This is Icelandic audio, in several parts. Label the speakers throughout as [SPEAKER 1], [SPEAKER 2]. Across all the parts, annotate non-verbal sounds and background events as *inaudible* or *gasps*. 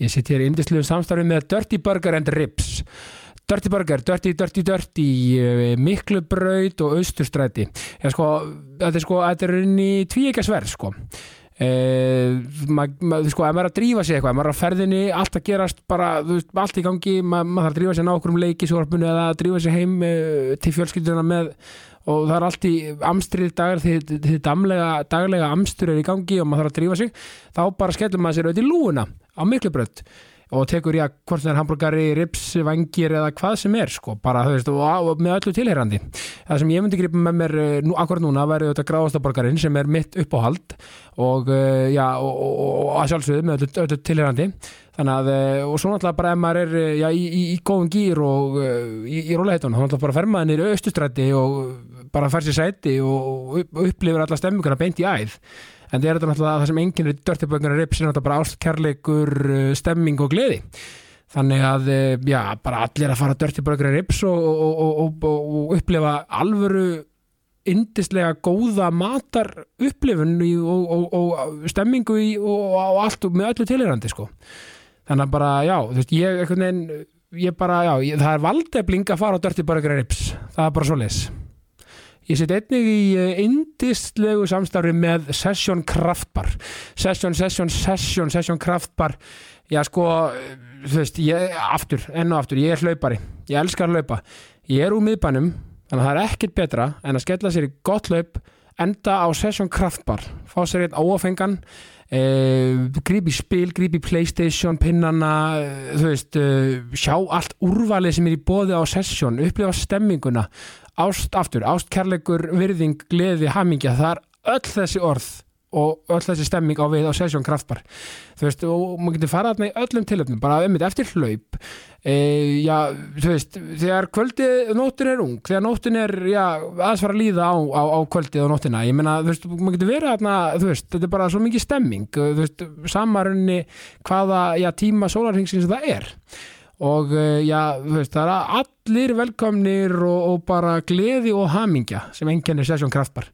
[SPEAKER 1] Ég sitt hér í indisluðum samstarfi með Dirty Burger and Ribs. Dirty Burger, Dirty, Dirty, Dirty, eh, Miklubraut og Austurstræti. Ég sko, þetta er sko, þetta er inn í tvíekja sverð, sko. Uh, ma, ma, sko, ef maður er að drífa sig eitthvað ef maður er á ferðinni, allt að gerast bara, þú veist, allt í gangi, ma, maður þarf að drífa sig ná okkur um leikisvarpinu eða að drífa sig heim uh, til fjölskylduna með og það er allt í amstrið dagar því, því damlega, daglega amstur er í gangi og maður þarf að drífa sig þá bara skellum maður sér auðvitað í lúuna á miklu brönd og tekur í að hvort það er hambúrgari, rips, vangir eða hvað sem er sko, bara þú veist, og, og með öllu tilherrandi það sem ég myndi gripa með mér eh, nú, akkur núna væri auðvitað gráðastaborgarinn sem er mitt uppáhald og, eh, já, og, og, og, og að sjálfsögðu með öllu, öllu tilherrandi þannig að, eh, og svo náttúrulega bara ef maður er eh, já, í, í, í góðum gýr og eh, í, í rólegheitunum, þá náttúrulega bara fer maður niður austustræti og bara fer sér sæti og upp- upplifir alla stemminguna beint í æð en það er þetta náttúrulega það sem enginn er dörtibönguna rips er náttúrulega bara ástkærleikur eh, stemming og gleði þannig að, eh, já, bara allir að fara dörtibönguna rips og, og, og, og, og, og upplifa alvöru yndislega góða matar upplifun í, og, og, og stemmingu í, og, og allt og með öllu tilherandi sko þannig að bara, já, þú veist, ég einhvern veginn, ég bara, já, ég, það er valdefling að fara á Dirty Burger and Rips, það er bara svoleiðis Ég set einnig í eh, yndislegu samstarfi með Session Kraftbar Session, Session, Session, Session Kraftbar Já, sko, eh, þú veist, ég, aftur, enn og aftur, ég er hlaupari Ég elskar að hlaupa Ég er úr miðbænum, þannig að það er ekkert betra en að skella sér í gott hlaup enda á Session Kraftbar fá sér eitt óafengan eh, gríp í spil, gríp í Playstation pinnana, eh, þú veist eh, sjá allt úrvalið sem er í bóði á Session, upplifa stemminguna ást aftur, ást kærleikur virðing, gleði, hamingja, það er öll þessi orð og öll þessi stemming á við á Session Kraftbar þú veist, og maður getur farað þarna í öllum tilöfnum bara einmitt eftir hlaup e, já, þú veist, þegar kvöldið nóttin er ung, þegar nóttin er já, aðeins fara að líða á, á, á kvöldið og nóttina, ég meina, þú veist, maður getur verið þarna, þú veist, þetta er bara svo mikið stemming þú veist, samarunni hvaða, já, tíma sólarhengsins það er og eh, já, þú veist, það er allir velkomnir og, og bara gleði og hamingja sem enginn er sessjón kraftbar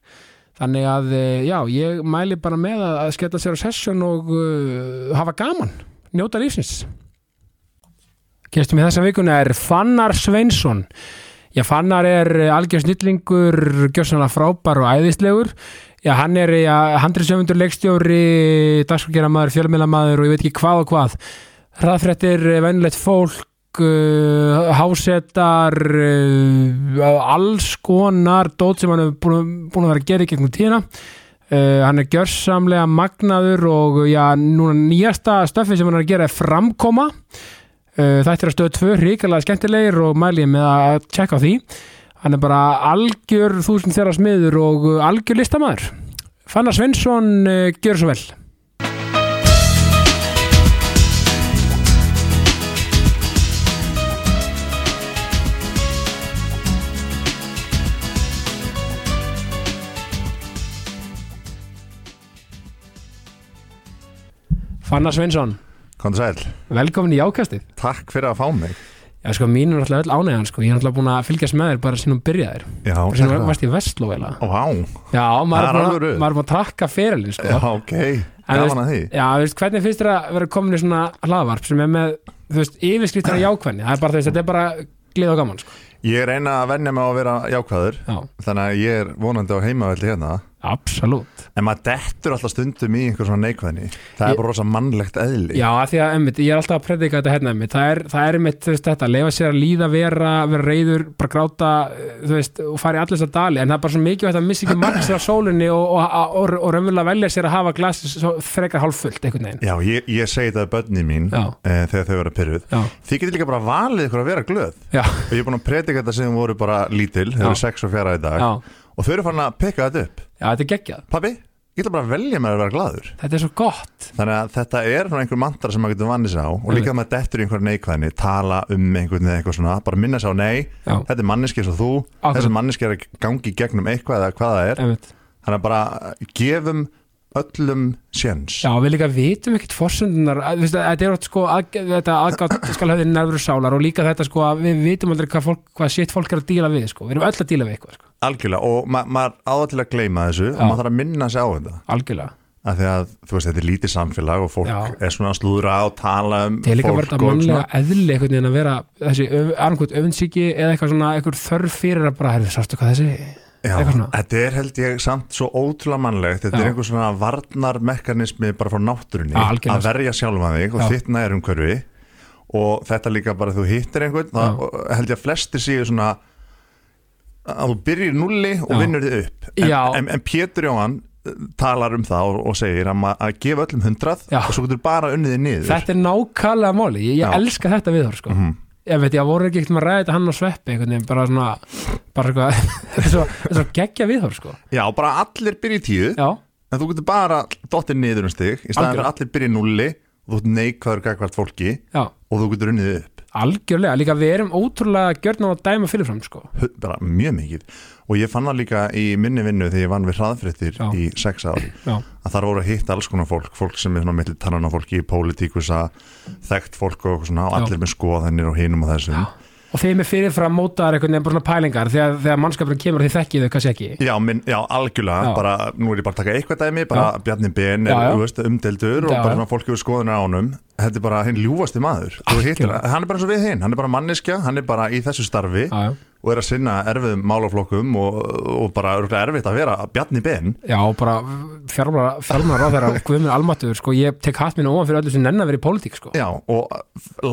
[SPEAKER 1] þannig að, eh, já, ég mæli bara með að, að skella sér á sessjón og uh, hafa gaman, njóta lífsins Gestum í þessa vikuna er Fannar Sveinsson Já, Fannar er eh, algjör snillingur, gjössanlega frábær og æðislegur. Já, hann er já, handriðsjöfundur, leikstjóri, dagskrokkeramaður, fjölmiðlamaður og ég veit ekki hvað og hvað. Hraðfrettir, venjulegt fólk, uh, hásetar, uh, alls konar dót sem hann er búin, búin að vera að gera í gegnum tíðina. Uh, hann er gjörsamlega magnaður og já, núna nýjasta stöfið sem hann er að gera er framkoma. Uh, Þættir að stöðu tvö hrikalega skemmtilegir og mæli ég með að tjekka á því hann er bara algjör þúsund þeirra smiður og uh, algjör listamaður Fannar Svensson uh, gjör svo vel Fannar Svensson
[SPEAKER 2] Komdu sæl,
[SPEAKER 1] Velkomin í ákastið.
[SPEAKER 2] takk fyrir að fá mig
[SPEAKER 1] Já, sko, mín er alltaf öll ánægjan, sko. Ég er alltaf búin að fylgjast með þér bara sinum byrjaðir.
[SPEAKER 2] Já,
[SPEAKER 1] Bara sinum varst í Vestló, eða.
[SPEAKER 2] Vá,
[SPEAKER 1] hérna. Já, maður
[SPEAKER 2] Það er
[SPEAKER 1] er búin
[SPEAKER 2] alvöru.
[SPEAKER 1] að- maður er búin að trakka ferilinn, sko.
[SPEAKER 2] já, ok,
[SPEAKER 1] En þú
[SPEAKER 2] gaman að því
[SPEAKER 1] Já, þú veist, hvernig finnst þér að vera komin í svona hlaðvarp sem er með, þú veist, yfirskriftar jákvæðni. Það er bara, þú veist, þetta er bara glið og gaman, sko.
[SPEAKER 2] Ég reyna að venja mig á að vera jákvæður
[SPEAKER 1] Já,
[SPEAKER 2] Þannig að ég er vonandi á heimavelli hérna
[SPEAKER 1] absolutt.
[SPEAKER 2] En maður dettur alltaf stundum í einhver svona neikvæðni Það
[SPEAKER 1] Ég-
[SPEAKER 2] er bara rosa mannlegt eðli
[SPEAKER 1] Já, af því að, emmitt, ég er alltaf að predika þetta hérna, emmitt. Það er, það er emmitt, þú veist, þetta, leifa sér að líða, vera, vera reyður, bara gráta, eh, þú veist, og fara í allir þess dali. En það er bara svo mikilvægt að missa ekki marg sér af sólinni og, og, og, og, og raunverulega velja sér að hafa glasi svo frekar hálffullt, einhvern veginn.
[SPEAKER 2] Já, ég, ég segi þetta að börni mín
[SPEAKER 1] Já.
[SPEAKER 2] e, þegar þau vera pyrruð
[SPEAKER 1] Já,
[SPEAKER 2] Þið getur líka bara valið ykkur að vera glöð
[SPEAKER 1] já,
[SPEAKER 2] Og ég er búin að predika þetta sem voru bara lítil Þau
[SPEAKER 1] Já.
[SPEAKER 2] eru sex og fjara í dag
[SPEAKER 1] já,
[SPEAKER 2] Og þau eru farin að pikka þetta upp
[SPEAKER 1] já, þetta er geggjað.
[SPEAKER 2] Pabbi, ég ætla bara að velja mér að vera glaður
[SPEAKER 1] Þetta er svo gott.
[SPEAKER 2] Þannig að þetta er svona einhver mantra sem maður getur vannið sér á og líka að maður dettur í einhver neikvæðinni, tala um einhvern eða eitthvað svona, bara minna sér á nei,
[SPEAKER 1] Já,
[SPEAKER 2] þetta er manneski eins og þú,
[SPEAKER 1] Akkurat.
[SPEAKER 2] þessi manneski er að gangi í gegnum eitthvað eða hvað það er,
[SPEAKER 1] emmitt.
[SPEAKER 2] þannig að bara gefum öllum séns.
[SPEAKER 1] Já, við líka vitum ekkert forsendunar að- þú veist, að- þetta er oft sko að, þetta aðgátt skal höfði nervur sálar og líka þetta sko að við vitum aldrei hvað, fólk, hvað sitt fólk er að díla við sko, við erum öll að díla við eitthvað sko,
[SPEAKER 2] Algjörlega og ma maður áður til að gleyma þessu og
[SPEAKER 1] Já.
[SPEAKER 2] maður þarf að minna sér á þetta.
[SPEAKER 1] algjörlega
[SPEAKER 2] að því að þú veist þetta er lítið samfélag og fólk
[SPEAKER 1] Já.
[SPEAKER 2] er svona að slúðra og tala um
[SPEAKER 1] Til líka
[SPEAKER 2] fólk
[SPEAKER 1] verða
[SPEAKER 2] og
[SPEAKER 1] mannlega
[SPEAKER 2] svona-
[SPEAKER 1] eðli einhvern veginn að vera þessi annarkot öfundsíki eða eitthvað svona eitthvað þörf fyrir að bara, herðu, sástu hvað þessi
[SPEAKER 2] Já,
[SPEAKER 1] eitthvað svona.
[SPEAKER 2] þetta er held ég samt svo ótrúlega mannlegt, þetta
[SPEAKER 1] Já.
[SPEAKER 2] er einhver svona varnarmekanismi bara frá náttúrunni
[SPEAKER 1] Ja, algjörlega.
[SPEAKER 2] að verja sjálfan þig og
[SPEAKER 1] Já.
[SPEAKER 2] þitt nærumhverfi og þetta líka bara þú hittir einhvern,
[SPEAKER 1] Já.
[SPEAKER 2] það og held ég að flesti séu svona að þú byrjir í nulli og
[SPEAKER 1] Já.
[SPEAKER 2] vinnur þig upp en,
[SPEAKER 1] Já.
[SPEAKER 2] en, en Pétur Jóhann eh, talar um það og, og segir að, ma- að gefa öllum hundrað
[SPEAKER 1] Já.
[SPEAKER 2] og svo getur bara unniði niður
[SPEAKER 1] Þetta er nákvæmlega máli, ég,
[SPEAKER 2] Já.
[SPEAKER 1] ég elska þetta viðhorf sko. Ég veit, ég voru ekki ekkert um að ræða þetta hann á sveppi einhvern veginn, bara svona *laughs* bara eitthvað, þetta er svo, þetta er svo geggja viðhorf sko.
[SPEAKER 2] Já, bara allir byrja í tíu
[SPEAKER 1] Já,
[SPEAKER 2] en þú getur bara dottir niður um stig í
[SPEAKER 1] Algjörlega.
[SPEAKER 2] staðan fyrir að allir byrja í nulli og þú ert neikvæður gagvart fólki
[SPEAKER 1] já,
[SPEAKER 2] og þú getur unnið upp
[SPEAKER 1] algjörlega líka við erum ótrúlega gjörn á að dæma fyrirfram sko.
[SPEAKER 2] hu- bara mjög mikið og ég fann það líka í minni vinnu þegar ég vann við hraðfréttir
[SPEAKER 1] Já.
[SPEAKER 2] í sex ár
[SPEAKER 1] Já,
[SPEAKER 2] að þar voru að hitta alls konar fólk fólk sem er svona milli tannan á fólki í pólitíkusa þekkt fólk og, eitthvað svona, og
[SPEAKER 1] Já.
[SPEAKER 2] allir með skoðanir og hinum og þessum Já,
[SPEAKER 1] og þeim er fyrirfram mótaðar einhvern veginn bara svona pælingar þegar, þegar mannskapurinn kemur og þið þekkið þau kannski ekki
[SPEAKER 2] minn, já, algjörlega,
[SPEAKER 1] Já.
[SPEAKER 2] bara, nú er ég bara að taka eitthvað dæmi, bara Bjarni Ben er
[SPEAKER 1] Já, já.
[SPEAKER 2] þú veist, umdeldur og
[SPEAKER 1] Já,
[SPEAKER 2] bara
[SPEAKER 1] já.
[SPEAKER 2] svona fólk hefur skoðunar á honum þetta er bara hinn ljúfasti maður Þú hittir,
[SPEAKER 1] Algjörlega.
[SPEAKER 2] hann er bara eins og við hinn, hann er bara manneskja hann er bara í þessu starfi
[SPEAKER 1] Já, já.
[SPEAKER 2] og er að sinna erfiðum málaflokkum og, og bara örugglega erfitt að vera Bjarni Ben
[SPEAKER 1] Já, bara fjármálar á þeirra Guðmur Almatur, sko, ég tek hatt minn óan fyrir öllu sem nenn að vera í pólitík, sko
[SPEAKER 2] Já, og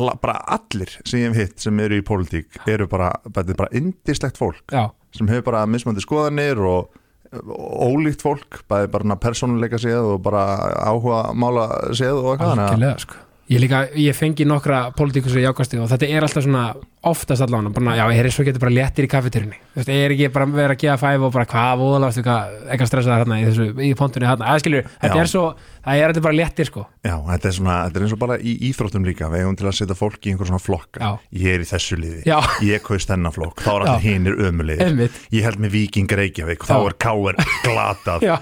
[SPEAKER 2] la- bara allir sem ég hef hitt sem eru í pólitík eru bara, þetta er bara indislegt fólk
[SPEAKER 1] Já,
[SPEAKER 2] sem hefur bara mismandi skoðanir og og ólíkt fólk, bæði bara persónuleika séð og bara áhuga mála séð og eitthvað þannig að-
[SPEAKER 1] algjörlega, sko Ég líka, ég fengi nokkra pólitíkus í ákastu og þetta er alltaf svona oftast allan bara, já, ég er svo getur bara léttir í kaffeturinni Þú veist, ég er ekki bara að vera að gefa fæf og bara hvað voðalast, hvað, eitthvað stressaðar hérna í þessu, í pontunni hérna, að skilur, þetta
[SPEAKER 2] Já.
[SPEAKER 1] er svo það er þetta bara léttir, sko
[SPEAKER 2] Já, þetta er svona, þetta er eins og bara í íþróttum líka við eigum til að setja fólk í einhver svona flokka
[SPEAKER 1] Já.
[SPEAKER 2] ég er í þessu liði,
[SPEAKER 1] Já.
[SPEAKER 2] ég kaust þennan flokk þá er allir
[SPEAKER 1] Já.
[SPEAKER 2] hinir ömulegir
[SPEAKER 1] Einmitt.
[SPEAKER 2] ég held með Víking Reykjavík, þá
[SPEAKER 1] Já.
[SPEAKER 2] er K.R. glatað
[SPEAKER 1] Já,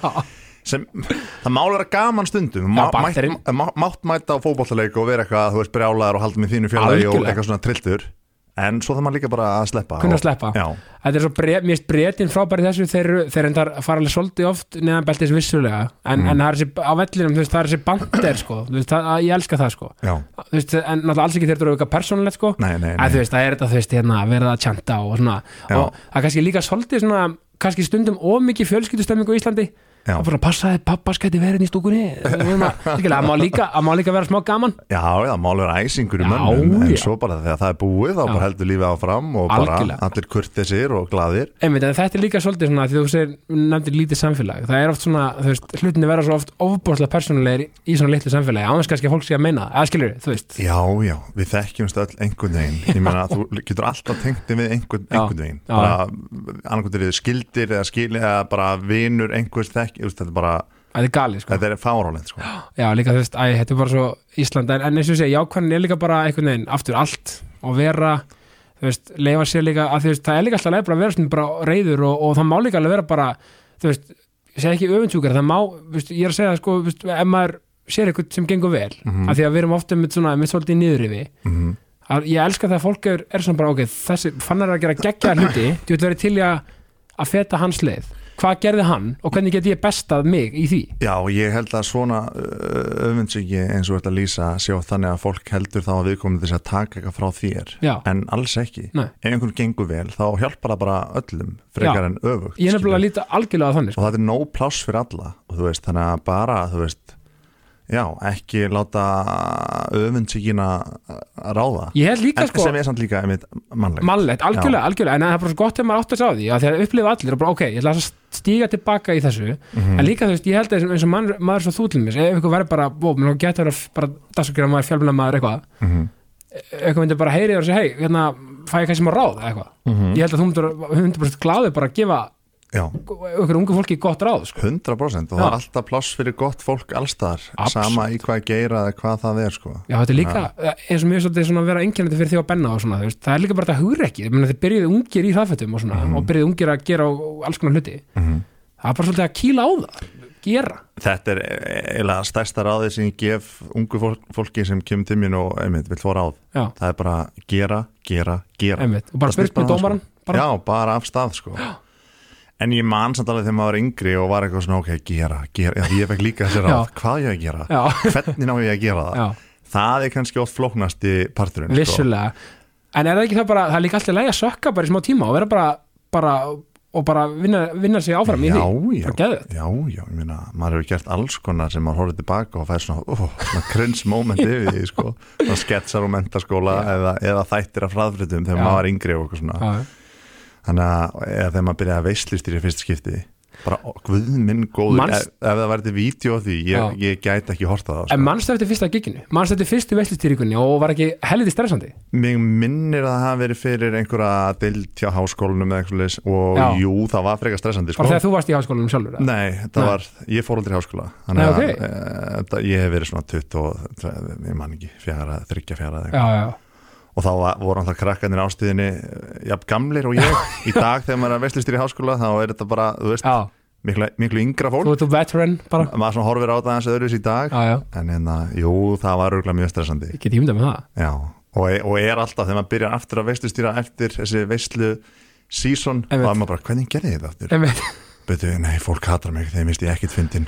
[SPEAKER 2] sem, það málar gaman stundum má,
[SPEAKER 1] Já, bakterinn.
[SPEAKER 2] mætt- má, mátt mæta á fótbollaleik og vera eitthvað, þú veist, brjálaður og halda með þínu fjölaði og
[SPEAKER 1] Algjörlega.
[SPEAKER 2] eitthvað svona trilltur en svo þarf maður líka bara að sleppa
[SPEAKER 1] kunna
[SPEAKER 2] og-
[SPEAKER 1] að sleppa
[SPEAKER 2] já,
[SPEAKER 1] Þetta er svo bre- mér finnst bretin frábæri þessu þeir, eru- þeir endar fara alveg svolítið oft neðan beltis vissulega
[SPEAKER 2] Mm.
[SPEAKER 1] en, en það er þessi, á vellinum, þú veist, það er þessi bandir sko, þú veist, það, ég elska það sko
[SPEAKER 2] já,
[SPEAKER 1] þú veist, en náttúrulega alls ekki þeir eru eitthvað persónulegt sko
[SPEAKER 2] nei, nei,
[SPEAKER 1] að
[SPEAKER 2] nei.
[SPEAKER 1] þú veist, það er þetta, þú veist, hérna, verða að tjanta og svona,
[SPEAKER 2] Já.
[SPEAKER 1] og það er kannski líka svolítið svona, kannski stundum ómikið fjölskyldustemmingu í Íslandi,
[SPEAKER 2] Já.
[SPEAKER 1] það bara passaði pappa skæti verið í stúkunni Við erum að- skilja, það má líka, það má líka vera smá gaman
[SPEAKER 2] já, já, málar æsingur
[SPEAKER 1] Já,
[SPEAKER 2] í mönnum en
[SPEAKER 1] já.
[SPEAKER 2] svo bara þegar það er búið þá
[SPEAKER 1] Já.
[SPEAKER 2] bara heldur lífið áfram og bara
[SPEAKER 1] Algjörlega.
[SPEAKER 2] allir kurtisir og glaðir
[SPEAKER 1] Einmitt, en þetta er líka svolítið svona því þú segir, nefndir lítið samfélag það er oft svona, þú veist, hlutinni verða svo oft ofbúrslega persónulegir í svona litlu samfélagi án þess kannski að fólk sé að meina það, eða skilur, þú veist
[SPEAKER 2] Já, já, við þekkjumst öll einhvern veginn Ég meina að þú getur alltaf tengt þig við einhvern,
[SPEAKER 1] Já,
[SPEAKER 2] einhvern veginn
[SPEAKER 1] já.
[SPEAKER 2] bara, annarkvæmt er þið skildir eða skil eða bara vinur einhvers þekk þú veist, Þetta er bara,
[SPEAKER 1] það er galið, sko,
[SPEAKER 2] þetta er fárálegt sko.
[SPEAKER 1] já, líka þú veist æ, þetta er bara svo Ísland, en, en eins og ég segi, jákvæðin er líka bara einhvern veginn, aftur allt og vera, þú veist, leifa sér líka að þú veist, það er líka alltaf leið bara að vera svona bara reyður og, og það má líka alveg vera bara þú veist, ég segi ekki öfundsjúkar það má, þú veist, ég er að segja, sko, þú veist, ef maður sér eitthvað sem gengur vel af því að við erum ofta með svona, með svolítið niðurrifi
[SPEAKER 2] mm
[SPEAKER 1] að ég elska það að fólk er, er svona bara ok, þessi fannar er að gera geggja
[SPEAKER 2] *clears throat*
[SPEAKER 1] hluti þú vil verið til í að, að feta hans leið hvað gerði hann og hvernig get ég bestað mig í því
[SPEAKER 2] Já, ég held að svona uh, öfundsíki eins og þetta lýsa sjá þannig að fólk heldur þá að viðkomandi þess að taka eitthvað frá þér
[SPEAKER 1] já,
[SPEAKER 2] en alls ekki,
[SPEAKER 1] Nei.
[SPEAKER 2] ef einhvern gengur vel þá hjálpar það bara öllum frekar
[SPEAKER 1] Já.
[SPEAKER 2] en öfugt
[SPEAKER 1] ég er nefnilega
[SPEAKER 2] skilur.
[SPEAKER 1] að líta algjörlega á þannig
[SPEAKER 2] og
[SPEAKER 1] sko.
[SPEAKER 2] það er nóg pláss fyrir alla og þú veist, þannig að bara, þú veist já, ekki láta öfundsíkina uh, ráða
[SPEAKER 1] ég held líka
[SPEAKER 2] en,
[SPEAKER 1] sko,
[SPEAKER 2] sem er samt líka einmitt mannleg
[SPEAKER 1] mannlegt, algjörlega, algjörlega en það er bara svo gott þegar maður átt að sá því að þegar upplifa allir og bara ok, ég ætla að stíga tilbaka í þessu en líka þú veist, ég held að eins og mann, maður svo þútlumis, ef ykkur verður bara, ó, mér getur að vera bara dagsakrið maður, fjálfina maður eitthvað
[SPEAKER 2] Mhm.
[SPEAKER 1] eitthvað myndi bara heyri og segja, hei, hérna fæ ég kannski maður ráð eða eitthvað ég held að þú myndir, myndir bara gláðið bara að gefa
[SPEAKER 2] já,
[SPEAKER 1] okkur ungu fólki gott ráð sko.
[SPEAKER 2] 100% og
[SPEAKER 1] Já.
[SPEAKER 2] það er alltaf pláss fyrir gott fólk allstar,
[SPEAKER 1] Absolutt.
[SPEAKER 2] sama í hvað geira eða hvað það er sko
[SPEAKER 1] Já, þetta er líka, eh, eins og mér finnst þetta svona að vera einkennandi fyrir því að benna og svona, þú veist, það er líka bara þetta hugur ekki, menn þið byrjuðu ungir í hraðfættum og svona, og byrjuðu ungir að gera og, og alls konar hluti,
[SPEAKER 2] Mhm.
[SPEAKER 1] það er bara svolítið að kýla á það, gera,
[SPEAKER 2] þetta er eh, eiginlega stærsta ráðið sem ég gef ungu fólk, fólki sem kemur til mín og einmitt vil fá ráð
[SPEAKER 1] já,
[SPEAKER 2] það er bara gera, gera, gera
[SPEAKER 1] einmitt, og bara
[SPEAKER 2] Það snýst
[SPEAKER 1] spyrst með
[SPEAKER 2] bara um það,
[SPEAKER 1] dómaran, bara, *gasps*
[SPEAKER 2] já, bara af stað sko en en ég man samt alveg þegar maður var yngri og var eitthvað svona, ok, gera, gera já, ég fekk líka þessi ráð,
[SPEAKER 1] Já.
[SPEAKER 2] hvað á ég að gera
[SPEAKER 1] já,
[SPEAKER 2] hvernig ná ég að gera það
[SPEAKER 1] já,
[SPEAKER 2] það er sko- kannski oft flóknasti parturinn
[SPEAKER 1] vissulega en er það ekki það bara, það er líka alltaf lægi að sökka bara í smá tíma og vera bara, bara og bara vinna, vinna sig áfram í
[SPEAKER 2] já,
[SPEAKER 1] því
[SPEAKER 2] já,
[SPEAKER 1] Bara geðveikt.
[SPEAKER 2] já, já, ég meina maður hefur gert alls konar sem maður horfður tilbaka og fær svona, ó, svona cringe
[SPEAKER 1] *laughs*
[SPEAKER 2] moment yfir því, sko, svona sketsar og mentaskóla eða, eða þættir af hraðfritum þegar
[SPEAKER 1] Já.
[SPEAKER 2] maður var yngri og eitthvað svona
[SPEAKER 1] Já,
[SPEAKER 2] þannig að eða þegar maður byrjaði að veislistýri fyrst skipti, bara ó, guð minn góður,
[SPEAKER 1] Manst-
[SPEAKER 2] ef, ef það væri til vídeo af því,
[SPEAKER 1] Já.
[SPEAKER 2] ég, ég gæti ekki horta það
[SPEAKER 1] en
[SPEAKER 2] sko.
[SPEAKER 1] mannstu eftir fyrsta giginu mannstu eftir fyrstu veistlistýringunni og var ekki helviti stressandi
[SPEAKER 2] mig minnir að það hafi verið fyrir einhverja deild hjá háskólanum eða eitthvað leis og
[SPEAKER 1] Já.
[SPEAKER 2] jú, það var frekar stressandi
[SPEAKER 1] bara
[SPEAKER 2] sko.
[SPEAKER 1] þegar þú varst í háskólanum sjálfur eða?
[SPEAKER 2] Nei, það
[SPEAKER 1] Nei.
[SPEAKER 2] var, ég fór aldrei í háskóla
[SPEAKER 1] Nei,
[SPEAKER 2] að
[SPEAKER 1] ok.
[SPEAKER 2] e, það- ég hef verið svona 20 og, tre- ég man ekki, fjara, þryggja fjara eða eitthvað.
[SPEAKER 1] já, já,
[SPEAKER 2] og þá var, voru alltaf krakkanir ástíðinni eh, jafn gamlir og ég í dag þegar maður er vestlistir í háskóla þá er þetta bara, þú veist,
[SPEAKER 1] já,
[SPEAKER 2] miklu, miklu yngra fólk
[SPEAKER 1] þú ert þú veteran bara
[SPEAKER 2] maður svona horfir á það eins öðruðs í dag
[SPEAKER 1] já, já,
[SPEAKER 2] en hérna, jú, það var örgulega mjög stressandi
[SPEAKER 1] ég get ímynda með það
[SPEAKER 2] já, og, e- og er alltaf þegar maður byrjar aftur að veistlistýra eftir þessi veistlu season, þá
[SPEAKER 1] Einmitt.
[SPEAKER 2] er maður bara, hvernig gerði ég þetta aftur?
[SPEAKER 1] Einmitt.
[SPEAKER 2] betur, nei, fólk hatar mig þegar misti ég ekkert fyndin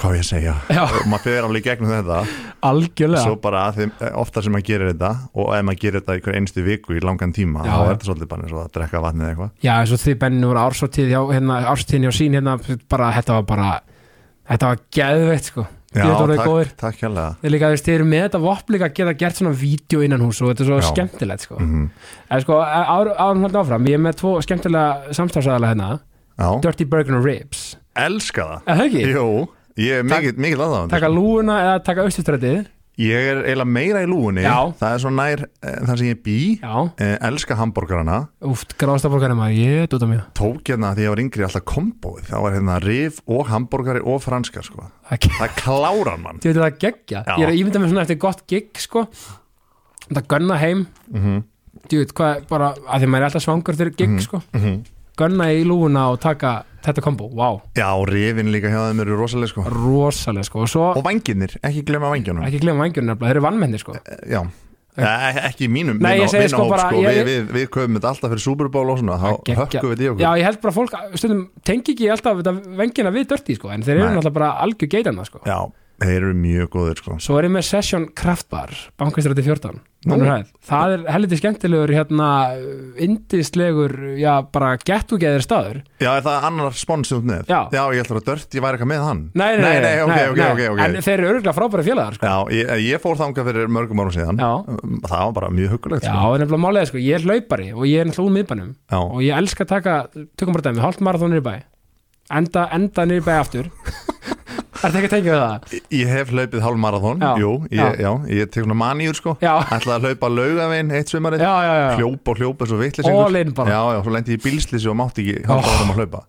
[SPEAKER 2] hvað á ég að segja
[SPEAKER 1] Já.
[SPEAKER 2] og maður fyrir alveg í gegnum þetta svo
[SPEAKER 1] algjörlega,
[SPEAKER 2] bara að þeim, ofta sem maður gerir þetta og ef maður gerir þetta í hver einstu viku í langan tíma
[SPEAKER 1] Já,
[SPEAKER 2] þá
[SPEAKER 1] já.
[SPEAKER 2] er þetta svolítið bara eins og að drekka vatnið eða eitthvað
[SPEAKER 1] já, eins og þið bennið voru ársóttíð hjá, hérna, árstíðin hjá sín hérna, bara, þetta var bara þetta var geðveitt sko, þetta voru
[SPEAKER 2] takk,
[SPEAKER 1] góðir
[SPEAKER 2] takk hérlega
[SPEAKER 1] Þeir líka, þú veist, þeir eru með þetta vopp líka að geta gert svona vídeo innan hús og þetta er svo
[SPEAKER 2] Já.
[SPEAKER 1] skemmtilegt sko.
[SPEAKER 2] mm
[SPEAKER 1] En sko, árum haldið áfram, ég er með tvo skemmtilega samstafsæðala hérna
[SPEAKER 2] Já,
[SPEAKER 1] Dirty Burger and Ribs
[SPEAKER 2] elska það
[SPEAKER 1] Er það ekki?
[SPEAKER 2] Jú, ég er
[SPEAKER 1] Takk-
[SPEAKER 2] mikill mikil aðdáðan
[SPEAKER 1] Taka lúuna eða taka austustrætið
[SPEAKER 2] Ég er eiginlega meira í lúunni
[SPEAKER 1] Já.
[SPEAKER 2] það er svo nær eh, þar sem ég bý
[SPEAKER 1] Já,
[SPEAKER 2] eh, elska hambúrgarana
[SPEAKER 1] úft, gráðstaborgarna maður, ég er út af mjög
[SPEAKER 2] tók hérna því ég var yngri alltaf kombóið þá var hérna rif og hambúrgari og franskar sko.
[SPEAKER 1] Þú
[SPEAKER 2] það klárar mann
[SPEAKER 1] veit að það geggja
[SPEAKER 2] Já.
[SPEAKER 1] Ég er að ímynda mér svona eftir gott gig sko Það gönna heim Mhm. Þú veit, hvað, bara, að því maður er alltaf svangur þegar gig
[SPEAKER 2] Mhm.
[SPEAKER 1] sko Gönna í lúuna og taka þetta kombo, wow,
[SPEAKER 2] Já, rifin líka hjá þeim eru rosalega sko
[SPEAKER 1] rosalega sko Og svo,
[SPEAKER 2] Og vanginir, ekki glemma vanginum
[SPEAKER 1] ekki glemma vangjörin nefnilega, þeir eru vannmennir sko
[SPEAKER 2] Já, e ekki í mínum
[SPEAKER 1] Nei, ég
[SPEAKER 2] vinna-
[SPEAKER 1] segi sko
[SPEAKER 2] vinahóp,
[SPEAKER 1] bara-
[SPEAKER 2] sko.
[SPEAKER 1] ég-
[SPEAKER 2] Við, við, við köfum þetta alltaf fyrir Super Bowl og svona Þá
[SPEAKER 1] Að geggja.
[SPEAKER 2] hökkum við í okkur
[SPEAKER 1] Já, ég held bara fólk, stundum, tengi ekki alltaf þetta vengina við dörti, sko, en þeir eru
[SPEAKER 2] Nei.
[SPEAKER 1] náttúrulega bara algjör geitanna, sko.
[SPEAKER 2] Já, þeir eru mjög góðir sko
[SPEAKER 1] Svo er ég með Session Kraftbar, bankastræti 14,
[SPEAKER 2] Nú.
[SPEAKER 1] önnur hæð. Það er helviti skemmtilegur, hérna, indislegur, já, bara gettugeðir staður.
[SPEAKER 2] Já, er það annar sponsum neð?
[SPEAKER 1] Já.
[SPEAKER 2] Já, ég ætla að dört, ég væri eitthvað með hann
[SPEAKER 1] Nei, nei,
[SPEAKER 2] nei, ok, ok, ok, ok.
[SPEAKER 1] En þeir eru örgulega frábæri félagar, sko.
[SPEAKER 2] Já, ég, eh, ég fór þangað fyrir mörgum árum síðan Um,
[SPEAKER 1] Já.
[SPEAKER 2] Það var bara mjög huggulegt
[SPEAKER 1] Já,
[SPEAKER 2] sko.
[SPEAKER 1] en nefnilega málega, sko, ég er hlaupari og ég er náttúrulega úr miðbænum
[SPEAKER 2] Já.
[SPEAKER 1] og ég elska að taka, tökum bara dæmi, hálft marathón niður í bæ, enda, enda niður í bæ aftur.
[SPEAKER 2] *laughs*
[SPEAKER 1] Er ekki að tengja við það?
[SPEAKER 2] Ég- Ég hef hlaupið hálf marathón
[SPEAKER 1] Já.
[SPEAKER 2] Jú, ég,
[SPEAKER 1] Já.
[SPEAKER 2] já. ég tek svona maníur sko
[SPEAKER 1] Já,
[SPEAKER 2] Ætlaði að hlaupa laugavegin eitt sumarið
[SPEAKER 1] já, já, já.
[SPEAKER 2] Hljóp og hljóp eins og
[SPEAKER 1] All
[SPEAKER 2] vittlisingur
[SPEAKER 1] in bara,
[SPEAKER 2] Já, já, svo lendi ég í bílslýsi og mátti ekki halda
[SPEAKER 1] Oh.
[SPEAKER 2] áfram að hlaupa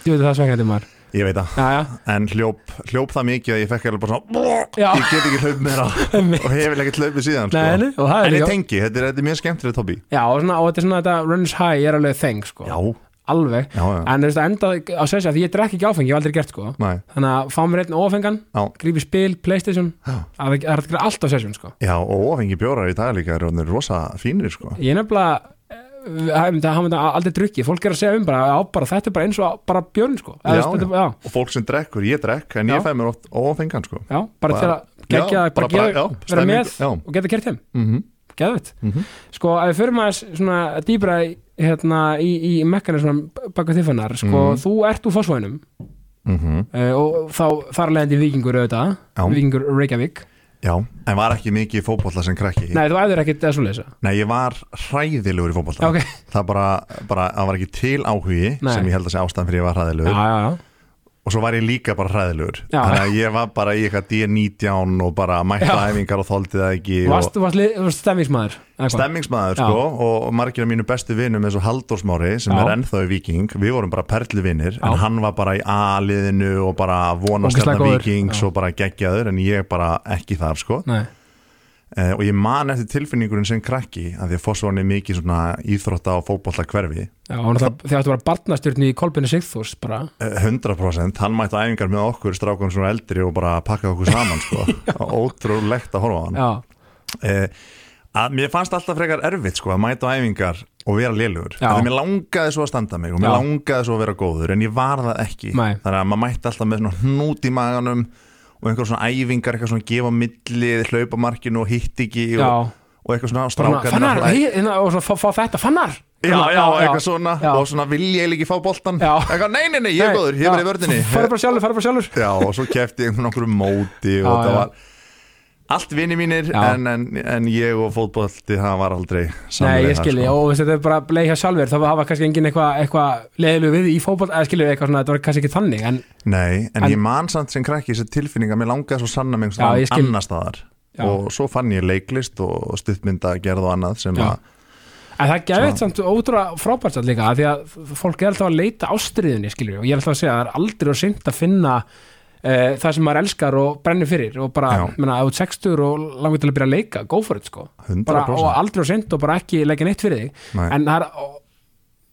[SPEAKER 1] þú veit það svengandi maður
[SPEAKER 2] Ég veit það,
[SPEAKER 1] Já, já,
[SPEAKER 2] en hljóp, hljóp það mikið að ég fekk alveg bara svona *laughs*
[SPEAKER 1] Já.
[SPEAKER 2] Ég get ekki hlaup meira
[SPEAKER 1] Einmitt.
[SPEAKER 2] og hef ekki hlaupið síðan
[SPEAKER 1] nei, nei,
[SPEAKER 2] sko.
[SPEAKER 1] og það er
[SPEAKER 2] En ég
[SPEAKER 1] líka
[SPEAKER 2] tengi, þetta er, þetta er mjög skemmtilegt hobby
[SPEAKER 1] Já, og, svona, og þetta er svona þetta runners high er alveg þeng, sko,
[SPEAKER 2] Já,
[SPEAKER 1] alveg
[SPEAKER 2] já, já,
[SPEAKER 1] En þú veist, enda á sessi að því ég drekk ekki áfengi, ég hef aldrei gert, sko
[SPEAKER 2] Nei.
[SPEAKER 1] Þannig að fá mér einn ófengan,
[SPEAKER 2] Já.
[SPEAKER 1] grípi spil, Playstation
[SPEAKER 2] Já.
[SPEAKER 1] að Það er þetta allt á session, sko
[SPEAKER 2] já og ofengi bjórar í dag líka eru orðnir rosa fínir sko
[SPEAKER 1] Ég er nefnilega eh, það hafa þetta aldrei drukki, fólk er að segja um bara, já, bara þetta er bara eins og bara björn, sko Eða,
[SPEAKER 2] Já,
[SPEAKER 1] þú veist, þetta-
[SPEAKER 2] Og fólk sem drekkur, ég drekk, en
[SPEAKER 1] Já.
[SPEAKER 2] ég fæ mér oft ofengan sko
[SPEAKER 1] já, já, bara til
[SPEAKER 2] Bara-
[SPEAKER 1] að gegja, bara,
[SPEAKER 2] Já, bara-
[SPEAKER 1] gera,
[SPEAKER 2] já,
[SPEAKER 1] vera
[SPEAKER 2] stemming,
[SPEAKER 1] með
[SPEAKER 2] já.
[SPEAKER 1] og geta kert heim
[SPEAKER 2] mm
[SPEAKER 1] geðvitt
[SPEAKER 2] Mhm.
[SPEAKER 1] sko að við förum aðeins svona dýbra í, hérna, í, í mekanismum baka þiffanar sko
[SPEAKER 2] Mhm.
[SPEAKER 1] þú ert úr fósfóinum uh, og þá þar leðandi vikingur auðvitað
[SPEAKER 2] Já.
[SPEAKER 1] vikingur Reykjavík
[SPEAKER 2] Já, en var ekki mikið í fótbolta sem krakki
[SPEAKER 1] nei þú æður ekkit eða svo leysa
[SPEAKER 2] Nei, ég var hræðilegur í fótbolta
[SPEAKER 1] ok
[SPEAKER 2] Það bara, bara, það var ekki til áhugi
[SPEAKER 1] Nei.
[SPEAKER 2] sem ég held að segja ástæðan fyrir ég var
[SPEAKER 1] já
[SPEAKER 2] hræðilegur
[SPEAKER 1] já já
[SPEAKER 2] og svo var ég líka bara hræðilegur
[SPEAKER 1] Já.
[SPEAKER 2] þannig að ég var bara í eitthvað D19 og bara mætta
[SPEAKER 1] Já.
[SPEAKER 2] æfingar og þóldi það ekki
[SPEAKER 1] Þú varst, þú varst, lið- þú varst stemmingsmaður eða
[SPEAKER 2] og
[SPEAKER 1] hvað?
[SPEAKER 2] stemmingsmaður
[SPEAKER 1] Já.
[SPEAKER 2] sko og margir af mínu bestu vinum eins og Halldór Smári sem
[SPEAKER 1] Já.
[SPEAKER 2] er ennþá í Viking, við vorum bara
[SPEAKER 1] Já.
[SPEAKER 2] perluvinir en hann var bara í A-liðinu og bara vonast
[SPEAKER 1] Ógeðslega
[SPEAKER 2] hérna
[SPEAKER 1] góður.
[SPEAKER 2] Vikings
[SPEAKER 1] Já.
[SPEAKER 2] og bara geggjaður en ég bara ekki þar sko
[SPEAKER 1] nei
[SPEAKER 2] eh, og ég man eftir tilfinningurinn sem krakki að því að fórsvonni mikið svona íþrótta og fótbolla hverfi
[SPEAKER 1] já og náttúrulega þið áttu bara barnastjörni í kolbinu Sigþús bara
[SPEAKER 2] 100% hann mætti á æfingar með okkur strákum svona eldri og bara pakkaði okkur saman
[SPEAKER 1] *laughs*
[SPEAKER 2] sko. ótrúlegt að horfa á hann
[SPEAKER 1] já
[SPEAKER 2] eh, að mér fannst alltaf frekar erfitt sko, að mæta á æfingar og vera lélugur
[SPEAKER 1] Já.
[SPEAKER 2] Þegar mér langaði svo að standa mig og mér
[SPEAKER 1] Já.
[SPEAKER 2] langaði svo að vera góður en ég var það ekki
[SPEAKER 1] Nei.
[SPEAKER 2] þannig að maður mætti alltaf með svona hnút í maganum og einhver svona æfingar, eitthvað svona gefa millið, hlaupa markinu og hitt ekki og,
[SPEAKER 1] Já.
[SPEAKER 2] og eitthvað svona
[SPEAKER 1] Svona,
[SPEAKER 2] strákar
[SPEAKER 1] fannar, hei, hérna, og svona fá, fá þetta, fannar
[SPEAKER 2] Já, já, eitthvað svona
[SPEAKER 1] Já.
[SPEAKER 2] og svona vil ég ekki fá boltan
[SPEAKER 1] Já.
[SPEAKER 2] eitthvað, nei, nei, nei, ég er góður, ég verið í vördinni
[SPEAKER 1] *laughs* Fara bara sjálfur, fara bara sjálfur
[SPEAKER 2] Já, og svo kefti ég einhvern okkur móti og
[SPEAKER 1] Já,
[SPEAKER 2] það
[SPEAKER 1] já.
[SPEAKER 2] var allt vini mínir
[SPEAKER 1] Já.
[SPEAKER 2] en, en, en ég og fótbolti það var aldrei
[SPEAKER 1] Nei,
[SPEAKER 2] samleið
[SPEAKER 1] ég
[SPEAKER 2] þar,
[SPEAKER 1] skilji,
[SPEAKER 2] sko.
[SPEAKER 1] og veist, þetta er bara leið hjá sjálfur, það var kannski engin eitthvað eitthva leiðilegu við í fótboll, eða skilji eitthvað svona, þetta var kannski ekki þannig, en
[SPEAKER 2] Nei, en,
[SPEAKER 1] En-
[SPEAKER 2] ég man samt sem krakki þessi tilfinning að mér langaði svo sanna mig
[SPEAKER 1] Já, ég skil.
[SPEAKER 2] annar staðar
[SPEAKER 1] Já.
[SPEAKER 2] og svo fann ég leiklist og stuttmynda gerð og annað sem
[SPEAKER 1] Já.
[SPEAKER 2] að
[SPEAKER 1] En það gefið samt ótrúlega frábært samt líka af því að f- fólk er alltaf að leita ástriðinni skilur, við, og ég er alltaf að segja að það er aldrei og seint að finna uh, það sem maður elskar og brennir fyrir og bara,
[SPEAKER 2] Já.
[SPEAKER 1] menna, ef þú ert 60 og langar til að byrja að leika, go for it sko
[SPEAKER 2] 100%.
[SPEAKER 1] bara, og aldrei og seint og bara ekki leggja neitt fyrir þig
[SPEAKER 2] Nei.
[SPEAKER 1] en það er og,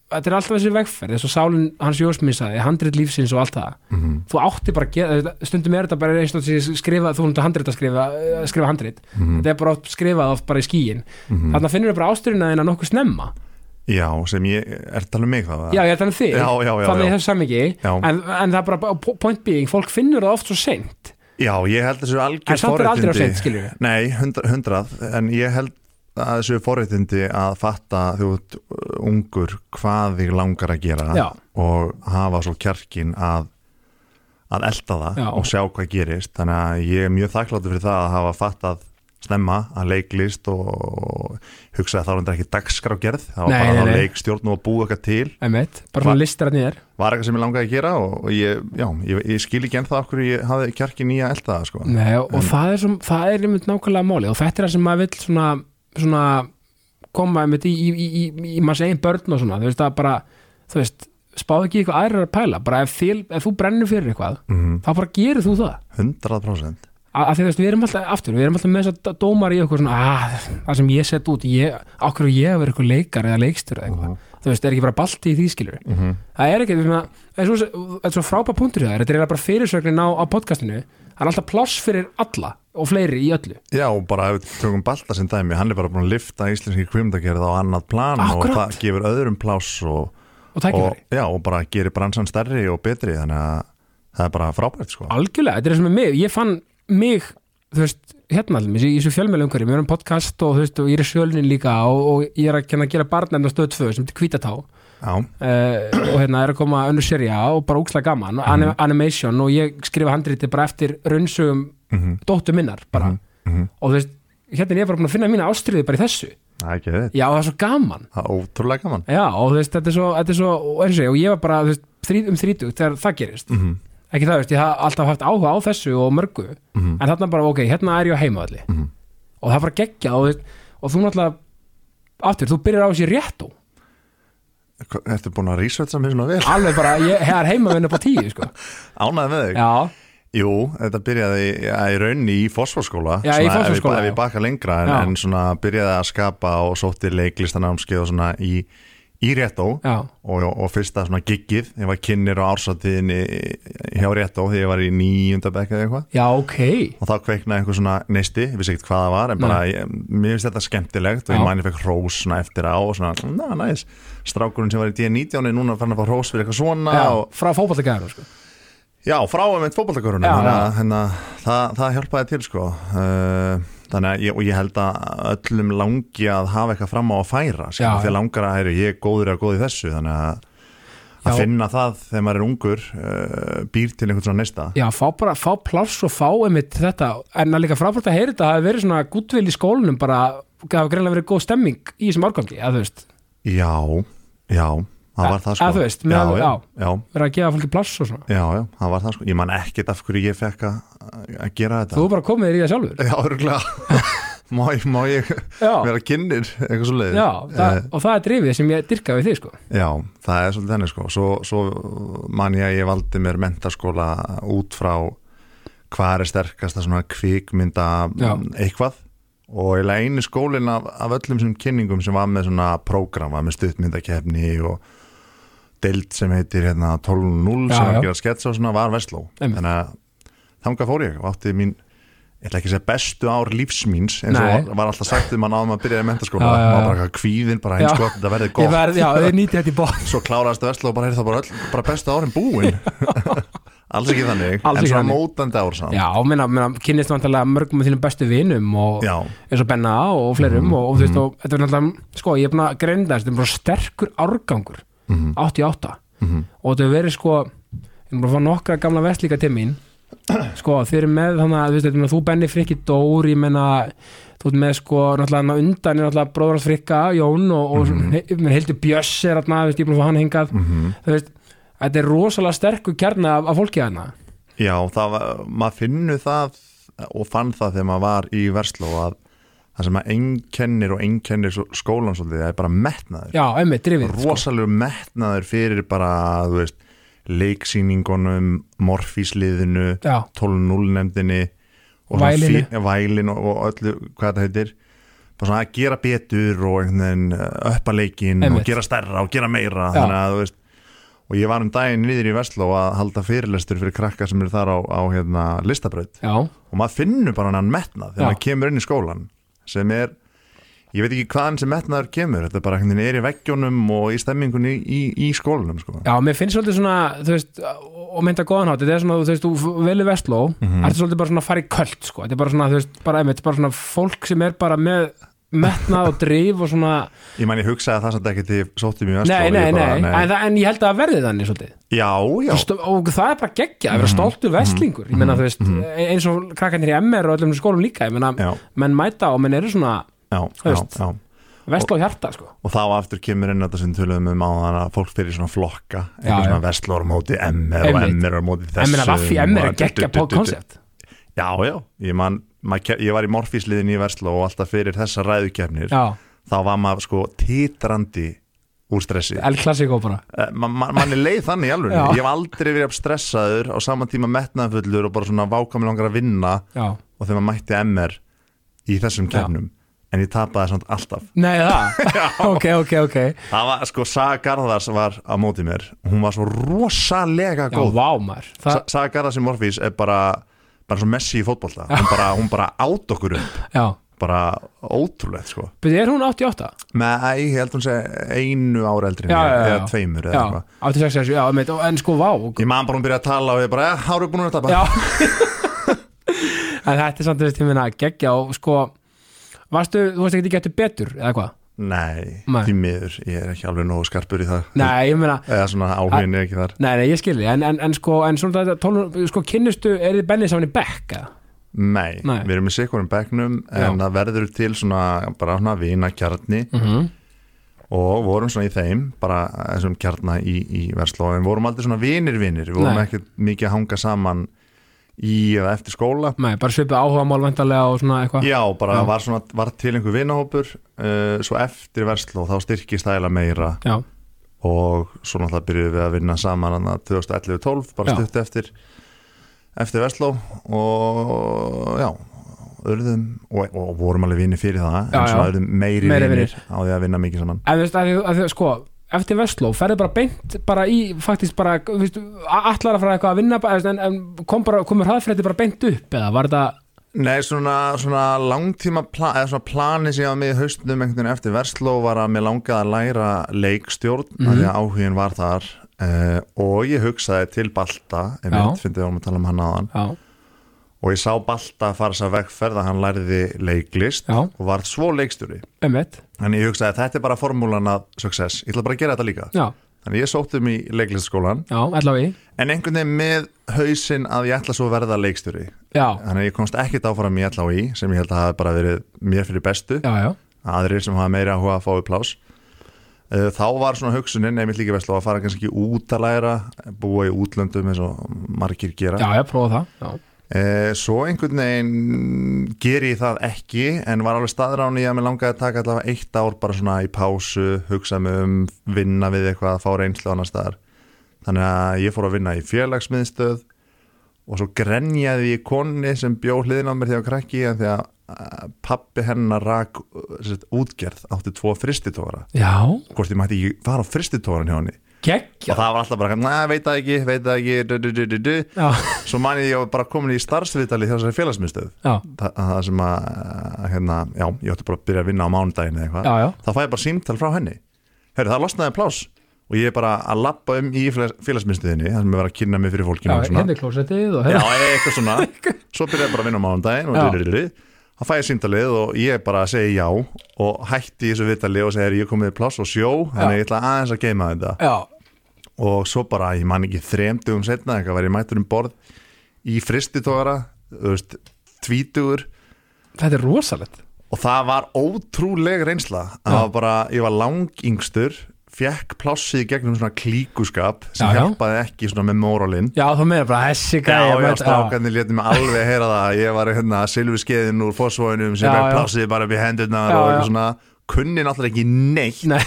[SPEAKER 1] þetta er alltaf þessi vegferð, þess að sálinn hans jósmissaði, handrit lífsins og allt það
[SPEAKER 2] Mhm.
[SPEAKER 1] þú átti bara að gera, stundum er þetta bara eins og þessi skrifa, þú hundar handrit að skrifa eh, skrifa handrit,
[SPEAKER 2] Mhm.
[SPEAKER 1] þetta er bara oft skrifað oft bara í skíin, mm -hmm. þannig að finnur bara ástyrina þína nokkuð snemma
[SPEAKER 2] já, sem ég, er talað um mig það?
[SPEAKER 1] Já, ég er þannig þig,
[SPEAKER 2] Já, já, já,
[SPEAKER 1] þannig
[SPEAKER 2] já.
[SPEAKER 1] í þessu sammingi
[SPEAKER 2] Já.
[SPEAKER 1] en, en það er bara po- point being, fólk finnur það oft svo seint
[SPEAKER 2] Já, ég held þessu
[SPEAKER 1] En
[SPEAKER 2] algjör
[SPEAKER 1] samt er aldrei of seint,
[SPEAKER 2] forréttindi
[SPEAKER 1] skilur við.
[SPEAKER 2] Nei, hundra- hundrað, en ég held að þessu forréttindi að fatta þú ert uh, ungur hvað þig langar að gera
[SPEAKER 1] Já.
[SPEAKER 2] og hafa svo kjarkin að að elda það
[SPEAKER 1] Já.
[SPEAKER 2] og sjá hvað gerist þannig að ég er mjög þakkláttur fyrir það að hafa fattað snemma að leiklist og hugsa að það var reyndar ekki dagskrágerð það var
[SPEAKER 1] Nei,
[SPEAKER 2] bara
[SPEAKER 1] nei,
[SPEAKER 2] að
[SPEAKER 1] nei.
[SPEAKER 2] leikstjórn og að búa eitthvað til
[SPEAKER 1] einmitt, bara svona listar að nýjar
[SPEAKER 2] var eitthvað sem ég langaði að gera og, og ég, já, ég, ég skil ekki ennþá okkur ég hafði kjarkin í að elda það sko.
[SPEAKER 1] Nei, og það er, sem, það er einmitt nákvæmlega máli og þetta er það sem maður vill svona, svona koma einmitt í, í, í, í, í maður segin börn og svona, þú veist það er bara þú veist, spáðu ekki í eitthvað aðrir að pæla bara ef, þil, ef þú brennur fyrir eitthvað
[SPEAKER 2] Mhm.
[SPEAKER 1] þá bara gerir þú það
[SPEAKER 2] 100%
[SPEAKER 1] að því þú veist, við erum alltaf, aftur, við erum alltaf með þess að dómar í okkur svona, að, það sem ég set út ég, á hverju ég að vera eitthvað leikar eða leikstur eða eitthvað, þú veist, er ekki bara balti í því skilur það er ekki, þú veist, það er svo, það er svo frápa punktur í það, þetta er eiginlega bara fyrirsögnin á, á podcastinu, það er alltaf pláss fyrir alla og fleiri í öllu
[SPEAKER 2] Já, og bara ef við tökum Balta sem dæmi, hann er bara búin að lifta íslenski kvimdagerð á annað plan
[SPEAKER 1] Akkúrat.
[SPEAKER 2] og það gefur öðrum pláss og,
[SPEAKER 1] og tækifæri,
[SPEAKER 2] og, já, og bara gerir bransan stærri og betri, þannig að það er bara frábært sko.
[SPEAKER 1] algjörlega, þetta er sem með mig ég fann mig, þú veist hérna alveg, í þessu fjölmjölungari, við erum podcast og þú veist, og ég er í sjölnin líka og, og ég er að kenna að gera barnefna stöð 2 sem til kvítatá
[SPEAKER 2] Já,
[SPEAKER 1] uh, og hérna er að koma önnur serja og bara óksla gaman, anim animation og ég skrifa handriti bara eftir raunsögum dóttu minnar bara og þú veist, hérna er ég bara búin að finna mína ástriði bara í þessu,
[SPEAKER 2] það er ekki þetta.
[SPEAKER 1] já og það er svo gaman
[SPEAKER 2] Það er ótrúlega gaman.
[SPEAKER 1] já og þú veist, þetta er svo, þetta er svo og, eins og, ég- og ég var bara þú veist, þrý, um þrítug þegar það gerist ekki það, þú veist, ég haf alltaf haft áhuga á þessu og mörgu, en þarna bara ok, hérna er ég á heimavalli og það bara geggja og, þú veist, og þú náttúrulega aftur, þú byrjar á þessi réttu
[SPEAKER 2] Hva- Ertu búin að researcha mér svona vel?
[SPEAKER 1] alveg bara, ég það er heimavinn upp á tíu sko.
[SPEAKER 2] Ánæði með þig?
[SPEAKER 1] já,
[SPEAKER 2] Jú, þetta byrjaði já, í raunni í fósforskóla.
[SPEAKER 1] Já, í Fossvogsskóla,
[SPEAKER 2] Ef ég, ef
[SPEAKER 1] já.
[SPEAKER 2] ég baka lengra, en,
[SPEAKER 1] Já.
[SPEAKER 2] en svona byrjaði að skapa og sótti leiklistanámskeið og svona í, í réttó.
[SPEAKER 1] já
[SPEAKER 2] og, og fyrsta svona giggið ég var kynir á ársatiðinni hjá Réttó þegar ég var í nýjunda bekk eða eitthvað
[SPEAKER 1] Já, ok
[SPEAKER 2] og þá kveiknaði einhver svona neisti, ég vissi ekkert hvað það var en bara, ég, mér finnst þetta skemmtilegt og ég
[SPEAKER 1] Mm. Já.
[SPEAKER 2] mæni fekk hrós svona eftir á og svona, "Mm, na, næs, strákurinn sem var í D19 er núna fann að fá hrós fyrir eitthvað svona
[SPEAKER 1] já,
[SPEAKER 2] og
[SPEAKER 1] Frá fótballagæður sko.
[SPEAKER 2] já, frá einmitt fótboltakörunum
[SPEAKER 1] Já,
[SPEAKER 2] þannig að hérna, það, það hjálpaði til sko uh, þannig að ég, og ég held að öllum langi að hafa eitthvað fram á að færa sko,
[SPEAKER 1] Já,
[SPEAKER 2] þegar
[SPEAKER 1] já.
[SPEAKER 2] langar að heyru, ég er góður eða góð í þessu þannig að að
[SPEAKER 1] Já.
[SPEAKER 2] finna það þegar maður er ungur uh, býr til einhvern svona neista
[SPEAKER 1] Já, fá bara, fá pláss og fá einmitt þetta En það er líka frábært að heyra þetta Það hafi verið svona gúttvel í skólanum bara Það hafi greinlega verið góð stemming í þessum árgangi Að þú veist,
[SPEAKER 2] já, já, það var það sko
[SPEAKER 1] að þú veist,
[SPEAKER 2] já,
[SPEAKER 1] með-
[SPEAKER 2] já, já,
[SPEAKER 1] verið að gefa fólki pláss og svona
[SPEAKER 2] já, já, það var það sko ég man ekkert af hverju ég fekk að að gera þetta
[SPEAKER 1] Þú er bara komið þér í það sjálfur
[SPEAKER 2] Já, örgulega *laughs* má, ég- má ég
[SPEAKER 1] Já. Eh.
[SPEAKER 2] vera kynir eitthvað Eh, svo leiðis
[SPEAKER 1] Já, það, og það er drifið sem ég dyrka við þig sko
[SPEAKER 2] Já, það er svolítið þannig sko svo, svo man ég að ég valdi mér mentaskóla út frá hvað er sterkasta svona kvikmynda
[SPEAKER 1] Já.
[SPEAKER 2] eitthvað og eiginlega einu skólinn af, af öllum sem kynningum sem var með svona prógram, var með stuttmyndakefni og deild sem heitir hérna 12.0
[SPEAKER 1] Já,
[SPEAKER 2] sem var
[SPEAKER 1] já.
[SPEAKER 2] að gera sketsa og svona var Vestló
[SPEAKER 1] Einmitt.
[SPEAKER 2] þannig að þangað fór ég og átti mín ég ætla ekki að segja bestu ár lífsmíns eins og
[SPEAKER 1] Nei.
[SPEAKER 2] var, var alltaf sagt um hann áðum að byrja í mentaskóla
[SPEAKER 1] Já, já, já.
[SPEAKER 2] og bara eitthvað kvíðin, bara
[SPEAKER 1] Já.
[SPEAKER 2] eins gott, þetta verði
[SPEAKER 1] Ég
[SPEAKER 2] gott
[SPEAKER 1] verð, já, ég nýti þetta í bóð
[SPEAKER 2] svo kláraðist að vesla og bara er það bara, öll, bara bestu árin búin
[SPEAKER 1] *laughs*
[SPEAKER 2] alls ekki þannig,
[SPEAKER 1] Alls
[SPEAKER 2] en
[SPEAKER 1] ekki
[SPEAKER 2] svona
[SPEAKER 1] þannig.
[SPEAKER 2] mótandi ár samt
[SPEAKER 1] *laughs* Já, minna, minna, kynnist vantarlega mörgum af þínum bestu vinum og
[SPEAKER 2] Já.
[SPEAKER 1] eins og Benna og fleirum og, og þú veist, og þetta er náttúrulega, sko, ég er búin að greinda þess, þetta er bara sterkur árgangur 88 og þetta er verið sko, ég er búin að fá nokkra gamla vestlíka til mín sko, þeir eru með þannig að, þú veist, þetta er meina, þú Benni Frikki Dór, ég menna þú ert með sko, náttúrulega hann á undan er náttúrulega bróðrans Frikka, Jón og, og mm -hmm. Hildur Bjöss er þarna, þú veist, ég er búin að fá hann hingað þú veist, þetta er rosalega sterkur kjarni af, af fólki þarna
[SPEAKER 2] Já, það var, maður finnur það og fann það þegar maður var í Versló að það sem að einkennir og einkennir svo- skólan svolítið það er bara metnaður,
[SPEAKER 1] Já, einmitt, drifið sko.
[SPEAKER 2] rosalegu metnaður fyrir bara, þú veist leiksýningunum, morfísliðinu
[SPEAKER 1] Já,
[SPEAKER 2] 12-0 nefndinni og
[SPEAKER 1] Vælinu.
[SPEAKER 2] vælin og, og öllu, hvað þetta heitir bara svona að gera betur og einhvern veginn uh, uppa leikinn og
[SPEAKER 1] Einmitt.
[SPEAKER 2] gera stærra og gera
[SPEAKER 1] Já.
[SPEAKER 2] meira þannig að þú veist og ég var um daginn niður í Vestló að halda fyrirlestur fyrir krakka sem eru þar á, á hérna, listabraut
[SPEAKER 1] já,
[SPEAKER 2] og maður finnur bara hann metnað
[SPEAKER 1] Já.
[SPEAKER 2] þegar maður kemur inn í skólan sem er, ég veit ekki hvaðan sem metnaður kemur, þetta er bara einhvern veginn er í veggjónum og í stemmingunni í, í, í skólanum sko.
[SPEAKER 1] já, mér finnst svolítið svona þú veist, og mynda góðan hátt þetta er svona, þú veist, þú velur vestló mm
[SPEAKER 2] Mhm.
[SPEAKER 1] -hmm. ertu svolítið bara svona að fara í köld, sko þetta er bara svona, þú veist, bara einmitt, bara svona fólk sem er bara með metnað og drif og svona,
[SPEAKER 2] ég mæni, ég hugsaði það samt ekki til sóttum í Vestló
[SPEAKER 1] nei,
[SPEAKER 2] ég
[SPEAKER 1] nei,
[SPEAKER 2] bara,
[SPEAKER 1] nei, En, það, en ég held að það verði þannig svolítið
[SPEAKER 2] Já,
[SPEAKER 1] Þú
[SPEAKER 2] já, Mhm.
[SPEAKER 1] veist, og það er bara geggja, að vera stoltur vestlingur ég menna, þú veist, e, eins og krakkarnir í MR og öllum skólum líka, ég menna,
[SPEAKER 2] Já.
[SPEAKER 1] menn mæta og menn eru svona
[SPEAKER 2] já,
[SPEAKER 1] Þú
[SPEAKER 2] já,
[SPEAKER 1] veist.
[SPEAKER 2] já.
[SPEAKER 1] vestló hjarta, sko
[SPEAKER 2] og þá aftur kemur inn þetta sem tölum um á þannig að fólk fyrir svona flokka
[SPEAKER 1] Já,
[SPEAKER 2] eitthvað
[SPEAKER 1] já.
[SPEAKER 2] svona vestlór á móti MR og
[SPEAKER 1] Einmitt.
[SPEAKER 2] MR á móti
[SPEAKER 1] en
[SPEAKER 2] þessu
[SPEAKER 1] menna, Raffi MR er geggja pop concept
[SPEAKER 2] já, já, ég, man, mað, ég var í morfísliðin í Vestló og alltaf fyrir þessa ræðukefnir
[SPEAKER 1] já,
[SPEAKER 2] þá var maður sko titrandi úr stressi
[SPEAKER 1] El Clasico bara
[SPEAKER 2] Eh, ma ma mann er leið þannig í alveg
[SPEAKER 1] Já.
[SPEAKER 2] ég hef aldrei verið jafn stressaður á sama tíma metnaðfullur og bara svona vákami langar að vinna
[SPEAKER 1] já,
[SPEAKER 2] og þegar maður mætti MR í þessum
[SPEAKER 1] Já.
[SPEAKER 2] kefnum en ég tapaði samt alltaf
[SPEAKER 1] nei
[SPEAKER 2] *laughs*
[SPEAKER 1] það, ok, ok, ok
[SPEAKER 2] Það var sko, Saga Garðars var á móti mér Hún var svo rosalega
[SPEAKER 1] Já,
[SPEAKER 2] góð
[SPEAKER 1] vá maður Þa,
[SPEAKER 2] Sa Saga Garðars í Morfís er bara bara svo Messi í fótbolta
[SPEAKER 1] *laughs*
[SPEAKER 2] hún bara, hún bara át okkur upp
[SPEAKER 1] Já,
[SPEAKER 2] bara ótrúlegt sko
[SPEAKER 1] betur er hún 88?
[SPEAKER 2] með, ég held hún segja einu ára eldri en
[SPEAKER 1] Já,
[SPEAKER 2] ég,
[SPEAKER 1] já, já.
[SPEAKER 2] eða tveimur eða
[SPEAKER 1] Já,
[SPEAKER 2] eitthvað
[SPEAKER 1] 86, 67, já, meit, og- en sko vá og-
[SPEAKER 2] ég man bara hún byrja að tala og ég bara, já, háru búin að tapa
[SPEAKER 1] Já *laughs* En þetta er samt þessi tímina að geggja og sko Varstu, þú veist ekki að getur betur eða hvað?
[SPEAKER 2] nei,
[SPEAKER 1] Nei.
[SPEAKER 2] því miður, ég er ekki alveg nógu skarpur í það
[SPEAKER 1] Nei, ég meina
[SPEAKER 2] eða svona áhugin er ekki þar
[SPEAKER 1] Nei, nei, ég skilji, en, en, en sko, en svona þetta, tólun, sko, kynnustu, er þið bennið saman í bekk, eða?
[SPEAKER 2] nei,
[SPEAKER 1] Nei.
[SPEAKER 2] við erum í sikkurum bekknum en það verður til svona, bara svona vinakjarni
[SPEAKER 1] Mm -hmm.
[SPEAKER 2] og vorum svona í þeim bara þessum kjarnar í, í Versló en vorum aldrei svona vinir vinir við vorum
[SPEAKER 1] Nei.
[SPEAKER 2] ekkert mikið að hanga saman í eða eftir skóla
[SPEAKER 1] Nei, bara svipið áhuga mál vendarlega og svona eitthvað
[SPEAKER 2] já, bara
[SPEAKER 1] Já.
[SPEAKER 2] Var, svona, var til einhver vinahópur uh, svo eftir Versló þá styrkist það eða meira
[SPEAKER 1] Já,
[SPEAKER 2] og svo náttúrulega byrjuðum við að vinna saman hann 2011-12, bara
[SPEAKER 1] Já.
[SPEAKER 2] stutt eftir eftir Versló og já urðum, og, og vorum alveg vinir fyrir það
[SPEAKER 1] Já,
[SPEAKER 2] en svo
[SPEAKER 1] já.
[SPEAKER 2] urðum meiri,
[SPEAKER 1] Meiri
[SPEAKER 2] vinir,
[SPEAKER 1] vinir.
[SPEAKER 2] á því að vinna mikið saman
[SPEAKER 1] En þú veist, að, því- að, því- sko, eftir Vestló ferðu bara beint bara í, faktisk bara þú veist, a- ætlar að fara eitthvað að vinna bara, þú veist, en, en kom bara, komur hraðfrétti bara beint upp eða var þetta,
[SPEAKER 2] Nei, svona, svona langtíma pla eða svona plani sem ég var með í haustnum einhvern veginn eftir versló var að mér langaði að læra leikstjórn mm því að áhugin var þar uh, og ég hugsaði til Balta einmitt, fyndi við varum að tala um hann aðan
[SPEAKER 1] já,
[SPEAKER 2] og ég sá Balta fara þess að vegferð að hann læriði leiklist
[SPEAKER 1] Já.
[SPEAKER 2] og varð svo leikstjóri
[SPEAKER 1] einmitt
[SPEAKER 2] Þannig ég hugsaði að þetta er bara formúlan að success, ég ætla bara að gera þetta líka
[SPEAKER 1] já,
[SPEAKER 2] Þannig ég sótti um í leiklistskólan
[SPEAKER 1] já, ætla við
[SPEAKER 2] en einhvern veginn með hausinn að ég ætla svo að verða leikstjóri
[SPEAKER 1] já,
[SPEAKER 2] Þannig að ég komst ekkert áfram í LHI sem ég held að hafa bara verið mér fyrir bestu
[SPEAKER 1] já, já,
[SPEAKER 2] aðrir sem hafa meira áhuga að fá upp plás Eh, þá var svona hugsunin einmitt líka vestló að fara kannski út að læra búa í útlöndum eins og margir gera
[SPEAKER 1] já, já, prófa það já,
[SPEAKER 2] Eh, svo einhvern veginn geri ég það ekki en var alveg staðrán í að mér langaði að taka allavega eitt ár bara svona í pásu hugsa mig um, vinna við eitthvað fá reynslu annars staðar þannig að ég fór að vinna í félagsmiðstöð og svo grenjaði ég konni sem bjó hliðin á mér þegar ég var krakki en þegar eh, pabbi hennar rak eh, sem sagt, útgerð átti tvo fristitóra
[SPEAKER 1] já,
[SPEAKER 2] hvort ég mætti ekki fara á fristitóran hjá henni og
[SPEAKER 1] geggja
[SPEAKER 2] það var alltaf bara, neða, veit það ekki, veit það ekki du, du, du, du, du.
[SPEAKER 1] já,
[SPEAKER 2] svo man ég að ég var bara komin í starfsviðtali hjá þessari félagsmyndstöð
[SPEAKER 1] já,
[SPEAKER 2] Þa, það sem að, að, hérna, já, ég ætti bara að byrja að vinna á mánudaginn eða eitthvað
[SPEAKER 1] já, já.
[SPEAKER 2] þá fæ ég bara símtal frá henni Heru, það losnaði pláss og ég er bara að lappa um í félags- félagsmyndstöðinni þar sem ég var að kynna mig fyrir
[SPEAKER 1] já
[SPEAKER 2] fólkinu og svona.
[SPEAKER 1] hérna er klósettið og
[SPEAKER 2] Já, e,
[SPEAKER 1] hérna *laughs*
[SPEAKER 2] eitthvað svona Svo byrjaði bara að vinna á mánudaginn og
[SPEAKER 1] Já.
[SPEAKER 2] dyrirri Þá fæ ég síndalið og ég bara segi já og hætti í þessu viðtali og segir ég komið í pláss og sjó, þannig
[SPEAKER 1] Já.
[SPEAKER 2] ég ætla aðeins að geima þetta
[SPEAKER 1] já,
[SPEAKER 2] og svo bara, ég man ekki þremdugum setna, eitthvað var ég mættur um borð í fristitogara, þú veist tvítugur
[SPEAKER 1] þetta er rosalegt
[SPEAKER 2] og það var ótrúleg reynsla
[SPEAKER 1] Já.
[SPEAKER 2] það var bara, ég var langingstur fekk plássið í gegnum svona klíkuskap sem
[SPEAKER 1] Já, já.
[SPEAKER 2] hjálpaði ekki svona með móralinn
[SPEAKER 1] já, þú meina bara hessi gæja
[SPEAKER 2] Já, já,
[SPEAKER 1] mæta-
[SPEAKER 2] strákarnir létum mig alveg heyra það að Ég var hérna silfuskeiðin úr fósvóinum sem
[SPEAKER 1] Já,
[SPEAKER 2] ég
[SPEAKER 1] já.
[SPEAKER 2] plásiði bara upp í hendurnar
[SPEAKER 1] Já,
[SPEAKER 2] og
[SPEAKER 1] já.
[SPEAKER 2] eitthvað svona kunni náttúrulega ekki neitt
[SPEAKER 1] Nei.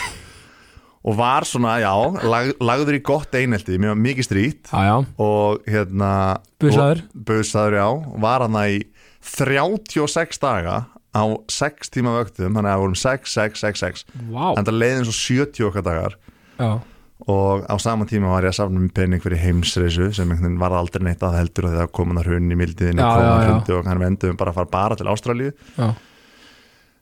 [SPEAKER 2] og var svona, já, lag, lagður í gott einelti, mér var mikið strýtt
[SPEAKER 1] já, já,
[SPEAKER 2] og hérna
[SPEAKER 1] Busaður.
[SPEAKER 2] og- Busaður, já, var hann í 36 daga á 6 tíma vöktum, þannig að það vorum 6, 6, 6, 6
[SPEAKER 1] vá
[SPEAKER 2] þannig að leiðin svo 70 okkar dagar
[SPEAKER 1] já,
[SPEAKER 2] og á sama tíma var ég að safna með pening fyrir heimsreisu sem einhvern veginn var aldrei neitt að heldur og þegar kom hann að hrunni í mildiðinni
[SPEAKER 1] Já,
[SPEAKER 2] kom hann
[SPEAKER 1] já,
[SPEAKER 2] að
[SPEAKER 1] já.
[SPEAKER 2] hrundu og hann vendum bara að fara bara til Ástralíu uh,
[SPEAKER 1] já,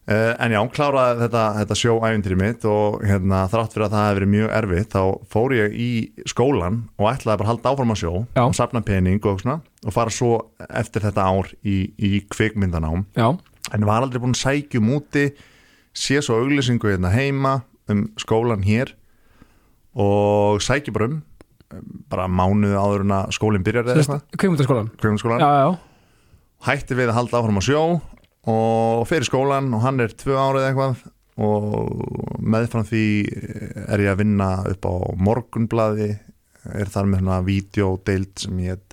[SPEAKER 2] Eh, en já, kláraði þetta, þetta sjóævindri mitt og hérna, þrátt fyrir að það hefði verið mjög erfitt þá fór ég í skólan og ætlaði bara að halda áfram að sjó
[SPEAKER 1] Já.
[SPEAKER 2] og safna pening og svona og fara svo eftir þetta ár í, í kvikmyndanám
[SPEAKER 1] já,
[SPEAKER 2] en var aldrei búin að sækjum úti sé svo auglýsingu hérna heima um skólan hér og sækjum bara um um, bara mánuð áður en að skólinn byrjar eða eitthvað,
[SPEAKER 1] kveimutaskólan já,
[SPEAKER 2] kvömskólan
[SPEAKER 1] já,
[SPEAKER 2] hætti við að halda áfram á sjó og fyrir skólan og hann er tvö árið eitthvað og meðfram því er ég að vinna upp á morgunblaði er þar með svona videódeild sem ég heit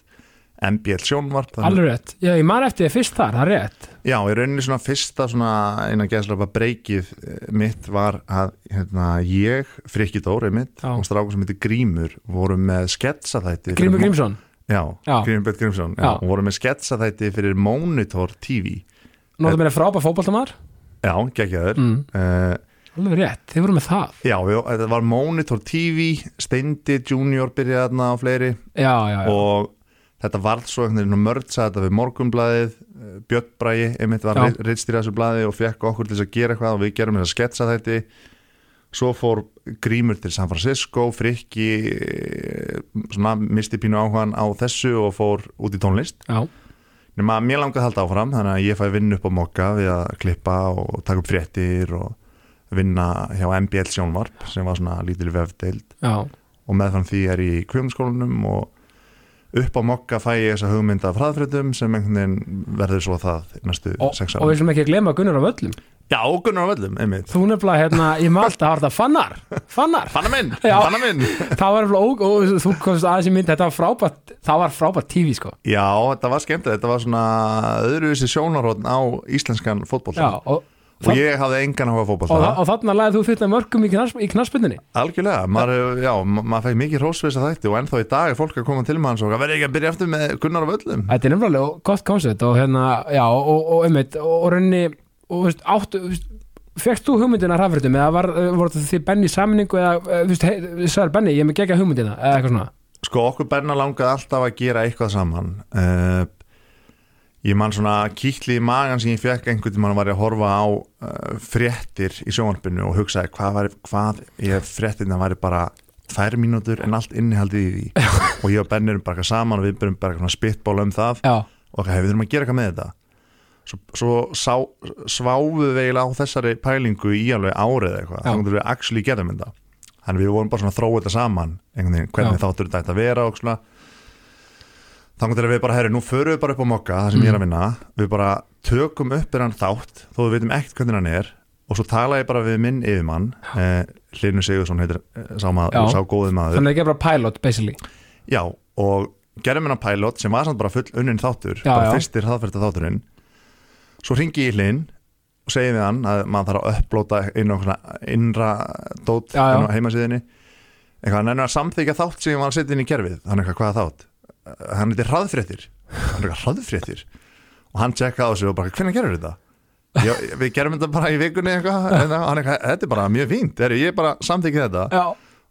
[SPEAKER 2] MBL sjónvarp þannig-
[SPEAKER 1] alveg rétt já, ég man eftir því fyrst þar, það er rétt
[SPEAKER 2] Já, í rauninni svona fyrsta svona innan geðslöpa breykið eh, mitt var að hérna, ég, Frikki Dóri mitt
[SPEAKER 1] Já.
[SPEAKER 2] og strákur sem heitir Grímur vorum með sketsaþætti
[SPEAKER 1] Grímur Grímsson,
[SPEAKER 2] Já,
[SPEAKER 1] Já.
[SPEAKER 2] Grímur Björn Grímsson já.
[SPEAKER 1] Já.
[SPEAKER 2] og vorum með sketsaþætti fyrir Monitor TV
[SPEAKER 1] nóttum meira frábær fótboltamar
[SPEAKER 2] Já, geggjaður mm.
[SPEAKER 1] mm. alveg rétt, þið voru með það
[SPEAKER 2] Já, já, þetta var Monitor TV Steindi Junior byrjaði þarna á fleiri
[SPEAKER 1] já, já, já,
[SPEAKER 2] og þetta varð svo einhvern veginn mörtsa þetta við morgunblaðið eh, Björn Bragi, einmitt var
[SPEAKER 1] Já.
[SPEAKER 2] rittstýra þessu blaði og fekk okkur til þess að gera eitthvað og við gerum þess að sketsa þetta svo fór Grímur til San Francisco Frikki eh, svona misti pínu áhugan á þessu og fór út í tónlist
[SPEAKER 1] já,
[SPEAKER 2] nema að mér langaði að halda áfram þannig að ég fæ vinnu upp á mokka við að klippa og taka upp fréttir og vinna hjá MBL sjónvarp sem var svona lítil vefdeild
[SPEAKER 1] já,
[SPEAKER 2] og meðfram því er ég í kvjómskólanum og upp á mokka fæ ég þessa hugmynda af hraðfréttum sem einhvern veginn verður svo það næstu
[SPEAKER 1] og,
[SPEAKER 2] sex
[SPEAKER 1] og
[SPEAKER 2] ára.
[SPEAKER 1] við slum ekki að glemma Gunnar á völlum
[SPEAKER 2] Já, og Gunnar á völlum, einmitt.
[SPEAKER 1] þú nefnilega, hérna, ég maður alltaf að harta fannar, fannar
[SPEAKER 2] Fanna minn,
[SPEAKER 1] Já.
[SPEAKER 2] fanna minn.
[SPEAKER 1] það var nefnilega óg, og þú komst aðeins í mynd þetta var frábært, það var frábært TV sko
[SPEAKER 2] Já, þetta var skemmtilegt, þetta var svona öðruvísi sjónarhóðn á íslenskan
[SPEAKER 1] já,
[SPEAKER 2] fótbolta.
[SPEAKER 1] og,
[SPEAKER 2] Og ég hafði engan áhuga á
[SPEAKER 1] og,
[SPEAKER 2] fótbolta.
[SPEAKER 1] og, og þarna lagði þú fyrir mörgum í, knars, í knarsbundinni
[SPEAKER 2] Algjörlega, maður, já, ma- maður fekk mikið rósveisa þætti og ennþá í dag er fólk að koma til maður og það verði ekki að byrja eftir með Gunnar á völlum.
[SPEAKER 1] þetta er nefnilega gott koncept og hérna, já, og, og einmitt og, og rauninni, og þú veist, áttu þú veist, Fekst þú hugmyndina rafritum eða var, eh, voru þetta því Benni í samningu eða, eh, þú veist, hey, sagði Benni, ég er með gegja hugmyndina eða eitthvað svona,
[SPEAKER 2] Sko okkur Benna langaði alltaf að gera eitthvað saman uh, Ég man svona kýtli í magan sem ég fekk einhvern tímann var ég að horfa á uh, fréttir í sjónvarpinu og hugsaði hvað, var, hvað ég fréttirna væri bara tvær mínútur en allt innihaldið í *laughs* því og ég og Benni erum bara eitthvað saman og við byrjum bara eitthvað spittból um það
[SPEAKER 1] já,
[SPEAKER 2] og okay, við þurfum að gera eitthvað með þetta Svo, svo sá, sváfu við eiginlega á þessari pælingu í alveg árið eitthvað
[SPEAKER 1] Já.
[SPEAKER 2] þannig að við actually getum þetta þannig að við vorum bara svona að þróa þetta saman einhvern veginn, hvernig
[SPEAKER 1] Já.
[SPEAKER 2] þáttur þetta ætti að vera og svona þannig að við bara, herri, nú förum við bara upp á mokka það sem ég er að
[SPEAKER 1] Mm.
[SPEAKER 2] vinna, við bara tökum upp þennan þátt, þó við veitum ekkert hvernig hann er og svo tala ég bara við minn yfirmann eh, Hlynur Sigursson heitir eh, sá,
[SPEAKER 1] Já.
[SPEAKER 2] maður, sá góði maður
[SPEAKER 1] þannig að gera bara pilot basically,
[SPEAKER 2] Já, og gerðum hennar pilot sem var samt bara full unnin þáttur
[SPEAKER 1] Já,
[SPEAKER 2] bara
[SPEAKER 1] já.
[SPEAKER 2] fyrstir hraðferða þátturinn svo ringi ég í hlinn og segi við hann að maður þarf að upplóta inn á svona innra dót
[SPEAKER 1] Já, já.
[SPEAKER 2] inn á heimasíðinni eitthvað, hann ennur að samþykja þátt sem ég var að setja inn í kerfið hann eitthvað, hvaða þátt? Eh, hann heitir hraðfréttir hann er eitthvað hraðfréttir og hann tjekkaði á þessu og bara, hvernig gerur þetta? Já,
[SPEAKER 1] *laughs*
[SPEAKER 2] við gerum þetta bara í vikunni eitthvað, en hann eitthvað, þetta er bara mjög fínt, Heyrðu, ég bara samþykja þetta
[SPEAKER 1] já,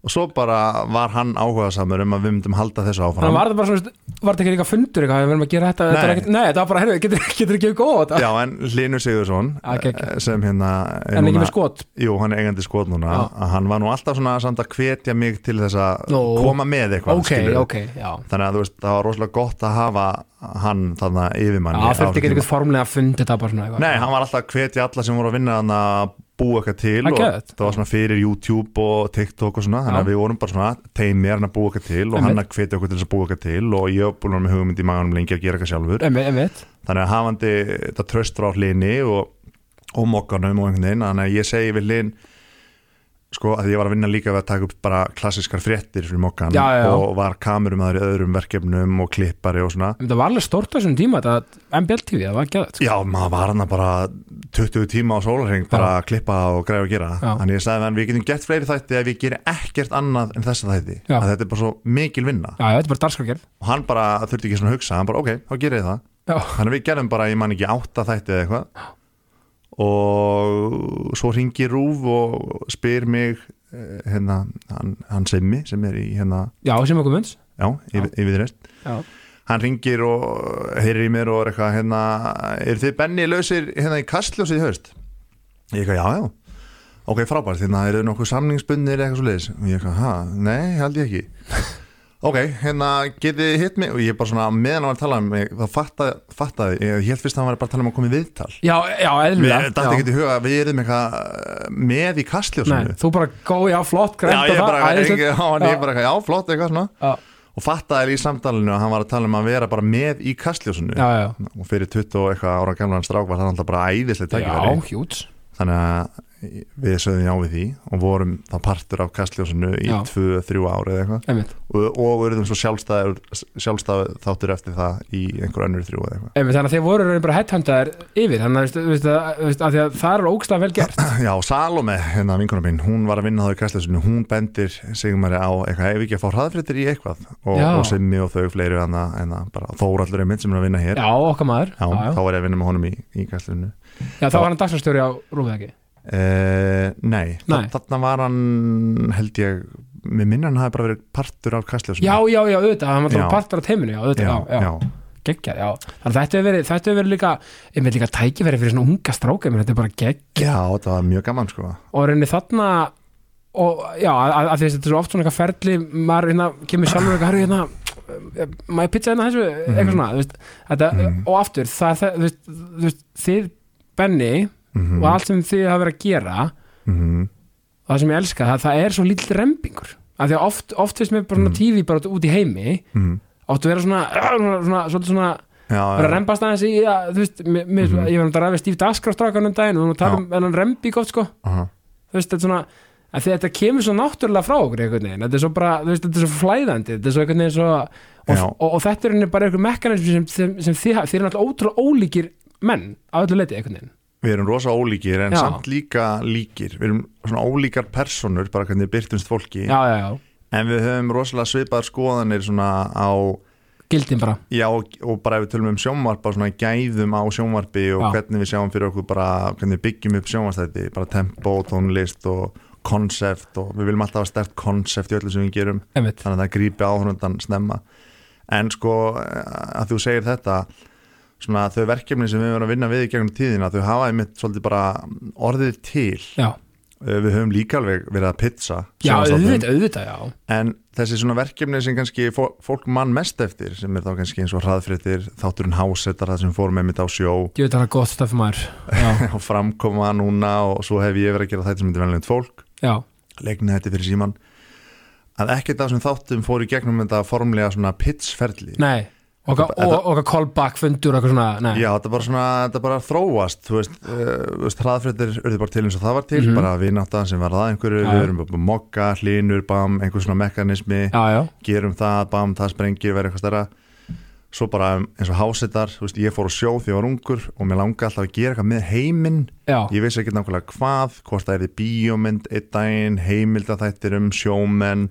[SPEAKER 2] og svo bara var hann áhuga samur um að við myndum halda þessu áfram
[SPEAKER 1] Þannig var það bara svona, var þetta ekki eitthvað fundur eitthvað, við verðum að gera þetta, þetta var
[SPEAKER 2] Nei.
[SPEAKER 1] ekkert, nei, þetta var bara, herru, getur, *laughs* getur ekki góð,
[SPEAKER 2] Já, en Hlynur Sigursson
[SPEAKER 1] Ah, geggjað.
[SPEAKER 2] sem hérna er
[SPEAKER 1] en ekki
[SPEAKER 2] núna-
[SPEAKER 1] með skot.
[SPEAKER 2] Jú, hann er eigandi skot núna
[SPEAKER 1] Já.
[SPEAKER 2] að hann var nú alltaf svona samt að hvetja mig til þess að
[SPEAKER 1] Nú.
[SPEAKER 2] koma með eitthvað
[SPEAKER 1] Ok,
[SPEAKER 2] skilurðu.
[SPEAKER 1] ok, já.
[SPEAKER 2] Þannig að þú veist, það var rosalega gott að hafa hann þarna yfirmann
[SPEAKER 1] Það þurfti ekki eitthvað formlega fund, þetta bara svona eitthvað.
[SPEAKER 2] Nei, hann var alltaf að hvetja alla sem voru að vinna hann að búa eitthvað til
[SPEAKER 1] Það er
[SPEAKER 2] og
[SPEAKER 1] geðvægt.
[SPEAKER 2] það var svona fyrir YouTube og TikTok og svona, þannig
[SPEAKER 1] Já.
[SPEAKER 2] að við vorum bara svona teimir hann að búa eitthvað til og
[SPEAKER 1] Einmitt.
[SPEAKER 2] hann að hvetja okkur til þess að búa eitthvað til og ég var búin að vera með hugmynd í maganum lengi að gera eitthvað sjálfur
[SPEAKER 1] Einmitt, einmitt.
[SPEAKER 2] þannig að hafandi þetta tröstur á hlinni og, og mokkanum og einhvern veginn þannig að ég segi við hlinn sko að ég var að vinna líka við að taka upp bara klassiskar fréttir fyrir mokkan
[SPEAKER 1] Já, já, já.
[SPEAKER 2] og var kamerumæður í öðrum verkefnum og klippari og svona
[SPEAKER 1] En Það var alveg stórt á þessum tíma, þetta MBL TV, það var sko. ekki
[SPEAKER 2] Já, maður var hann bara 20 tíma á sólarheng bara að klippa og græða og gera
[SPEAKER 1] Já.
[SPEAKER 2] Þannig ég sagði við hann, við getum gett fleiri þætti ef við gerum ekkert annað en þessa þætti
[SPEAKER 1] Já.
[SPEAKER 2] að þetta er bara svo mikil vinna
[SPEAKER 1] Já, já, þetta er bara dagskragerð.
[SPEAKER 2] og hann bara þurfti ekki svona að hugsa hann bara ok, þá gerir ég það
[SPEAKER 1] Já,
[SPEAKER 2] Þannig að við gerðum bara, ég man ekki átta þætti eða eitthvað og svo ringir Rúf og spyr mig eh, hérna, hann, hann Simmi sem er í hérna,
[SPEAKER 1] já, sem okkur munns.
[SPEAKER 2] já, yfir, yfirreist
[SPEAKER 1] Já.
[SPEAKER 2] hann ringir og heyrir í mér og er eitthvað, hérna, er þið Benni lausir hérna í kastljósið í haust? Ég eitthvað, já, já ok, frábært, hérna, eru þið nokkuð samningsbundnir eða eitthvað svo leiðis? Og ég eitthvað, ha, nei, held ég ekki *laughs* ok, hérna, getið þið hitt mig og ég bara svona, meðan hann var að tala um mig þá fattaði, fattaði, ég held fyrst að hann var bara að tala um að koma í viðtal
[SPEAKER 1] Já, já, eðlilega.
[SPEAKER 2] Við dætti
[SPEAKER 1] já.
[SPEAKER 2] ekki í huga að við erum eitthvað eh, með í
[SPEAKER 1] Nei,
[SPEAKER 2] kastljósinu
[SPEAKER 1] þú bara góð, já, flott,
[SPEAKER 2] Já,
[SPEAKER 1] grænt
[SPEAKER 2] ég
[SPEAKER 1] og
[SPEAKER 2] bara,
[SPEAKER 1] það,
[SPEAKER 2] ég,
[SPEAKER 1] æðislegt.
[SPEAKER 2] já, *laughs* hann
[SPEAKER 1] Já.
[SPEAKER 2] er bara eitthvað, já, flott eitthvað svona
[SPEAKER 1] Já.
[SPEAKER 2] Og fattaði í samtalinu að hann var að tala um að vera bara með í kastljósinu
[SPEAKER 1] Já, já,
[SPEAKER 2] Og fyrir 20 og eitthvað ára gamlan strák var það alltaf bara
[SPEAKER 1] já,
[SPEAKER 2] æðislega tækifæri
[SPEAKER 1] hjúts.
[SPEAKER 2] Þannig að við sögðum já við því og vorum þá partur af kastljósinu í
[SPEAKER 1] Já.
[SPEAKER 2] 2-3 ári eða eitthvað
[SPEAKER 1] Einmitt,
[SPEAKER 2] Og, og erum svo sjálfstæður, sjálfstæður þáttur eftir það í einhver önnur þrjú eða eitthvað
[SPEAKER 1] einmitt, þannig að þeir voru í raun bara headhuntaðir yfir, þannig að, veistu, veistu, að, veistu, að, að það er ógst vel gert.
[SPEAKER 2] Já, Salome, hérna vinkona mín, hún var að vinna þá í kastleysinu, hún bendir Sigmari á eitthvað, ef ekki að fá hraðfréttir í eitthvað og,
[SPEAKER 1] Já.
[SPEAKER 2] og Simmi og þau fleiri en að bara Þóraldur er minn sem er að vinna hér
[SPEAKER 1] Já, okkar maður.
[SPEAKER 2] Já, þá er ég að vinna með honum í, í kastleysinu
[SPEAKER 1] Já, þá var hann dagsfjörstjóri á Rúfið ekki
[SPEAKER 2] eh, Nei,
[SPEAKER 1] Nei.
[SPEAKER 2] nei. þarna var hann held ég, mér minna hann hafi bara verið partur af kastleysinu
[SPEAKER 1] Já, já, já, auðvitað, hann var
[SPEAKER 2] Já.
[SPEAKER 1] það partur á teiminu Já, auðvitað, já, já,
[SPEAKER 2] já.
[SPEAKER 1] geggjað, já Þannig að þetta hefur verið, þetta hefur verið líka einmitt líka tækifæri fyrir svona unga stráka menn þetta er bara gegg
[SPEAKER 2] Já, þetta var mjög gaman sko
[SPEAKER 1] og reynir þarna og já, að, að því að þetta er svo oft svona eitthvað ferli maður hérna, kemur sjálfur eitthvað herru, hérna, má ég pizza hérna þessu eitthvað
[SPEAKER 2] Mhm.
[SPEAKER 1] svona, þú veist, þetta og aftur, það, það, þú veist, þú veist þið, Benni,
[SPEAKER 2] mm
[SPEAKER 1] og allt sem þið hafa verið að gera
[SPEAKER 2] Mhm.
[SPEAKER 1] og það sem ég elska, það, það er svo lítill rempingur, af því að oft, oft finnst mér bara
[SPEAKER 2] Mhm.
[SPEAKER 1] svona TV bara út í heimi áttu að vera svona, *clears throat* svona, svona, svona, svona
[SPEAKER 2] Já,
[SPEAKER 1] vera að
[SPEAKER 2] já,
[SPEAKER 1] rempast aðeins í, að, þú veist, mér, mér,
[SPEAKER 2] Mhm.
[SPEAKER 1] ég var náttúrulega ræðið stíft askrastrákan um daginn og við vorum að tala um hennan rempi gott sko,
[SPEAKER 2] aha.
[SPEAKER 1] þú veist, þetta er svona að því þetta kemur svo náttúrulega frá okkur einhvern veginn, þetta er svo bara, þú veist, þetta er svo flæðandi þetta er svo einhvern veginn svo og,
[SPEAKER 2] Já.
[SPEAKER 1] og, og þetta er henni bara einhver mekanism sem, sem, sem þið, ha- þið er náttúrulega ótrúlega ólíkir menn á öllu leiti einhvern veginn
[SPEAKER 2] Við erum rosa ólíkir en
[SPEAKER 1] Já.
[SPEAKER 2] samt líka líkir Við erum svona ólíkar personur bara hvernig við byrtumst fólki
[SPEAKER 1] já, já, já,
[SPEAKER 2] En við höfum rosalega svipaðar skoðanir svona á,
[SPEAKER 1] gildin bara
[SPEAKER 2] já og og bara ef við tölum um sjónvarp á svona gæðum á sjónvarpi og
[SPEAKER 1] Já.
[SPEAKER 2] hvernig við sjáum fyrir okkur bara hvernig við byggjum upp sjónvarstætti, bara tempo, tónlist og konsept og við viljum alltaf að stert konsept í öllu sem við gerum
[SPEAKER 1] einmitt,
[SPEAKER 2] þannig að það grípi áhörundan snemma en sko eh, að þú segir þetta svona þau verkefni sem við höfum verið að vinna við í gegnum tíðina þau hafa einmitt svolítið bara orðið til
[SPEAKER 1] já,
[SPEAKER 2] Eh, við höfum líka alveg verið að pizza
[SPEAKER 1] já,
[SPEAKER 2] sjónvarpsþáttum.
[SPEAKER 1] auðvitað, auðvitað, já
[SPEAKER 2] En þessi svona verkefni sem kannski fó- fólk mann mest eftir sem er þá kannski eins og hraðfréttir, þátturinn hásetar það sem fór með mitt á sjó *laughs*
[SPEAKER 1] ég veit að það er gott stöf maður já,
[SPEAKER 2] og framkoma núna og svo hef ég verið að gera þetta sem þetta venilegt fólk,
[SPEAKER 1] já,
[SPEAKER 2] leikna þetta fyrir síman að ekkert af þessum þáttum fór í gegnum þetta formlega svona pitchferli
[SPEAKER 1] nei og
[SPEAKER 2] Þetta-
[SPEAKER 1] okkar- og okkar callback fundur og eitthvað svona, nei,
[SPEAKER 2] Já, þetta bara svona, þetta bara þróast þú veist, uh, þú veist hraðfréttir urðu bara til eins og það var til,
[SPEAKER 1] Mhm.
[SPEAKER 2] bara vinnátta sem var það einhverju,
[SPEAKER 1] Já.
[SPEAKER 2] við erum bara að mokka, hlinur, bam einhver svona mekanismi,
[SPEAKER 1] já, já,
[SPEAKER 2] gerum það, bam, það sprengir, verður eitthvað stærra svo bara um, eins og hásetar þú veist, ég fór á sjó því ég var ungur og mér langaði alltaf að gera eitthvað með heiminn
[SPEAKER 1] já,
[SPEAKER 2] ég vissi ekki nákvæmlega hvað, hvort það er bíómynd einn daginn, heimildaþættir um sjómenn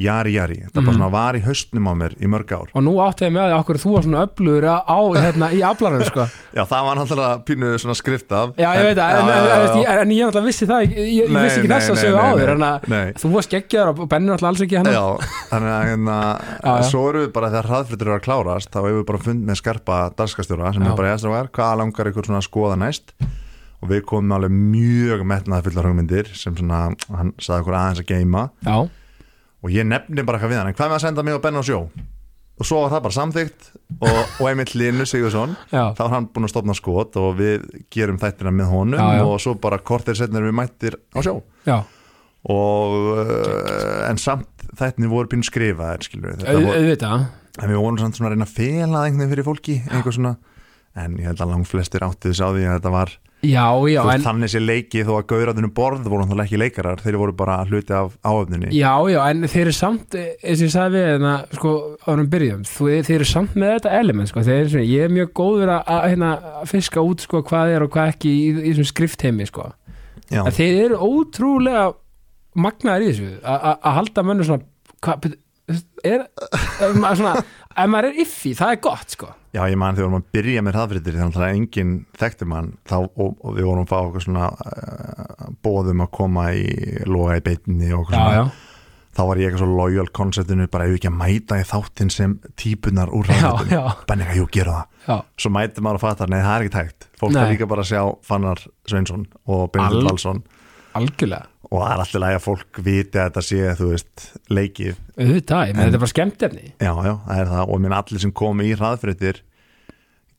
[SPEAKER 2] jari jari, það
[SPEAKER 1] Mhm.
[SPEAKER 2] bara svona var í haustnum á mér í mörg ár.
[SPEAKER 1] og nú átti ég með því okkur þú var svona öflugur á, á- hérna, í aflarum sko.
[SPEAKER 2] Já, það var náttúrulega pínu svona skrift af.
[SPEAKER 1] já ég veit það, en, en,
[SPEAKER 2] já,
[SPEAKER 1] en,
[SPEAKER 2] já, já.
[SPEAKER 1] en, en ég náttúrulega vissi það ekki- ég, ég
[SPEAKER 2] Nei,
[SPEAKER 1] vissi ekki
[SPEAKER 2] nei,
[SPEAKER 1] þess að
[SPEAKER 2] nei,
[SPEAKER 1] sögu
[SPEAKER 2] nei,
[SPEAKER 1] áður
[SPEAKER 2] nei,
[SPEAKER 1] en að
[SPEAKER 2] nei.
[SPEAKER 1] þú var skeggjaður og Benni náttúrulega alls ekki hann
[SPEAKER 2] Já, þannig að hérna,
[SPEAKER 1] Já, já.
[SPEAKER 2] svo eru við bara þegar hraðfrittur eru að klárast þá hefur við bara fund með skarpa dagskastjóra sem
[SPEAKER 1] Já.
[SPEAKER 2] er bara jæstra var, hvað langar ykkur svona að skoða næst og við komum með alveg mjög metnaða fullar hugmyndir sem svona, hann sagði okkur aðeins að geima
[SPEAKER 1] já,
[SPEAKER 2] og ég nefni bara eitthvað við hann en hvað með að senda mig og Benna á sjó og svo var það bara samþygt og, og Emil Linus Sigursson
[SPEAKER 1] já,
[SPEAKER 2] þá var hann búinn að stopna skot og við gerum þættina með honum
[SPEAKER 1] Já, já.
[SPEAKER 2] og svo bara kortir setna erum við mættir á sjó
[SPEAKER 1] já.
[SPEAKER 2] og uh, en samt þættinni voru pínu skrifaðir skilur
[SPEAKER 1] Au,
[SPEAKER 2] við, þetta voru
[SPEAKER 1] auðvitað
[SPEAKER 2] en við vorum samt svona að reyna að fela einhvern veginn fyrir fólki einhver svona en ég held að langflestir áttu þess á því að þetta var
[SPEAKER 1] já, já,
[SPEAKER 2] þú veist,
[SPEAKER 1] en
[SPEAKER 2] þannig sé leiki þó að gauðræðinu borð voru náttúrulega ekki leikarar þeir voru bara hluti af áöfninni
[SPEAKER 1] Já, já, en þeir eru samt eh, eins og ég sagði við hérna, sko, árum byrjum þú, þeir eru samt með þetta element, sko þeir eru svona, ég er mjög góður að, að hérna, að fiska út, sko, hvað er og hvað ekki í, í þessum skriftheimi, sko
[SPEAKER 2] Já,
[SPEAKER 1] en þeir eru ótrúlega magnaðir í þessu a- a- að halda mönnum svona hva, byrju, er, er maður svona, ef maður er iffi, það er gott, sko
[SPEAKER 2] já ég man þegar við vorum að byrja með hraðfrittir þannig að enginn þekkti mann þá, og, og við vorum að fá okkur svona uh, bóðum að koma í loga í beitinni og okkur svona þá var ég eitthvað svo loyal konceptinu bara ef við ekki að mæta í þáttinn sem típunar úr
[SPEAKER 1] já,
[SPEAKER 2] hraðfrittinni
[SPEAKER 1] já,
[SPEAKER 2] benni eitthvað, jú, gera það
[SPEAKER 1] já
[SPEAKER 2] svo mætir maður að fatta, nei það er ekki tækt fólk
[SPEAKER 1] Nei.
[SPEAKER 2] er líka bara að sjá Fannar Sveinsson og Benedikt
[SPEAKER 1] Al-
[SPEAKER 2] Valsson
[SPEAKER 1] algjörlega,
[SPEAKER 2] og það er alltaf læg að fólk viti að þetta sé, þú veist, leikið
[SPEAKER 1] auðvitað, ég meina þetta er bara skemmtefni
[SPEAKER 2] já, já, það er það og minn allir sem komu í hraðfréttir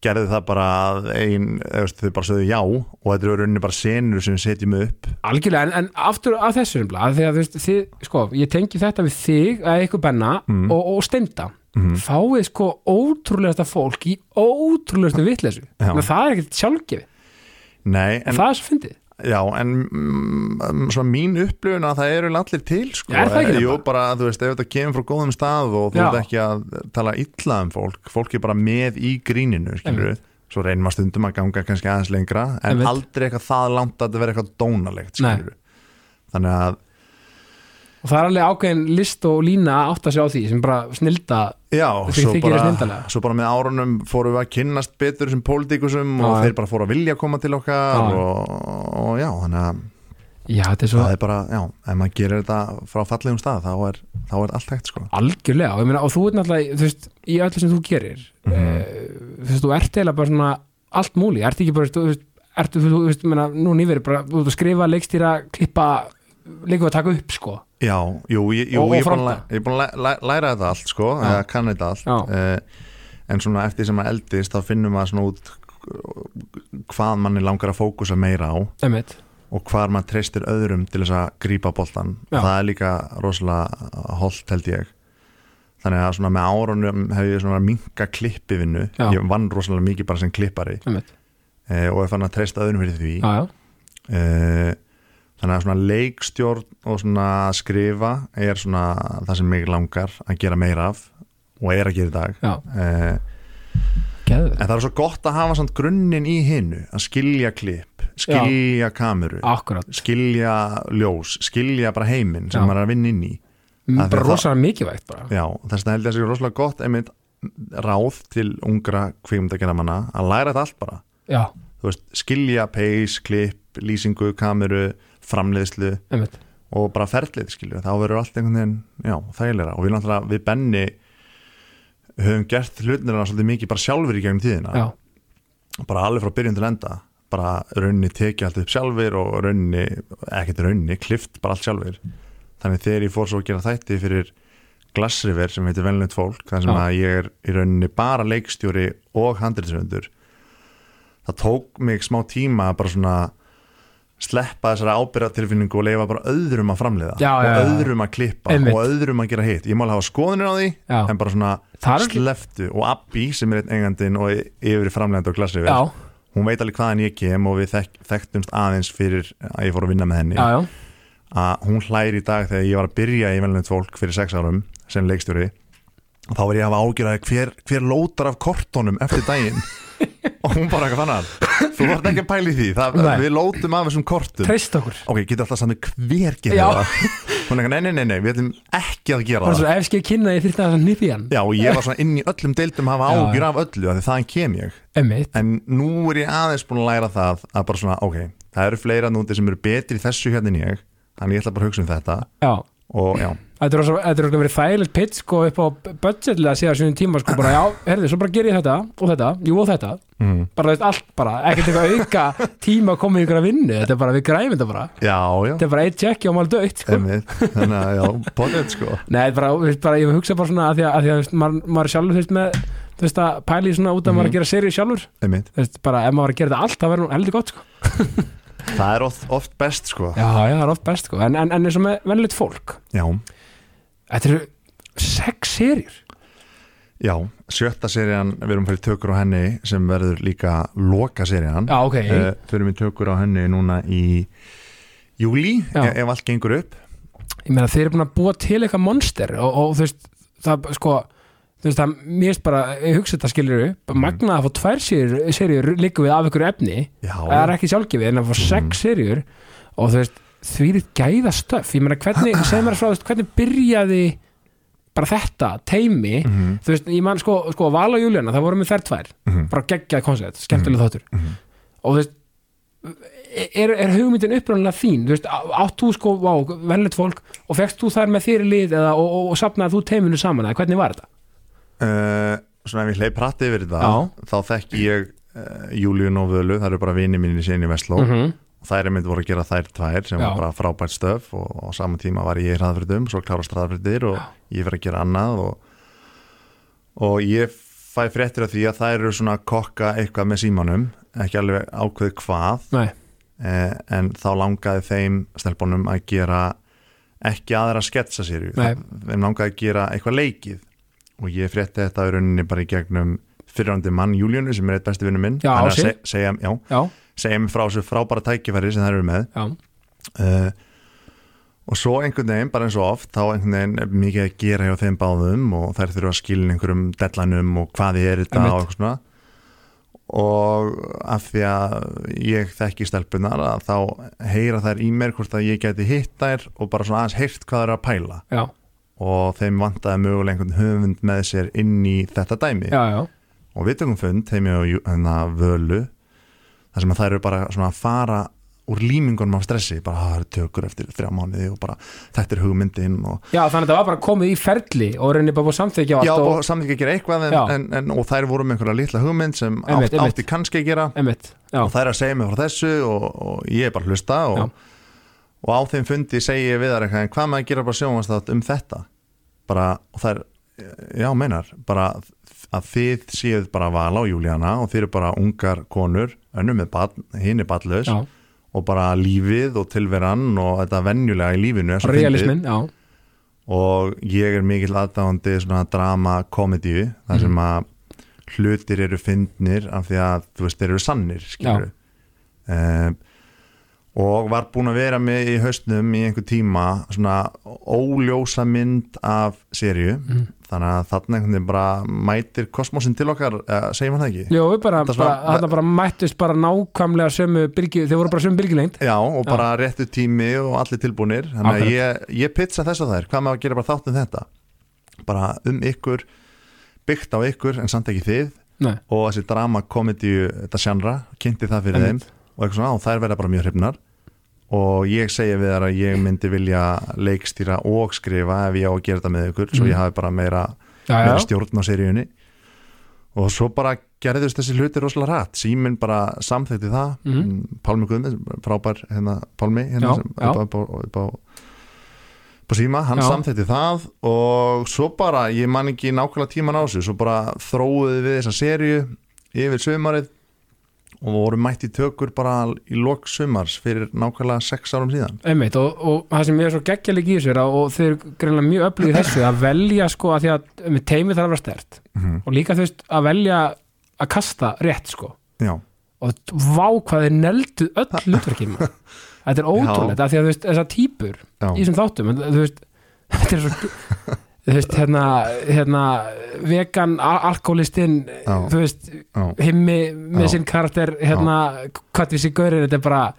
[SPEAKER 2] gerðu það bara að ein, þú veist, þau bara sögðu já og þetta eru rauninni bara senur sem við setjum upp
[SPEAKER 1] Algjörlega, en, en aftur að þessu nefnilega, af því að þú veist, þið, sko, ég tengi þetta við þig að ykkur benna
[SPEAKER 2] Mm.
[SPEAKER 1] og, og steinda fáið sko ótrúlegasta fólk í ótrúlegastu vitleysu
[SPEAKER 2] Já.
[SPEAKER 1] Menn það er ekkert sjálfgefi,
[SPEAKER 2] nei, en,
[SPEAKER 1] það er svo fyndið
[SPEAKER 2] já, en mm, svona mín upplifun að það eru allir til, sko,
[SPEAKER 1] Er það ekki
[SPEAKER 2] jú,
[SPEAKER 1] nefnilega?
[SPEAKER 2] bara, þú veist, ef þetta kemur frá góðum stað og
[SPEAKER 1] Já.
[SPEAKER 2] þú ert ekki að tala illa um fólk fólk er bara með í gríninu, skilur við svo reynum að stundum að ganga kannski aðeins lengra en
[SPEAKER 1] Einmitt.
[SPEAKER 2] aldrei eitthvað það langt að þetta verði eitthvað dónalegt,
[SPEAKER 1] Nei.
[SPEAKER 2] skilur við þannig að
[SPEAKER 1] og það er alveg ákveðin list og lína að átta sig á því sem bara snilda
[SPEAKER 2] Já,
[SPEAKER 1] Þetta
[SPEAKER 2] svo
[SPEAKER 1] þykir þér
[SPEAKER 2] bara,
[SPEAKER 1] snilldarlega.
[SPEAKER 2] svo bara með árunum fórum við að kynnast betur sem pólitíkusum og
[SPEAKER 1] Já, já.
[SPEAKER 2] þeir bara fóru að vilja koma til okkar
[SPEAKER 1] Já, já.
[SPEAKER 2] og, og já, þannig að
[SPEAKER 1] Já, þetta er svo
[SPEAKER 2] það er bara, já, ef maður gerir þetta frá fallegum stað, þá er, þá er allt hægt sko.
[SPEAKER 1] algjörlega og, ég meina, og þú ert náttúrulega, þú veist, í öllu sem þú gerir mm
[SPEAKER 2] Mhm.
[SPEAKER 1] þú veist, þú ert eiginlega bara svona allt múli, ert ekki bara, þú veist ertu, þú þú veist, ég meina, nú nýverið bara, þú ert að skrifa, leikstýra, klippa líka að taka upp, sko
[SPEAKER 2] Já, jú, ég, jú,
[SPEAKER 1] Og- og
[SPEAKER 2] ég er búin að
[SPEAKER 1] fronta.
[SPEAKER 2] læ- ég er búin að læ- læ- læra þetta allt sko,
[SPEAKER 1] Já.
[SPEAKER 2] eða kann þetta allt eh, en svona eftir sem maður eldist þá finnum maður svona út hvað manni langar að fókusa meira á
[SPEAKER 1] Einmitt.
[SPEAKER 2] og hvar maður treystir öðrum til þess að grípa boltan
[SPEAKER 1] Já.
[SPEAKER 2] það er líka rosalega holdt held ég þannig að svona með árunum hef ég svona minka klippivinu
[SPEAKER 1] Já.
[SPEAKER 2] ég vann rosalega mikið bara sem klippari
[SPEAKER 1] Einmitt.
[SPEAKER 2] eh, og er fann að treysta öðrum fyrir því
[SPEAKER 1] Já, já.
[SPEAKER 2] eh, þannig að svona leikstjórn og svona að skrifa er svona það sem mig langar að gera meira af og er að gera í dag
[SPEAKER 1] Já,
[SPEAKER 2] eh,
[SPEAKER 1] geðvegt
[SPEAKER 2] en það er svo gott að hafa samt grunnin í hinnu að skilja klipp, skilja kameru
[SPEAKER 1] Akkurat,
[SPEAKER 2] skilja ljós, skilja bara heiminn sem
[SPEAKER 1] Já.
[SPEAKER 2] maður er að vinna inn í Það er
[SPEAKER 1] bara
[SPEAKER 2] það-
[SPEAKER 1] rosalega mikilvægt bara
[SPEAKER 2] Já, þess vegna held ég að það sé rosalega gott einmitt ráð til ungra kvikmyndakera manna að læra þetta allt bara
[SPEAKER 1] Já,
[SPEAKER 2] Þú veist, skilja pace, klipp, lýsingu, kameru framleiðslu
[SPEAKER 1] einmitt
[SPEAKER 2] og bara ferlið skilju, þá verður allt einhvern veginn já, þægilega og við náttúrulega, við Benni höfum gert hlutinirna svolítið mikið bara sjálfur í gegnum tíðina
[SPEAKER 1] Já,
[SPEAKER 2] bara alveg frá byrjun til enda bara rauninni tekið allt upp sjálfur og rauninni, ekkert rauninni, klift bara allt sjálfur þannig þegar ég fór svo að gera þætti fyrir Glassriver sem heitir Velnönd fólk þar sem
[SPEAKER 1] Já.
[SPEAKER 2] að ég er í rauninni bara leikstjóri og handriðsöndur það tók mig smá tíma að bara svona sleppa þessari ábyrðatilfinningu og leifa bara öðrum að framleiða
[SPEAKER 1] Já, já, já.
[SPEAKER 2] og öðrum að klippa
[SPEAKER 1] Einmitt.
[SPEAKER 2] og öðrum að gera hitt ég má alveg hafa skoðunir á því
[SPEAKER 1] Já.
[SPEAKER 2] en bara svona
[SPEAKER 1] Það er ekki-
[SPEAKER 2] sleftu og Abbi sem er einn eigandinn og yfir framleiðandi og Glassriver
[SPEAKER 1] já,
[SPEAKER 2] hún veit alveg hvaðan ég kem og við þek þekktumst aðeins fyrir að ég fór að vinna með henni
[SPEAKER 1] já, já
[SPEAKER 2] að hún hlæri í dag þegar ég var að byrja í velnönd fólk fyrir sex árum sem leikstjóri og þá
[SPEAKER 1] *laughs*
[SPEAKER 2] var ég að hafa ágjörði hver, hver lótar af kortunum eftir daginn og hún bara eitthvað fannar þú vart ekki að pæli því það,
[SPEAKER 1] Nei.
[SPEAKER 2] við lótum af þessum kortum
[SPEAKER 1] treyst okkur
[SPEAKER 2] ok, getur alltaf sami hver gerir
[SPEAKER 1] Já.
[SPEAKER 2] það hún er ekki, nei, nei, nei, nei, við ætlum ekki að gera
[SPEAKER 1] bara
[SPEAKER 2] það
[SPEAKER 1] svo ef skeið kynna ég þyrfti að nýði hann
[SPEAKER 2] já, og ég var svona inn í öllum deildum að hafa
[SPEAKER 1] Já,
[SPEAKER 2] ágjur af öllu, af því þaðan kem ég
[SPEAKER 1] emmitt,
[SPEAKER 2] en nú er ég aðeins búin að læra það að bara svona, ok, það eru fleira núti sem eru betri í þessu hérna en ég þannig ég ætla bara að hugsa um þetta
[SPEAKER 1] já
[SPEAKER 2] og já,
[SPEAKER 1] Þetta er rosa- þetta er okkur verið þægilegt pitt sko upp á budgetlega síðan sjöndum tíma sko bara já, herðu, svo bara ger ég þetta og þetta, jú og þetta
[SPEAKER 2] mm.
[SPEAKER 1] bara þú veist allt bara, ekkert eitthvað auka tíma að koma í ykkur að vinnu, þetta er bara við græmum þetta bara,
[SPEAKER 2] já, já
[SPEAKER 1] þetta er bara eitt tjekki og maður dögt sko.
[SPEAKER 2] Einmitt, þannig að já, potið sko
[SPEAKER 1] Nei, bara, þú veist, bara, ég hugsa bara svona að því að, að, því að þú veist, maður, maður sjálfur þú veist með, þú veist að pæli svona út að maður er að gera serið sjálfur,
[SPEAKER 2] Einmitt.
[SPEAKER 1] þú veist bara ef maður er að gera þetta allt, það verður nú heldur gott sko
[SPEAKER 2] það er oft, oft best sko
[SPEAKER 1] Já, já, það er oft best sko, en, en, en eins og með vennilegt fólk,
[SPEAKER 2] já,
[SPEAKER 1] þetta eru sex serjur
[SPEAKER 2] já, sjötta serían við erum fyrir tökur á henni sem verður líka loka serían
[SPEAKER 1] Já, ok,
[SPEAKER 2] Eh, förum við tökur á henni núna í júli,
[SPEAKER 1] Já.
[SPEAKER 2] ef allt gengur upp
[SPEAKER 1] ég meina þeir eru búin að búa til eitthvað monster og, og þú veist, það sko þú veist, það mér finnst bara, ég hugsa þetta skilur mm. magnað að fá tvær serjur, serjur líka við af ykkur efni,
[SPEAKER 2] já,
[SPEAKER 1] það er ekki sjálfgefið en að fá sex serjur og þú veist, því þitt gæða stöf ég meina hvernig, segir mér frá, þú veist, hvernig byrjaði bara þetta, teimi
[SPEAKER 2] Mhm.
[SPEAKER 1] þú veist, ég man sko, sko Val og Júlíana, það voru með þær tvær
[SPEAKER 2] Mhm.
[SPEAKER 1] bara geggjað koncept, skemmtileg þáttur
[SPEAKER 2] Mhm.
[SPEAKER 1] og þú veist er, er hugmyndin upprænlega þín þú veist, á- átt þú sko, vá, vennlegt fólk og fegst þú þar með þér í lið eða, og, og, og sapnaði þú teiminu saman, eða hvernig var þetta?
[SPEAKER 2] Eh, svona ef ég hleyp hratt yfir það
[SPEAKER 1] Já.
[SPEAKER 2] þá þekki ég uh, Júlíun og Völu, það eru bara vini mínir síðan í Vestló mm
[SPEAKER 1] -hmm.
[SPEAKER 2] og þær er mynd voru að gera þær tvær sem
[SPEAKER 1] Já.
[SPEAKER 2] var bara frábært stöf og á sama tíma var ég í hraðfyrðum, svo klárast hraðfyrðir og ég fyrir að gera annað og, og ég fæ fréttir af því að þær eru svona að kokka eitthvað með símanum, ekki alveg ákveð hvað
[SPEAKER 1] Nei,
[SPEAKER 2] eh, en þá langaði þeim stelpunum að gera ekki aðra sketsa sér
[SPEAKER 1] Nei.
[SPEAKER 2] þeim langaði að gera eitthvað leikið og ég frétti þetta í rauninni bara í gegnum fyrrandi mann Júlíunu sem er eitt besti vinnu minn
[SPEAKER 1] Já,
[SPEAKER 2] Hann er að
[SPEAKER 1] Ási.
[SPEAKER 2] se- segja, já,
[SPEAKER 1] já,
[SPEAKER 2] segja mér frá þessu frábæra tækifæri sem þær eru með
[SPEAKER 1] já,
[SPEAKER 2] uh, og svo einhvern veginn bara eins og oft þá einhvern veginn er mikið að gera hjá þeim báðum og þær þurfa að skilja einhverjum dellanum og hvað þið er þetta
[SPEAKER 1] Einmitt.
[SPEAKER 2] og eitthvað svona og af því að ég þekki stelpunar að þá heyra þær í mér hvort að ég geti hitt þær og bara svona aðeins heyrt hvað þær eru að pæla
[SPEAKER 1] já,
[SPEAKER 2] og þeim vantaði mögulega einhvern höfund með sér inn í þetta dæmi
[SPEAKER 1] já, já.
[SPEAKER 2] og við tökum fund þeim ég og Jú- hérna, völu þar sem að þær eru bara svona að fara úr límingunum af stressi bara "Ah, það eru tökur eftir þrjá mánuði og bara þetta er hugmyndin og
[SPEAKER 1] já þannig að þetta var bara komið í ferli og reynir bara búið samþykja
[SPEAKER 2] já
[SPEAKER 1] og,
[SPEAKER 2] og samþykja að gera eitthvað en,
[SPEAKER 1] Já.
[SPEAKER 2] en, en, og þær voru með einhverja litla hugmynd sem
[SPEAKER 1] Einmitt,
[SPEAKER 2] átt,
[SPEAKER 1] einmitt.
[SPEAKER 2] átti kannski að gera
[SPEAKER 1] Einmitt, já,
[SPEAKER 2] og þær að segja mig frá þessu og, og ég er bara að hlusta
[SPEAKER 1] Já.
[SPEAKER 2] og, og á þeim fundi segi ég við þar eitthvað en hvað maður gera bara sjónvanstátt um þetta bara, og þær já meinar, bara að þið séuð bara vala og Júlíana og þið eru bara ungar konur önnum með barn, hinn er barnlaus
[SPEAKER 1] já,
[SPEAKER 2] og bara lífið og tilveran og þetta venjulega í lífinu er svo fyndið.
[SPEAKER 1] realismin já,
[SPEAKER 2] og ég er mikill aðdáðandi svona drama komedíu þar sem að hlutir eru fyndnir af því að þú veist þeir eru sannir skilur um, og var búin að vera með í haustnum í einhver tíma svona óljósa mynd af sériu þannig að þarna einhvern veginn bara mætir kosmosin til okkar, uh, segir maður það ekki?
[SPEAKER 1] Jó, við bara,
[SPEAKER 2] Þetta
[SPEAKER 1] bara,
[SPEAKER 2] svona-
[SPEAKER 1] þarna bara mættist bara nákvæmlega sömu byrgi, þeir voru bara sömu byrgilengd
[SPEAKER 2] Já, og bara réttu tími og allir tilbúnir þannig að ég, ég pitsa þess að þær hvað maður að gera bara þátt um þetta bara um ykkur, byggt á ykkur en samt ekki þið
[SPEAKER 1] Nei,
[SPEAKER 2] og þessi drama komedíu, þetta sjannra kynnti það fyrir
[SPEAKER 1] Einmitt.
[SPEAKER 2] þeim og eitthvað svona og þær verða bara mjög hrifnar og ég segja við þær að ég myndi vilja leikstýra og skrifa ef ég á að gera þetta með ykkur svo ég hafi bara meira,
[SPEAKER 1] já, já,
[SPEAKER 2] meira stjórn á seríunni og svo bara gerðist þessi hluti rosalega rætt síminn bara samþekti það
[SPEAKER 1] Mhm.
[SPEAKER 2] Pálmi Guðmi, frábær hérna, Pálmi hérna,
[SPEAKER 1] Já,
[SPEAKER 2] sem,
[SPEAKER 1] já.
[SPEAKER 2] upp, á- upp, á- upp á upp á síma, hann
[SPEAKER 1] Já.
[SPEAKER 2] samþekti það og svo bara, ég man ekki nákvæmlega tíman á þessu, svo bara þróuði við þessa serju yfir sömarið og voru mætt í tökur bara í lok sömars fyrir nákvæmlega sex árum síðan
[SPEAKER 1] einmitt og, og það sem ég er svo geggjalik í þessu er að, og þeir eru greinlega mjög öflugið þessu að velja sko að því að einmitt, teimið þarf að vera stert
[SPEAKER 2] Mhm.
[SPEAKER 1] og líka þú veist að velja að kasta rétt sko
[SPEAKER 2] Já,
[SPEAKER 1] og t- vá hvað þeir neldu öll hlutverkið
[SPEAKER 2] *laughs*
[SPEAKER 1] maður. þetta er ótrúlega, af því að þú veist þessar típur
[SPEAKER 2] já, *laughs*
[SPEAKER 1] í þessum þáttum en, þú veist, þetta er svo þú veist, hérna, hérna vegan al alkoholistinn
[SPEAKER 2] Já.
[SPEAKER 1] þú veist,
[SPEAKER 2] Já.
[SPEAKER 1] himmi með
[SPEAKER 2] Já.
[SPEAKER 1] sinn karakter, hérna hvað við sér gaurin, þetta er bara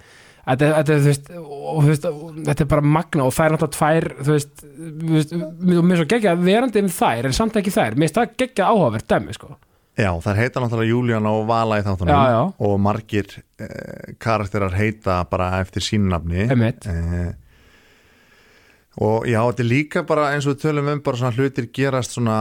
[SPEAKER 1] Þetta, þetta, er, þú veist, og, þú veist, og, þetta er bara magna og það er náttúrulega tvær þú veist, þú veist, mér mér er svo geggja verandi um þær en samt ekki þær, mér er það geggja áhugavert dæmi sko.
[SPEAKER 2] Já, þær heita náttúrulega Júlíana og Vala í þáttunum
[SPEAKER 1] Já, já.
[SPEAKER 2] og margir eh, karakterar heita bara eftir sínunafni
[SPEAKER 1] Einmitt.
[SPEAKER 2] eh, og já, þetta er líka bara eins og við tölum um bara svona hlutir gerast svona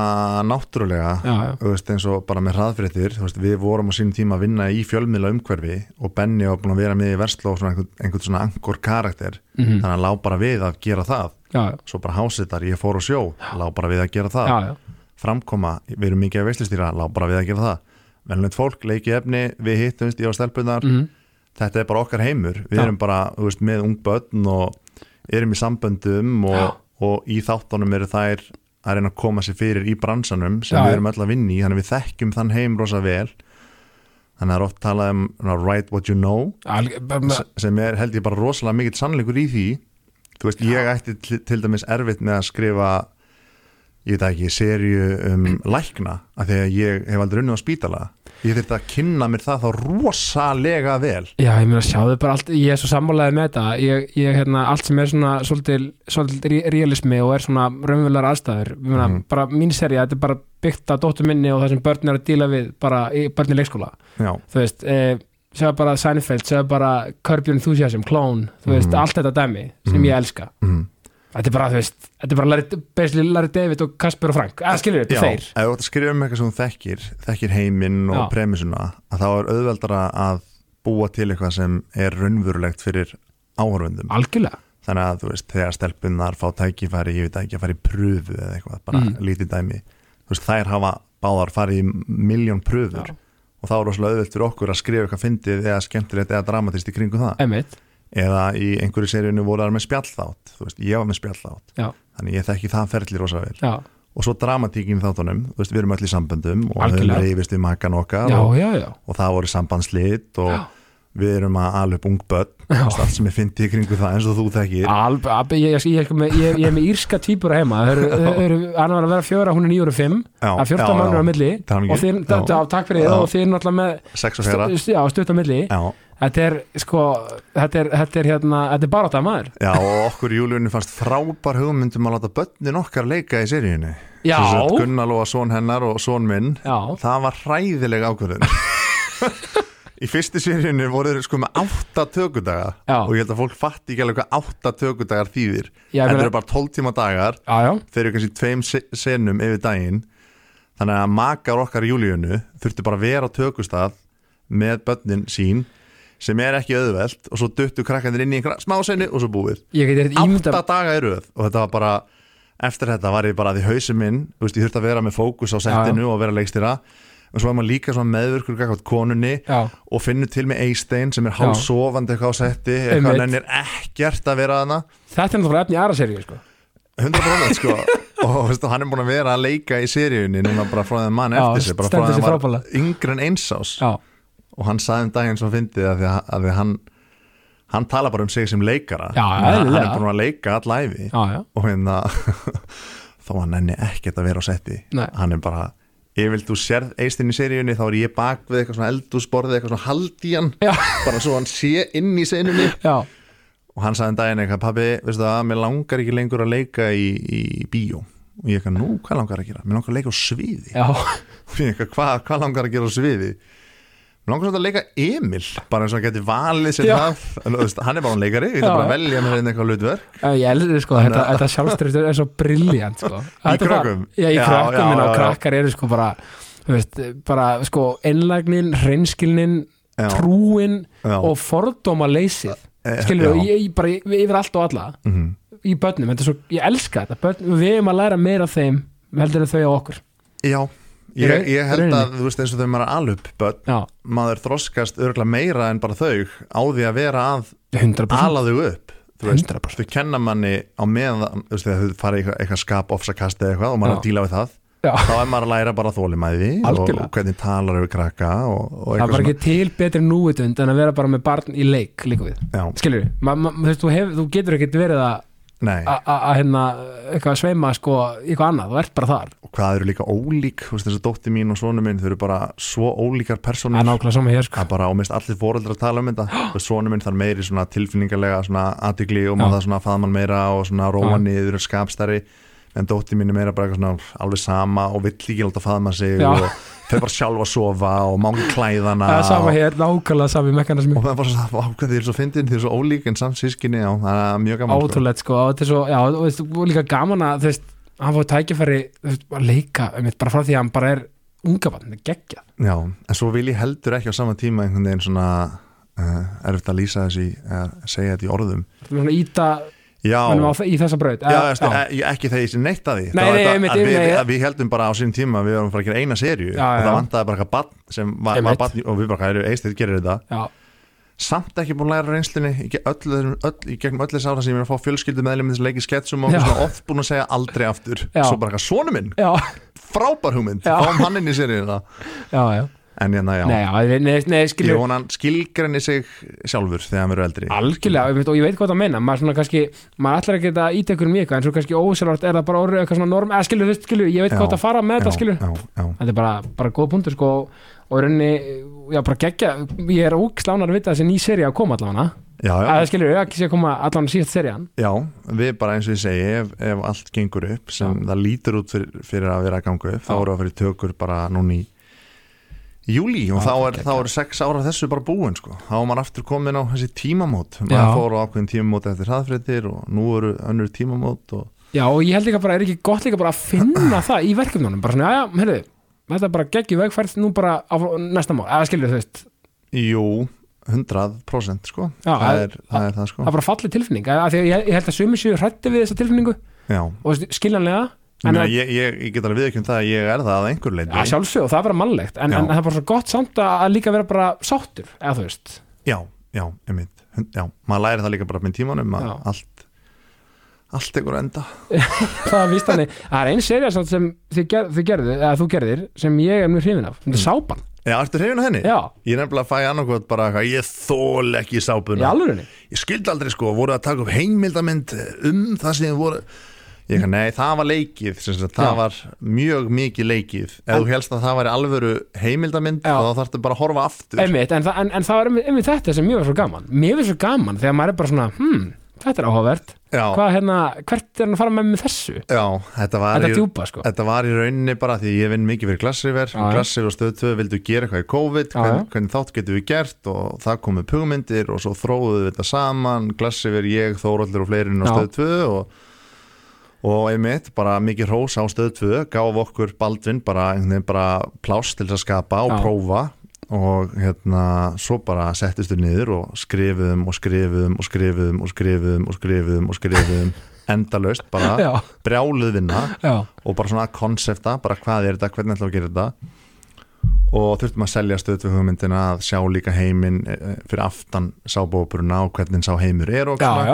[SPEAKER 2] náttúrulega
[SPEAKER 1] já, já,
[SPEAKER 2] Þú veist, eins og bara með hraðfréttir þú veist, við vorum á sínum tíma að vinna í fjölmiðla umhverfi og Benni var búin að vera með í versló og svona einhvern, einhvern svona angor karakter
[SPEAKER 1] Mhm.
[SPEAKER 2] þannig að lá bara við að gera það
[SPEAKER 1] já,
[SPEAKER 2] svo bara hásetar, ég fór á sjó lá bara við að gera það
[SPEAKER 1] já, já.
[SPEAKER 2] framkoma, við erum mikið að veislustýra lá bara við að gera það velnönd fólk, leikið efni, við hittumst ég á stelpunar,
[SPEAKER 1] Mm
[SPEAKER 2] þetta er bara okkar heimur við
[SPEAKER 1] Já.
[SPEAKER 2] erum bara þú veist, með ung börn og erum í samböndum og, og í þáttunum eru þær að reyna að koma sér fyrir í bransanum sem
[SPEAKER 1] Já, já.
[SPEAKER 2] við erum öll að vinna í, þannig að við þekkjum þann heim rosa vel þannig að það er oft talað um svona, write what you know
[SPEAKER 1] Alg, bara,
[SPEAKER 2] sem er held ég bara rosalega mikill sannleikur í því þú veist, ég ætti til, til dæmis erfitt með að skrifa ég veit það ekki, serju um lækna, af því að ég hef aldrei unnið á spítala, ég þurfti að kynna mér það þá rosalega vel
[SPEAKER 1] Já, ég meina sjáðu bara allt, ég er svo sammálaðið með þetta ég, ég hérna, allt sem er svona svolítið, svolítið re- realismi og er svona raunverulegar aðstæður, ég meina
[SPEAKER 2] Mhm.
[SPEAKER 1] bara mín serja, þetta er bara byggt á dóttu minni og það sem börn er að díla við bara í börn í leikskóla,
[SPEAKER 2] já,
[SPEAKER 1] þú veist eh, segja bara Seinfeld, segja bara Curb Your Enthusiasm, Clone, þú veist,
[SPEAKER 2] Mhm.
[SPEAKER 1] allt þetta dæmi sem
[SPEAKER 2] Mhm.
[SPEAKER 1] ég elska,
[SPEAKER 2] mm.
[SPEAKER 1] þetta er bara, þú veist þetta er bara Larry, basically Larry David og Kasper og Frank, að skilur
[SPEAKER 2] já
[SPEAKER 1] þetta,
[SPEAKER 2] ef
[SPEAKER 1] þeir
[SPEAKER 2] þú ætti að skrifa um eitthvað sem þú þekkir þekkir heiminn og
[SPEAKER 1] Já.
[SPEAKER 2] premisuna að þá er auðveldara að búa til eitthvað sem er raunvörulegt fyrir áhörfundum
[SPEAKER 1] algjörlega,
[SPEAKER 2] þannig að þú veist, þegar stelpunnar fá tækifæri, ég veit ekki að fara í pröfu eða eitthvað, bara
[SPEAKER 1] Mm.
[SPEAKER 2] lítið dæmi þú veist, þær hafa báðar farið í miljón pröfur
[SPEAKER 1] Já.
[SPEAKER 2] og þá er rosalega auðvelt fyrir okkur að skrifa eitthvað fyndið eða skemmtilegt eða dramatist í kringum það
[SPEAKER 1] emitt
[SPEAKER 2] eða í einhverju seríunni voru þær með spjallþátt þú veist, ég var með spjallþátt
[SPEAKER 1] Já.
[SPEAKER 2] þannig ég þekki það ferli rosalega vel
[SPEAKER 1] já,
[SPEAKER 2] og svo dramatíkin í þáttunum, þú veist, við erum öll í samböndum og höfum
[SPEAKER 1] Algjörlega.
[SPEAKER 2] reyfist við makan okkar
[SPEAKER 1] já,
[SPEAKER 2] og,
[SPEAKER 1] já, já,
[SPEAKER 2] og það voru sambandslit og
[SPEAKER 1] Já.
[SPEAKER 2] við erum að ala upp ung börn,
[SPEAKER 1] Já.
[SPEAKER 2] allt sem er fyndið í kringum það eins og þú þekkir
[SPEAKER 1] Alb, ab, ég, ég, ég, ég, ég, ég er með írska tvíbura heima þau eru, þau eru, hann var að vera fjóra, hún er níu og fimm
[SPEAKER 2] Já,
[SPEAKER 1] það er 14
[SPEAKER 2] já, já.
[SPEAKER 1] mánuður á milli
[SPEAKER 2] Það er mikið.
[SPEAKER 1] og þeir,
[SPEAKER 2] Já.
[SPEAKER 1] þetta, á, takk fyrir
[SPEAKER 2] Já.
[SPEAKER 1] það og þeir náttúrulega með
[SPEAKER 2] sex og fjara
[SPEAKER 1] stu, stu- já, stutt á milli
[SPEAKER 2] Já,
[SPEAKER 1] þetta er sko, þetta er, þetta er hérna þetta er bara þetta maður
[SPEAKER 2] já, og okkur í júlunni fannst frábær hugmyndum að láta börnin okkar leika í seríunni
[SPEAKER 1] já,
[SPEAKER 2] Gunnalóa són hennar og són minn
[SPEAKER 1] já,
[SPEAKER 2] Það var hræðileg ákvörðun Í fyrstu seríunni voru þeir sko með átta tökudaga
[SPEAKER 1] Já.
[SPEAKER 2] og ég held að fólk fatti ekki alveg hvað átta tökudagar þýðir
[SPEAKER 1] Já, ég
[SPEAKER 2] En
[SPEAKER 1] meina-
[SPEAKER 2] þeir eru bara 12 tíma dagar
[SPEAKER 1] já, já,
[SPEAKER 2] þeir eru kannski tveim se- senum yfir daginn þannig að makar okkar í júlíunu þurftu bara að vera á tökustað með börnin sín sem er ekki auðvelt og svo duttu krakkandir inn í einhverja smásennu og svo búið
[SPEAKER 1] ég hérna geti rétt
[SPEAKER 2] átta
[SPEAKER 1] ímynda
[SPEAKER 2] daga í röð og þetta var bara eftir þetta var ég bara að í hausin minn þú veist, ég þurfti að vera með fókus á settinu og vera leikstýra og svo var maður líka svona meðvirkur gækvæmt konunni
[SPEAKER 1] Já.
[SPEAKER 2] og finnur til með Eystein sem er hálfsofandi eitthvað á setti eitthvað
[SPEAKER 1] Einmitt.
[SPEAKER 2] hann er ekkert að vera þarna
[SPEAKER 1] þetta er náttúrulega efni í aðra seríu sko.
[SPEAKER 2] 100%
[SPEAKER 1] *laughs*
[SPEAKER 2] sko og veistu, hann er búin að vera að leika í seríunni núna bara frá þeim mann
[SPEAKER 1] Já,
[SPEAKER 2] eftir sig bara frá
[SPEAKER 1] stendur sig
[SPEAKER 2] þeim hann var
[SPEAKER 1] frábærlega.
[SPEAKER 2] yngri en einsás
[SPEAKER 1] já,
[SPEAKER 2] og hann sagði um daginn svo fyndið að því að, að því hann hann tala bara um sig sem leikara
[SPEAKER 1] Já,
[SPEAKER 2] Hann- hann er
[SPEAKER 1] eðlilega.
[SPEAKER 2] búin að leika allæfi
[SPEAKER 1] já, já,
[SPEAKER 2] og hérna *laughs* þá hann enni ekkert að vera á setti
[SPEAKER 1] Nei.
[SPEAKER 2] hann er bara ef vil þú sérð eistinn í seríunni þá er ég bak við eitthvað svona eldúsborðið eitthvað svona hald í hann *laughs*
[SPEAKER 1] Já.
[SPEAKER 2] bara svo hann sé inn í senunni
[SPEAKER 1] já,
[SPEAKER 2] og hann sagði um daginn eitthvað pabbi, veistu það, mér langar ekki lengur að leika í, í bíó og ég eitthvað, nú, hvað langar að gera? Mér langar að leika á sviði
[SPEAKER 1] já.
[SPEAKER 2] *laughs* og ég eitthvað, hvað hva langar að gera á sviði? Mér langar svolítið að leika Emil bara eins og hann geti valið sér
[SPEAKER 1] Já.
[SPEAKER 2] það en, þú veist, hann er bara hann leikari, ég
[SPEAKER 1] Já,
[SPEAKER 2] geti bara
[SPEAKER 1] já.
[SPEAKER 2] að velja mér einhvern eitthvað hlutverk
[SPEAKER 1] Já, Ég eldur sko, þetta, þetta sjálfstyrftur er svo brilljant sko. Þetta er bara-
[SPEAKER 2] krökkum?
[SPEAKER 1] Já, í
[SPEAKER 2] Já, já,
[SPEAKER 1] krökkum minna og
[SPEAKER 2] já, já.
[SPEAKER 1] krakkar eru sko bara, þú veist, bara sko einlægnin, reynskilnin,
[SPEAKER 2] Já.
[SPEAKER 1] trúin
[SPEAKER 2] Já.
[SPEAKER 1] og fordóma leysið
[SPEAKER 2] Eh,
[SPEAKER 1] skilur
[SPEAKER 2] já.
[SPEAKER 1] við, ég, ég bara yfir allt og alla
[SPEAKER 2] Mhm.
[SPEAKER 1] í börnum, þetta er svo, ég elska þetta börn, við erum að læra meira af þeim heldur en þau á okkur
[SPEAKER 2] Já,
[SPEAKER 1] Í
[SPEAKER 2] ég,
[SPEAKER 1] raun-
[SPEAKER 2] ég held
[SPEAKER 1] rauninni.
[SPEAKER 2] að þú veist eins og þau maður er alup börn,
[SPEAKER 1] já,
[SPEAKER 2] maður þroskast örgulega meira en bara þau á því að vera að
[SPEAKER 1] 100%
[SPEAKER 2] ala þau upp þú veist,
[SPEAKER 1] 100%.
[SPEAKER 2] þau kenna manni á meðan þú veist, þegar þau fara í eitthvað, eitthvað skap ofsakast eða eitthvað og maður er
[SPEAKER 1] Já.
[SPEAKER 2] að díla við það
[SPEAKER 1] já,
[SPEAKER 2] þá er maður að læra bara þólimæði og
[SPEAKER 1] Algjörlega.
[SPEAKER 2] hvernig talar við krakka og, og
[SPEAKER 1] það
[SPEAKER 2] eitthvað
[SPEAKER 1] var ekki til betri núvitund en að vera bara með barn í leik líka við,
[SPEAKER 2] svona já,
[SPEAKER 1] skilur við ma, ma, þú, veist, þú, hef, þú getur ekkert verið að
[SPEAKER 2] Nei,
[SPEAKER 1] a- a- að hérna, eitthvað sveima sko, í eitthvað annað, þú ert bara þar
[SPEAKER 2] og hvað eru líka ólík þú veist, þess að dótti mín og sonu minn, þau eru bara svo ólíkar
[SPEAKER 1] það
[SPEAKER 2] personur
[SPEAKER 1] er nákvæmlega saman hér sko.
[SPEAKER 2] að bara og mest allir foreldrar tala
[SPEAKER 1] *gasps*
[SPEAKER 2] um þetta svona minn þar meiri svona tilfinningarlega svona aðtikli og maður
[SPEAKER 1] Já.
[SPEAKER 2] það svona faðman meira og svona róa
[SPEAKER 1] Já.
[SPEAKER 2] niður og skapstæri en dótti mín er meira bara eitthvað svona alveg sama og vill ekki láta faðma sig
[SPEAKER 1] Já.
[SPEAKER 2] og þau bara sjálf að sofa og mangi klæðana
[SPEAKER 1] það er saman
[SPEAKER 2] og,
[SPEAKER 1] hér, nákvæmlega saman mekanismi
[SPEAKER 2] og það var svona ákveð því er svo fyndin því er svo ólík en samt sískinni og það er mjög gaman sko.
[SPEAKER 1] ótrúlegt sko, og þetta er svo já, og veist, og líka gaman að þú veist, hann fóði tækifæri þú veist, að leika, einmitt, bara frá því að hann bara er unga bann, geggjað
[SPEAKER 2] Já, en svo vil ég heldur ekki á sama tíma einhvern veginn svona uh, erfitt að lýsa þessi, uh, segja þetta í orðum
[SPEAKER 1] Þú erum svona íta
[SPEAKER 2] Já,
[SPEAKER 1] honum á, í þessa braut
[SPEAKER 2] Já,
[SPEAKER 1] Eh,
[SPEAKER 2] já. E ekki þegar ég sé neitt að því
[SPEAKER 1] Nei,
[SPEAKER 2] Það var
[SPEAKER 1] nei, einmitt,
[SPEAKER 2] þetta- að við,
[SPEAKER 1] einmitt,
[SPEAKER 2] við,
[SPEAKER 1] já.
[SPEAKER 2] að við heldum bara á sín tíma að við varum að fara að gera eina serju
[SPEAKER 1] Já,
[SPEAKER 2] og
[SPEAKER 1] já.
[SPEAKER 2] það vantaði bara eitthvað barn sem var, var
[SPEAKER 1] Einmitt.
[SPEAKER 2] barn í- og við bara hvað eru eistið gerir þetta
[SPEAKER 1] já,
[SPEAKER 2] samt ekki búin að læra reynslunni í, ge- öllu, þessum- öll, í gegnum öll þess ára sem ég er að fá fjölskyldu meðlum þess að leiki sketsum og
[SPEAKER 1] Já.
[SPEAKER 2] svona oft búin að segja aldrei aftur
[SPEAKER 1] Já.
[SPEAKER 2] svo bara eitthvað sonu minn,
[SPEAKER 1] já,
[SPEAKER 2] frábær hugmynd
[SPEAKER 1] Já.
[SPEAKER 2] fáum hann inn í serjuna
[SPEAKER 1] já, já.
[SPEAKER 2] en hérna já,
[SPEAKER 1] Nei, já, nei, nei, skilur
[SPEAKER 2] ég vona hann skilgrenni sig sjálfur þegar hann verður eldri
[SPEAKER 1] algjörlega, einmitt, og ég veit hvað það meina maður svona kannski, maður ætlar ekki að íta ykkur um í eitthvað en svo kannski ósjálfart er það bara orðið eitthvað svona norm eða skilur, þú veist, skilur, ég veit
[SPEAKER 2] Já,
[SPEAKER 1] hvað það fara með þetta skilur,
[SPEAKER 2] já, já,
[SPEAKER 1] þetta er bara, bara góð punktur sko, og í rauninni, já, bara geggja ég er ógslánar að vita að þessi ný seri að koma allavega,
[SPEAKER 2] já, já.
[SPEAKER 1] að skilur, ekki sé að koma allavega síðast seriðan,
[SPEAKER 2] Já, við bara eins og ég segi ef, ef allt gengur upp sem
[SPEAKER 1] Já.
[SPEAKER 2] það lítur út fyrir, fyrir að vera að ganga upp þá
[SPEAKER 1] Já.
[SPEAKER 2] eru að fyrir tökur bara núna í júli og
[SPEAKER 1] Já,
[SPEAKER 2] þá, er,
[SPEAKER 1] geggjað.
[SPEAKER 2] þá eru sex ára af þessu bara búin sko. þá er maður aftur komin á þessi tímamót
[SPEAKER 1] Já.
[SPEAKER 2] maður fór á ákveðin tímamót eftir hraðfréttir og nú eru önnur tímamót og...
[SPEAKER 1] já, og ég held líka bara, er ekki gott líka bara að
[SPEAKER 2] *clears throat*
[SPEAKER 1] finna það í verkefnunum, bara svona, já, já, heyrðu þetta er bara geggi vegfært nú bara á næsta mál, eða skilur þú veist
[SPEAKER 2] Jú, 100% sko.
[SPEAKER 1] Já,
[SPEAKER 2] það,
[SPEAKER 1] að-
[SPEAKER 2] er, það er það
[SPEAKER 1] það
[SPEAKER 2] sko.
[SPEAKER 1] er bara fallið tilfinning, af því að ég, ég held að sumi séu hrætti við þessa tilfinningu
[SPEAKER 2] Já,
[SPEAKER 1] og skiljanlega
[SPEAKER 2] ég,
[SPEAKER 1] en
[SPEAKER 2] meina,
[SPEAKER 1] að-
[SPEAKER 2] ég, ég, ég get alveg viðkjönd það að ég er það að einhver leiti
[SPEAKER 1] að sjálfsög og það er bara mannlegt en,
[SPEAKER 2] Já.
[SPEAKER 1] en það er bara svo gott samt að, að líka vera bara sáttur eða þú veist
[SPEAKER 2] Já, já, einmitt Hund- Já, maður læri það líka bara með tímanum að
[SPEAKER 1] Já.
[SPEAKER 2] allt allt tekur enda
[SPEAKER 1] það er víst þannig það er einn serið samt sem þið, ger, þið gerðu eða þú gerðir sem ég er mjög hrifin af þetta er sápan
[SPEAKER 2] Já, ertu hrifin á henni?
[SPEAKER 1] já
[SPEAKER 2] Ég Mm. er nefnilega að fæ annarkot bara eitthvað ég þól ekki
[SPEAKER 1] í
[SPEAKER 2] sápuna
[SPEAKER 1] alvörinni
[SPEAKER 2] Ég skildi aldrei sko, voru að taka upp heimildamind um það sem þið voru Ég ekki, nei, það var leikið sem sagt, það
[SPEAKER 1] Já.
[SPEAKER 2] var mjög mikið leikið Ef
[SPEAKER 1] En-
[SPEAKER 2] þú helst að það væri alvöru heimildamind
[SPEAKER 1] Já.
[SPEAKER 2] þá þarftu bara að horfa aftur
[SPEAKER 1] einmitt en, það- en, en það er einmitt, einmitt þetta sem mjög er svo gaman mjög er svo gaman þegar maður er bara svona hmm, þetta er áhugavert
[SPEAKER 2] Já,
[SPEAKER 1] hvað hérna hvert er hann að fara með með þessu
[SPEAKER 2] já, þetta var
[SPEAKER 1] þetta
[SPEAKER 2] í-
[SPEAKER 1] djúpa sko
[SPEAKER 2] Þetta var í rauninni bara því ég vinn mikið fyrir glassriver
[SPEAKER 1] Já, já.
[SPEAKER 2] glassriver og stöðtöð vildu gera eitthvað í COVID
[SPEAKER 1] Já,
[SPEAKER 2] hvern,
[SPEAKER 1] já.
[SPEAKER 2] hvernig þátt getum við gert og það komu pugmyndir og svo þróðuðu við þetta saman glassriver, ég, Þóraldur og fleirinn á
[SPEAKER 1] Já.
[SPEAKER 2] stöðtöð og, og einmitt bara mikið hrós á stöðtöð gaf okkur Baldvin bara, einhvern veginn bara pláss til þess að skapa og
[SPEAKER 1] Já.
[SPEAKER 2] prófa og hérna svo bara settist við niður og skrifuðum og skrifuðum og skrifuðum og skrifuðum og skrifuðum og
[SPEAKER 1] *laughs*
[SPEAKER 2] skrifuðum endalaust bara
[SPEAKER 1] já
[SPEAKER 2] brjáluð vinna
[SPEAKER 1] já
[SPEAKER 2] og bara svona að konsepta, bara hvað er þetta, hvernig ætlum við að gera þetta og þurftum að selja stöðt við hugmyndina að sjá líka heiminn eh, fyrir aftan sábópuruna og hvernig sá heimur er og,
[SPEAKER 1] já já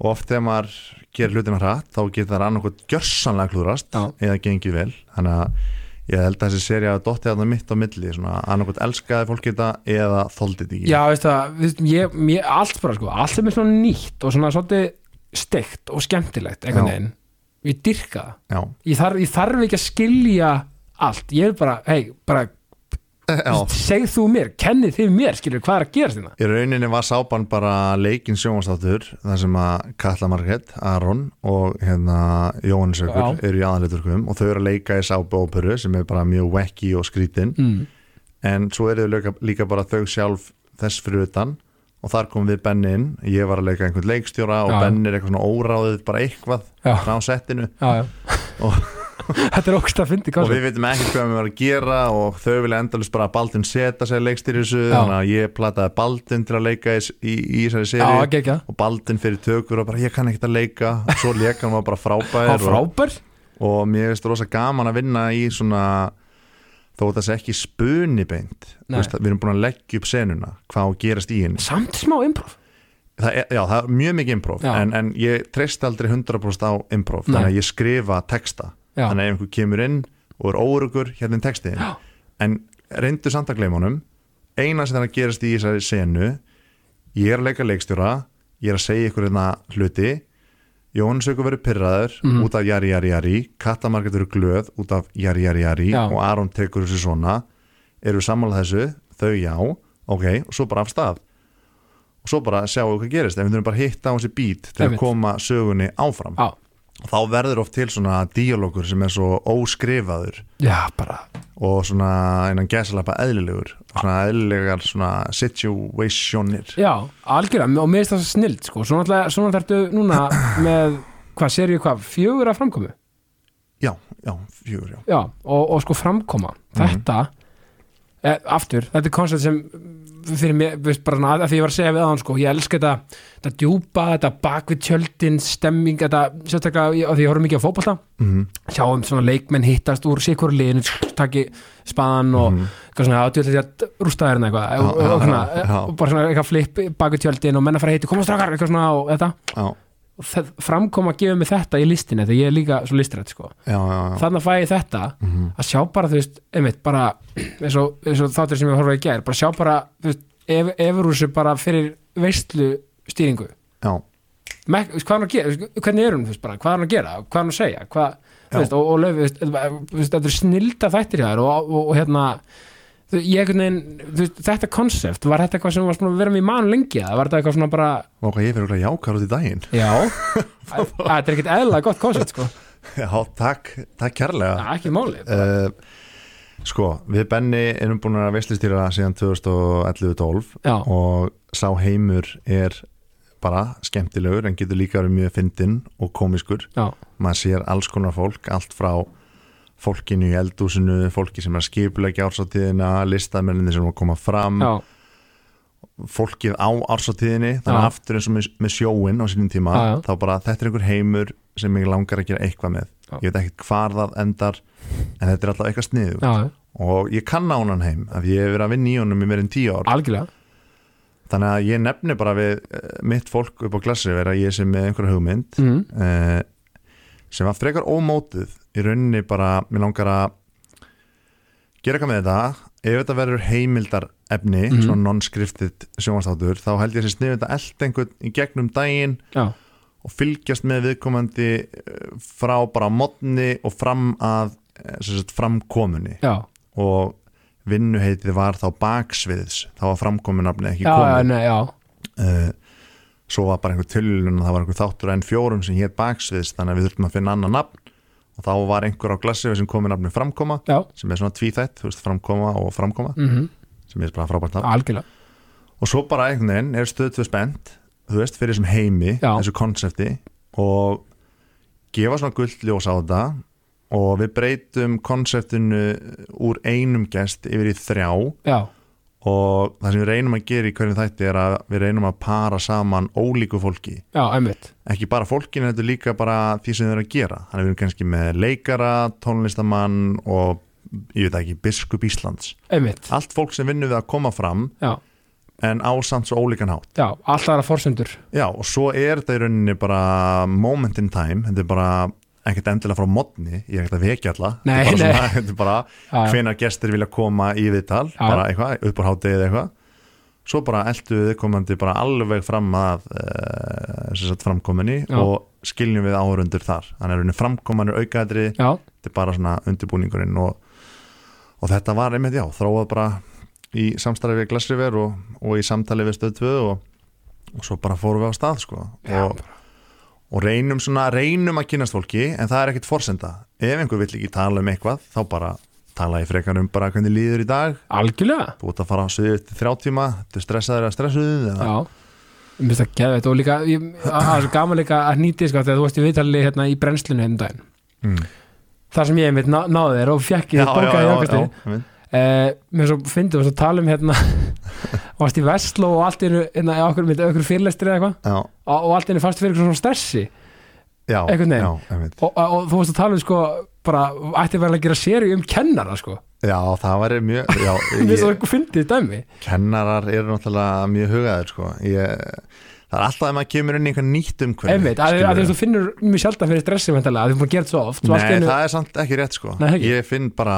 [SPEAKER 2] og oft þegar maður gerir hlutina hratt þá getur það annarkot gjörsanlega klúrast
[SPEAKER 1] Já.
[SPEAKER 2] eða gengið vel þannig að ég held að þessi serið að dotti þarna mitt á milli svona annarkot elskaði fólk þetta eða þoldi þetta ekki
[SPEAKER 1] Já, veist það, veist, ég, ég, allt bara sko, allt sem er svona nýtt og svona svolítið steikt og skemmtilegt einhvern
[SPEAKER 2] Já.
[SPEAKER 1] veginn, ég dyrka það
[SPEAKER 2] Já.
[SPEAKER 1] ég þarf, ég þarf ekki að skilja allt, ég er bara, hei, bara Eh,
[SPEAKER 2] Já.
[SPEAKER 1] segð þú mér, kennið þið mér skilur hvað er að gerast hérna? þérna
[SPEAKER 2] Í rauninni var sápan bara leikinn sjónvastáttur þar sem að Katla Margrét, Aron og hérna Jóhannesökur
[SPEAKER 1] Já.
[SPEAKER 2] eru í aðaluturkum og þau eru að leika í sápu óperu sem er bara mjög wacky og skrítin
[SPEAKER 1] mm.
[SPEAKER 2] en svo eru þau leika, líka bara þau sjálf þess fyrir utan og þar kom við Benni inn, ég var að leika einhvern leikstjóra og
[SPEAKER 1] Já.
[SPEAKER 2] Benni er eitthvað svona óráðið bara eitthvað
[SPEAKER 1] Já,
[SPEAKER 2] frá settinu
[SPEAKER 1] já, já
[SPEAKER 2] Og-
[SPEAKER 1] *laughs* Þetta er ógst að fyndi,
[SPEAKER 2] og
[SPEAKER 1] hvað
[SPEAKER 2] við veitum ekkert hvað við varum að gera og þau vilja endalist bara að Baldin setja sér leikstýri í þessu,
[SPEAKER 1] Já.
[SPEAKER 2] þannig að ég plataði Baldin til að leika í, í, í þessari
[SPEAKER 1] Já,
[SPEAKER 2] seri
[SPEAKER 1] ekki ekki
[SPEAKER 2] og Baldin fyrir tökur og bara ég kann ekkert að leika og svo leika hann var bara
[SPEAKER 1] Það
[SPEAKER 2] frábær
[SPEAKER 1] er
[SPEAKER 2] og,
[SPEAKER 1] frábær
[SPEAKER 2] og mér finnst rosa gaman að vinna í svona þó að það sé ekki spuni beint Þú
[SPEAKER 1] Nei.
[SPEAKER 2] veist, við erum búin að leggja upp senuna hvað á að gerast í henni
[SPEAKER 1] Samt smá improv
[SPEAKER 2] það er, já, það er mjög mikið improv
[SPEAKER 1] Já.
[SPEAKER 2] en, en ég treyst aldrei 100% á improv
[SPEAKER 1] Nei.
[SPEAKER 2] þannig að ég skrifa texta
[SPEAKER 1] Já,
[SPEAKER 2] þannig að ef einhver kemur inn og er óurugur hérna er textið
[SPEAKER 1] Já.
[SPEAKER 2] en reyndu samt að gleyma honum eina sem þannig að gerast í þessari senu ég er að leika leikstjóra ég er að segja ykkur hérna hluti Jónsöku verið pyrraður
[SPEAKER 1] Mhm.
[SPEAKER 2] út af jari jari jari Katta Margrét verið glöð út af jari jari jari
[SPEAKER 1] Já.
[SPEAKER 2] og Aron tekur þessu svona eru sammála þessu, þau já ok, og svo bara af stað og svo bara sjáum við hvað gerist ef við þurfum bara að hitta á þessi bít til að
[SPEAKER 1] Einmitt.
[SPEAKER 2] koma sögunni áfram
[SPEAKER 1] Já.
[SPEAKER 2] þá verður oft til svona díalókur sem er svo óskrifaður
[SPEAKER 1] já, bara
[SPEAKER 2] og svona einan gæsalappa eðlilegur svona eðlilegar svona situationir
[SPEAKER 1] Já, algjörlega, og mér finnst það svo snild sko. svona, alltaf, svona þarftu núna með, hvað, serið hvað, fjögur að framkomu
[SPEAKER 2] já, já, fjögur, já
[SPEAKER 1] Já, og, og sko framkoma
[SPEAKER 2] Mhm.
[SPEAKER 1] Þetta, e, aftur þetta er koncept sem fyrir mér, veist bara, að, að því ég var að segja við aðan sko, ég elska þetta, þetta djúpa, þetta bakvið tjöldin, stemming, þetta sérstaklega, ég- af því ég horfum mikið á fótbolta
[SPEAKER 2] mm -hmm.
[SPEAKER 1] sjáum svona leikmenn hittast úr sikkur liðinu, taki spaðan og
[SPEAKER 2] Mhm.
[SPEAKER 1] eitthvað svona átjöld þetta rústaðurinn hérna eitthvað og,
[SPEAKER 2] já,
[SPEAKER 1] og, og, svona,
[SPEAKER 2] já, já.
[SPEAKER 1] og bara svona eitthvað flip baku tjöldin og menn að fara að heiti koma strákar eitthvað svona og þetta
[SPEAKER 2] já,
[SPEAKER 1] og það, framkoma að gefa mig þetta í listinni þegar ég er líka svo listrætt sko
[SPEAKER 2] já, já, já.
[SPEAKER 1] þannig að fæ ég þetta
[SPEAKER 2] Mhm.
[SPEAKER 1] að sjá bara þú veist einmitt bara eins og, eins og þáttur sem ég horfði í gær bara sjá bara þú veist ef, efur þessu bara fyrir veistlu stýringu
[SPEAKER 2] já.
[SPEAKER 1] Mek, þú veist, hvað er hann að gera, Þú veist, hvernig er hún þú veist, bara, hvað er hann að gera, hvað er hann að segja hvað, þú
[SPEAKER 2] Já.
[SPEAKER 1] veist, og, og löf, þú veist, þú veist, þetta er snilda þættir hjá þér og, og, og hérna þú- ég einhvern veginn, þú veist, þetta konsept var þetta eitthvað sem var svona að vera með í mann lengi eða var þetta eitthvað svona bara,
[SPEAKER 2] og hvað ég fyrir að jákar út í daginn *laughs*
[SPEAKER 1] *laughs* já að- að þetta er ekkert eðla gott konsept sko.
[SPEAKER 2] já, takk, takk kærlega
[SPEAKER 1] það er ekki máli
[SPEAKER 2] uh, sko, við Benni erum búin að veistlistýra síðan 2011-12
[SPEAKER 1] já,
[SPEAKER 2] og sá heimur er bara skemmtilegur en getur líka verið mjög fyndinn og komiskur
[SPEAKER 1] já,
[SPEAKER 2] maður sér alls konar fólk allt frá fólkinu í eldúsinu fólki sem er að skipulegja ársáttíðina listamenninni sem er að koma fram
[SPEAKER 1] já,
[SPEAKER 2] fólkið á ársáttíðinni þannig
[SPEAKER 1] Já.
[SPEAKER 2] að aftur eins og með, með sjóin á sínum tíma
[SPEAKER 1] Já, já.
[SPEAKER 2] þá bara þetta er einhver heimur sem mig langar að gera eitthvað með
[SPEAKER 1] Já.
[SPEAKER 2] ég veit ekkert hvar það endar en þetta er alltaf eitthvað sniðu
[SPEAKER 1] já,
[SPEAKER 2] og ég kann á hann heim af því ég hef verið að vinna í honum í meirinn tíu ár
[SPEAKER 1] algjörlega
[SPEAKER 2] þannig að ég nefni bara við eh, mitt fólk upp á klassi vera ég sem með einhverja hugmynd
[SPEAKER 1] mm,
[SPEAKER 2] eh, sem var frekar ómótið í rauninni bara, mér langar að gera eitthvað með þetta ef þetta verður heimildar efni
[SPEAKER 1] Mhm.
[SPEAKER 2] svona non-scripted sjónvastátur þá held ég sér sniðið þetta allt einhvern í gegnum daginn
[SPEAKER 1] já,
[SPEAKER 2] og fylgjast með viðkomandi eh, frá bara modni og fram að eh, sem sagt, framkomunni
[SPEAKER 1] já,
[SPEAKER 2] og vinnuheitið var þá baksviðs þá var framkomunafni ekki
[SPEAKER 1] já, já,
[SPEAKER 2] komið
[SPEAKER 1] nei, já
[SPEAKER 2] uh, svo var bara einhver tölun og það var einhver þáttur enn fjórum sem hér baksviðs þannig að við þurftum að finna annan nafn og þá var einhver á glassið sem komið nafni framkoma
[SPEAKER 1] já,
[SPEAKER 2] sem er svona tvíþætt, þú veist, framkoma og framkoma
[SPEAKER 1] mm
[SPEAKER 2] sem er bara frábært nafn
[SPEAKER 1] algjörlega
[SPEAKER 2] og svo bara einhvern veginn er stöðtöð spennt þú veist, fyrir þessum heimi,
[SPEAKER 1] Já.
[SPEAKER 2] þessu konsepti og gefa svona gullt ljós á þetta og við breytum konseptinu úr einum gest yfir í þrjá
[SPEAKER 1] já,
[SPEAKER 2] og það sem við reynum að gera í hverjum þætti er að við reynum að para saman ólíku fólki
[SPEAKER 1] já, einmitt
[SPEAKER 2] ekki bara fólkinu, þetta er líka bara því sem þau eru að gera. Þannig að við erum kannski með leikara, tónlistamann og ég veit ekki, biskup Íslands.
[SPEAKER 1] einmitt,
[SPEAKER 2] Allt fólk sem vinnur við að koma fram
[SPEAKER 1] já,
[SPEAKER 2] en ásamt svo ólíkan hátt.
[SPEAKER 1] já, alltaf aðra forsendur
[SPEAKER 2] Já, og svo er þetta í rauninni bara moment in time, þetta er bara ekkert endilega frá modni, ég er ekkert að vekja alla
[SPEAKER 1] Nei,
[SPEAKER 2] þetta
[SPEAKER 1] nei.
[SPEAKER 2] er bara, svona, *laughs* þetta er bara
[SPEAKER 1] Já, já.
[SPEAKER 2] hvenar gestir vilja koma í viðtal
[SPEAKER 1] Já.
[SPEAKER 2] bara eitthvað, upp á hátegi eða eitthvað svo bara eldu við komandi bara alveg fram að uh, sagt, framkominni
[SPEAKER 1] Já.
[SPEAKER 2] og skiljum við áhörundur þar þannig að rauninni framkoman er aukaðri
[SPEAKER 1] já,
[SPEAKER 2] þetta er bara svona undirbúningurinn og, og þetta var einmitt já þróað bara í samstarfi við Glassriver og, og í samtali við Stöð 2 og, og svo bara fórum við á stað sko.
[SPEAKER 1] Já,
[SPEAKER 2] og, og reynum svona reynum að kynast fólki en það er ekkit forsenda ef einhver vill ekki tala um eitthvað þá bara tala ég frekar um bara hvernig líður í dag
[SPEAKER 1] algjörlega
[SPEAKER 2] þú ert að fara á suðu til þrjá tíma þú stressaður að stressuðu eða-
[SPEAKER 1] Já, ég finnst það geðveitt og líka, ég- það er svo gaman líka að nýti sko, þegar þú varst í viðtali hérna í brennslinu einu daginn,
[SPEAKER 2] Mm.
[SPEAKER 1] þar sem ég einmitt ná, náði þér og fjekk ég bókaði ákvæmstu
[SPEAKER 2] einmitt.
[SPEAKER 1] eh, mér svo fyndum við svo tala um hérna *laughs* varst í Vestló og allt í einu hérna, í okkur, mynd, okkur fyrirlestri eða eitthvað
[SPEAKER 2] já,
[SPEAKER 1] og, og allt í einu fast fyrir eitthvað svona stressi
[SPEAKER 2] já,
[SPEAKER 1] Einhvern veginn.
[SPEAKER 2] já, einmitt.
[SPEAKER 1] og, og, og þú varst að tala um sko bara, ætti verið að gera séri um kennara
[SPEAKER 2] *laughs*
[SPEAKER 1] sko,
[SPEAKER 2] já, það var mjög
[SPEAKER 1] *laughs*
[SPEAKER 2] já,
[SPEAKER 1] mér svo eitthvað fyndið dæmi
[SPEAKER 2] kennarar eru náttúrulega mjög hugaðir sko. ég, það er alltaf að maður kemur inn í einhvern nýtt umhverfi
[SPEAKER 1] einmitt, að, að,
[SPEAKER 2] skilurðu.
[SPEAKER 1] að þú finnur mjög sjaldan fyrir stressi væntanlega, að þú er búin að gera þetta svo oft svo allt í
[SPEAKER 2] Nei,
[SPEAKER 1] einu-
[SPEAKER 2] það er samt ekki rétt sko.
[SPEAKER 1] Nei, ekki.
[SPEAKER 2] ég finn bara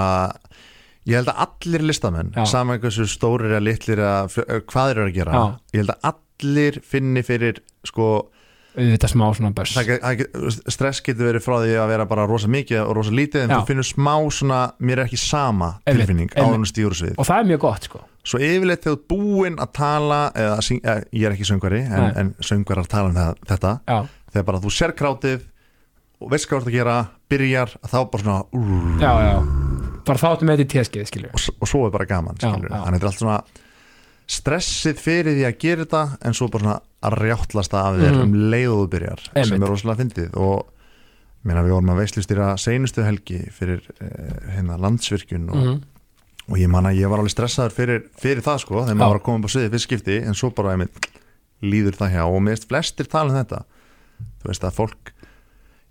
[SPEAKER 2] ég held að allir listamenn
[SPEAKER 1] Já.
[SPEAKER 2] saman hversu stórir að litlir að, hvað þeir eru að gera
[SPEAKER 1] Já.
[SPEAKER 2] ég held að allir finni fyrir sko
[SPEAKER 1] auðvitað smá svona börs
[SPEAKER 2] Það get- það get- stress getur verið frá því að vera bara rosa mikið og rosa lítið en
[SPEAKER 1] Já.
[SPEAKER 2] þú finnur smá svona, mér er ekki sama
[SPEAKER 1] Einmitt,
[SPEAKER 2] tilfinning
[SPEAKER 1] einmitt.
[SPEAKER 2] áðunum stíður svið
[SPEAKER 1] og það er mjög gott sko
[SPEAKER 2] svo yfirleitt þegar þú ert búinn að tala eða, að syng, eða ég er ekki söngvari en,
[SPEAKER 1] Nei.
[SPEAKER 2] en söngvarar tala um það, þetta
[SPEAKER 1] já,
[SPEAKER 2] þegar bara þú sér krátið og veist hvað þú ert að gera, byrjar þá bara svona úr,
[SPEAKER 1] já, já bara þá áttu með þetta í teskið skilju
[SPEAKER 2] og, s- og svo er bara gaman
[SPEAKER 1] Já,
[SPEAKER 2] skilurðu.
[SPEAKER 1] já.
[SPEAKER 2] þannig þetta er allt svona stressið fyrir því að gera þetta en svo bara svona að rjáttlast það af þér
[SPEAKER 1] Mhm.
[SPEAKER 2] um leið og þú byrjar sem
[SPEAKER 1] Einmitt.
[SPEAKER 2] er rosalega fyndið og ég meina, við vorum að veislustýra seinustu helgi fyrir eh, hérna, landsvirkjun og,
[SPEAKER 1] Mhm.
[SPEAKER 2] og ég man að ég var alveg stressaður fyrir, fyrir það sko þegar
[SPEAKER 1] Já.
[SPEAKER 2] maður var að koma upp á sviðið fyrir skipti en svo bara einmitt líður það hjá og mér veist flestir tala um þetta þú veist að fólk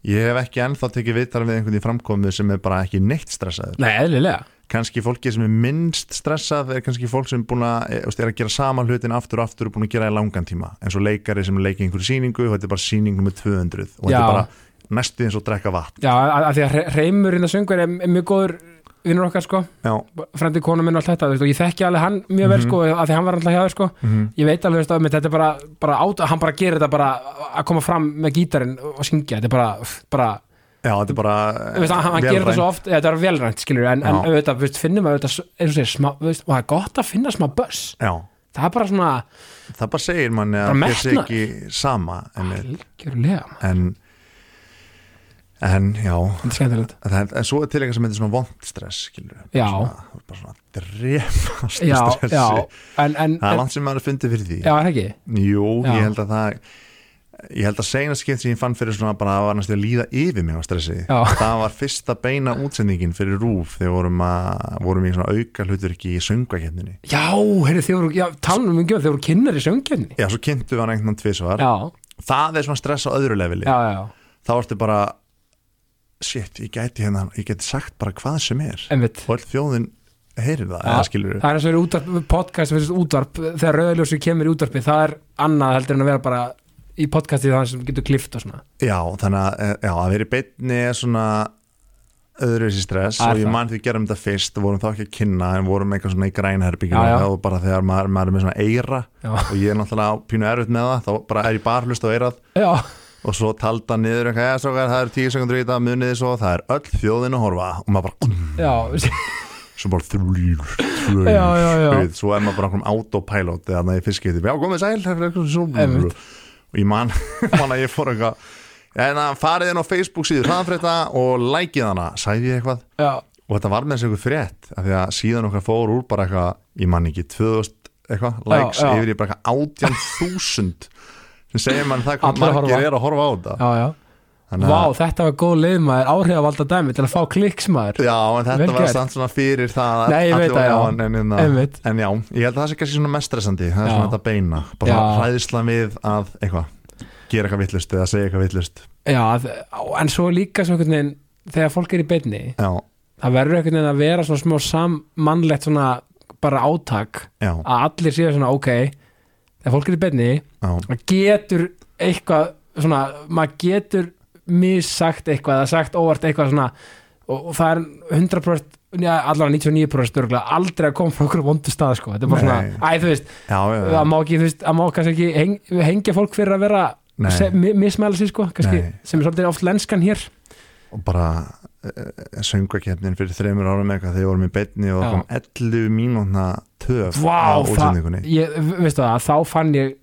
[SPEAKER 2] ég hef ekki ennþá tekið viðtal við einhvern í framkomu sem er bara ekki neitt stressaður
[SPEAKER 1] nei, eðlilega
[SPEAKER 2] kannski fólki sem er minnst stressað er kannski fólk sem er búin að, e, þú veist, er að gera sama hlutin aftur og aftur og búin að gera það í langan tíma eins og leikari sem leikir einhverju síningu og þetta er bara síning nummer 200 og þetta
[SPEAKER 1] Já.
[SPEAKER 2] er bara næstu eins og að drekka vatn
[SPEAKER 1] já, af af því að Hre- Hreimur innan söngur er, er mjög góður vinnur okkar sko
[SPEAKER 2] já,
[SPEAKER 1] frendi konum minn og allt þetta þú veist, og ég þekki alveg hann mjög
[SPEAKER 2] Mhm.
[SPEAKER 1] vel sko af því hann var alltaf hjá þér sko ég veit alveg veist, að þetta er bara, bara át, hann bara gerir þetta bara að koma fram með gítarinn og syngja þetta er bara, bara
[SPEAKER 2] já þetta er bara eh,
[SPEAKER 1] þú veist, hann, hann gerir þetta svo oft eða þetta er velrænt skilur en, en
[SPEAKER 2] Já.
[SPEAKER 1] auðvitað þú veist, finnum við auðvitað eins og segir smá þú veist, og það er gott að finna smá buss
[SPEAKER 2] já,
[SPEAKER 1] það er bara svona
[SPEAKER 2] það bara segir manni að
[SPEAKER 1] Bara
[SPEAKER 2] það sé
[SPEAKER 1] metnaður.
[SPEAKER 2] ekki sama en,
[SPEAKER 1] algjörlega maður.
[SPEAKER 2] en, en já
[SPEAKER 1] þetta er
[SPEAKER 2] *laughs*
[SPEAKER 1] skemmtilegt
[SPEAKER 2] það, en svo er til eitthvað sem heitir svona vond stress skilur,
[SPEAKER 1] Já.
[SPEAKER 2] svona, bara svona drefast
[SPEAKER 1] já,
[SPEAKER 2] stressi
[SPEAKER 1] já, en, en,
[SPEAKER 2] það er
[SPEAKER 1] en
[SPEAKER 2] langt sem maður er fundið fyrir því
[SPEAKER 1] já, er ekki
[SPEAKER 2] Jú,
[SPEAKER 1] Já.
[SPEAKER 2] ég held að það ég held að segna skipt sem ég fann fyrir svona bara að var næstu að líða yfir mig á stressi
[SPEAKER 1] Já.
[SPEAKER 2] það var fyrsta beina útsendingin fyrir RÚF þegar vorum, að, vorum í svona auka hluturki í söngvakefninni
[SPEAKER 1] já, heyrðu, þið voru, já, talum um ekki þeir voru kynnar í söngjörni
[SPEAKER 2] Já, svo kynntu við hann einhvern tvisvar
[SPEAKER 1] já,
[SPEAKER 2] það er svona stress á öðru leveli
[SPEAKER 1] já, já,
[SPEAKER 2] þá ertu bara shit, ég gæti hérna, ég gæti sagt bara hvað sem er
[SPEAKER 1] einmitt
[SPEAKER 2] og öll þjóðin heyrir það,
[SPEAKER 1] Já,
[SPEAKER 2] eða skilur
[SPEAKER 1] það er eins og verið útvarp, podcast versus útvarp þegar rauðljósið kemur í útvarpi það er annað heldur en að vera bara í podcastið það sem getur klift og svona
[SPEAKER 2] Já, þannig að, eh, já, að vera í beinni er svona öðruvísi stress
[SPEAKER 1] Það er
[SPEAKER 2] og ég
[SPEAKER 1] það.
[SPEAKER 2] man því að gerum þetta fyrst vorum þá ekki að kynna en vorum eitthvað svona í grænherbyggjum
[SPEAKER 1] Já, já.
[SPEAKER 2] og bara þegar maður, maður er með svona eira
[SPEAKER 1] Já.
[SPEAKER 2] og ég er náttúrulega á pínu erfitt með það þá bara er ég barhlust á eirað
[SPEAKER 1] já,
[SPEAKER 2] og svo talda niður eitthvað, ja, strókar, það eru tíu sekundur í þetta muniði svo, það er öll þjóðin að horfa og maður bara, "Oh
[SPEAKER 1] já,
[SPEAKER 2] svo bara þrýr,
[SPEAKER 1] Já, já, já.
[SPEAKER 2] þrýr svo er maður bara okkur autopilot eða þannig að ég fisk eitthvað, já komið sæl það er eitthvað svo-
[SPEAKER 1] Einmitt.
[SPEAKER 2] og ég man, *laughs* man að ég fór eitthvað en að farið inn á Facebook síður hraðanfrétta og lækið hana, sæði ég eitthvað
[SPEAKER 1] já,
[SPEAKER 2] og þetta var með þessu eitthvað frétt af því að síðan okkar fór úr bara eitthvað, ég man ekki 2000 eitthvað, likes
[SPEAKER 1] já.
[SPEAKER 2] yfir í bara eitthvað 18.000 sem segir mann það hvað
[SPEAKER 1] Allir að
[SPEAKER 2] margir
[SPEAKER 1] horfa.
[SPEAKER 2] er að horfa á þetta
[SPEAKER 1] já, já.
[SPEAKER 2] Þannig
[SPEAKER 1] Vá,
[SPEAKER 2] að-
[SPEAKER 1] þetta var góð leið maður áhrifavalda dæmi til að fá kliks maður
[SPEAKER 2] Já, en þetta
[SPEAKER 1] Vel
[SPEAKER 2] var
[SPEAKER 1] gert.
[SPEAKER 2] samt svona fyrir það að
[SPEAKER 1] Nei, ég
[SPEAKER 2] allir
[SPEAKER 1] veit það,
[SPEAKER 2] voru á hérna.
[SPEAKER 1] já.
[SPEAKER 2] hann, en, en,
[SPEAKER 1] Einmitt.
[SPEAKER 2] en já, ég held að það sé kannski svona mest stressandi Það er
[SPEAKER 1] Já.
[SPEAKER 2] svona þetta beina Bara
[SPEAKER 1] Já.
[SPEAKER 2] hræðislan við að eitthvað Gera eitthvað vittlust eða segja eitthvað vittlust
[SPEAKER 1] já, þ- á, en svo líka svo einhvern veginn þegar fólk er í beinni
[SPEAKER 2] Já,
[SPEAKER 1] það verður einhvern veginn að vera svona smá sammannlegt svona bara átak
[SPEAKER 2] já,
[SPEAKER 1] að allir séu svona ok þegar fólk er í beinni
[SPEAKER 2] já,
[SPEAKER 1] maður getur eitthvað svona, maður getur missagt eitthvað eða sagt óvart eitthvað svona og, og það er 100% ja, allavega 99% störglega aldrei að koma frá okkur vondu stað sko. þetta er bara
[SPEAKER 2] Nei.
[SPEAKER 1] svona, æ þú veist
[SPEAKER 2] já, já, já.
[SPEAKER 1] það má ekki, þú veist, það má kannski ekki heng, hengja fólk fyrir að vera
[SPEAKER 2] Nei.
[SPEAKER 1] se- mi- mismæla sér sko, kannski,
[SPEAKER 2] Nei.
[SPEAKER 1] sem er svolítið oft lenskan hér
[SPEAKER 2] Og bara uh, söngvakefnin fyrir þreymur árum eitthvað Þegar ég vorum í beinni og
[SPEAKER 1] Já.
[SPEAKER 2] það kom 11 mínúna töf á
[SPEAKER 1] Vá, það,
[SPEAKER 2] útsendingunni.
[SPEAKER 1] ég, veistu það, þá fann ég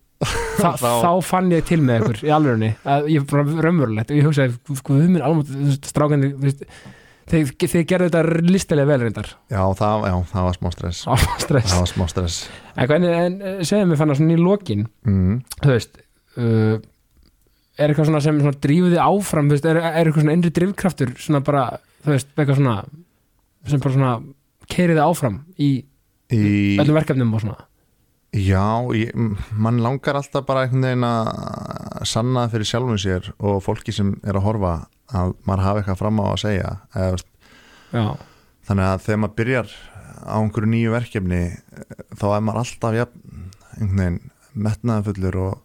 [SPEAKER 1] þá, þá,
[SPEAKER 2] Þá-
[SPEAKER 1] fann ég til með ykkur í alvörunni, að ég bara raunverulegt og ég hugsaði, guð minn alveg strákandi, þú veist, þeir, þeir gerðu þetta listilega vel reyndar *laughs*
[SPEAKER 2] Já, það, já, það var smá stress
[SPEAKER 1] á stress,
[SPEAKER 2] Það var smá stress
[SPEAKER 1] en hvernig, en eh, segðu mér fann það svona í lokin,
[SPEAKER 2] mm.
[SPEAKER 1] þú veist uh, er eitthvað svona sem svona drífu þig áfram, þú veist, er, er eitthvað svona innri drifkraftur, svona bara, þú veist eitthvað svona, sem bara svona keiriði áfram í
[SPEAKER 2] Í,
[SPEAKER 1] öllum verkefnum og svona
[SPEAKER 2] Já, ég, m- mann langar alltaf bara einhvern veginn að sanna það fyrir sjálfum sér og fólki sem er að horfa að maður hafi eitthvað fram á að segja eða, veist,
[SPEAKER 1] já,
[SPEAKER 2] þannig að þegar maður byrjar á einhverju nýju verkefni eh, þá er maður alltaf jafn, einhvern veginn metnaðanfullur og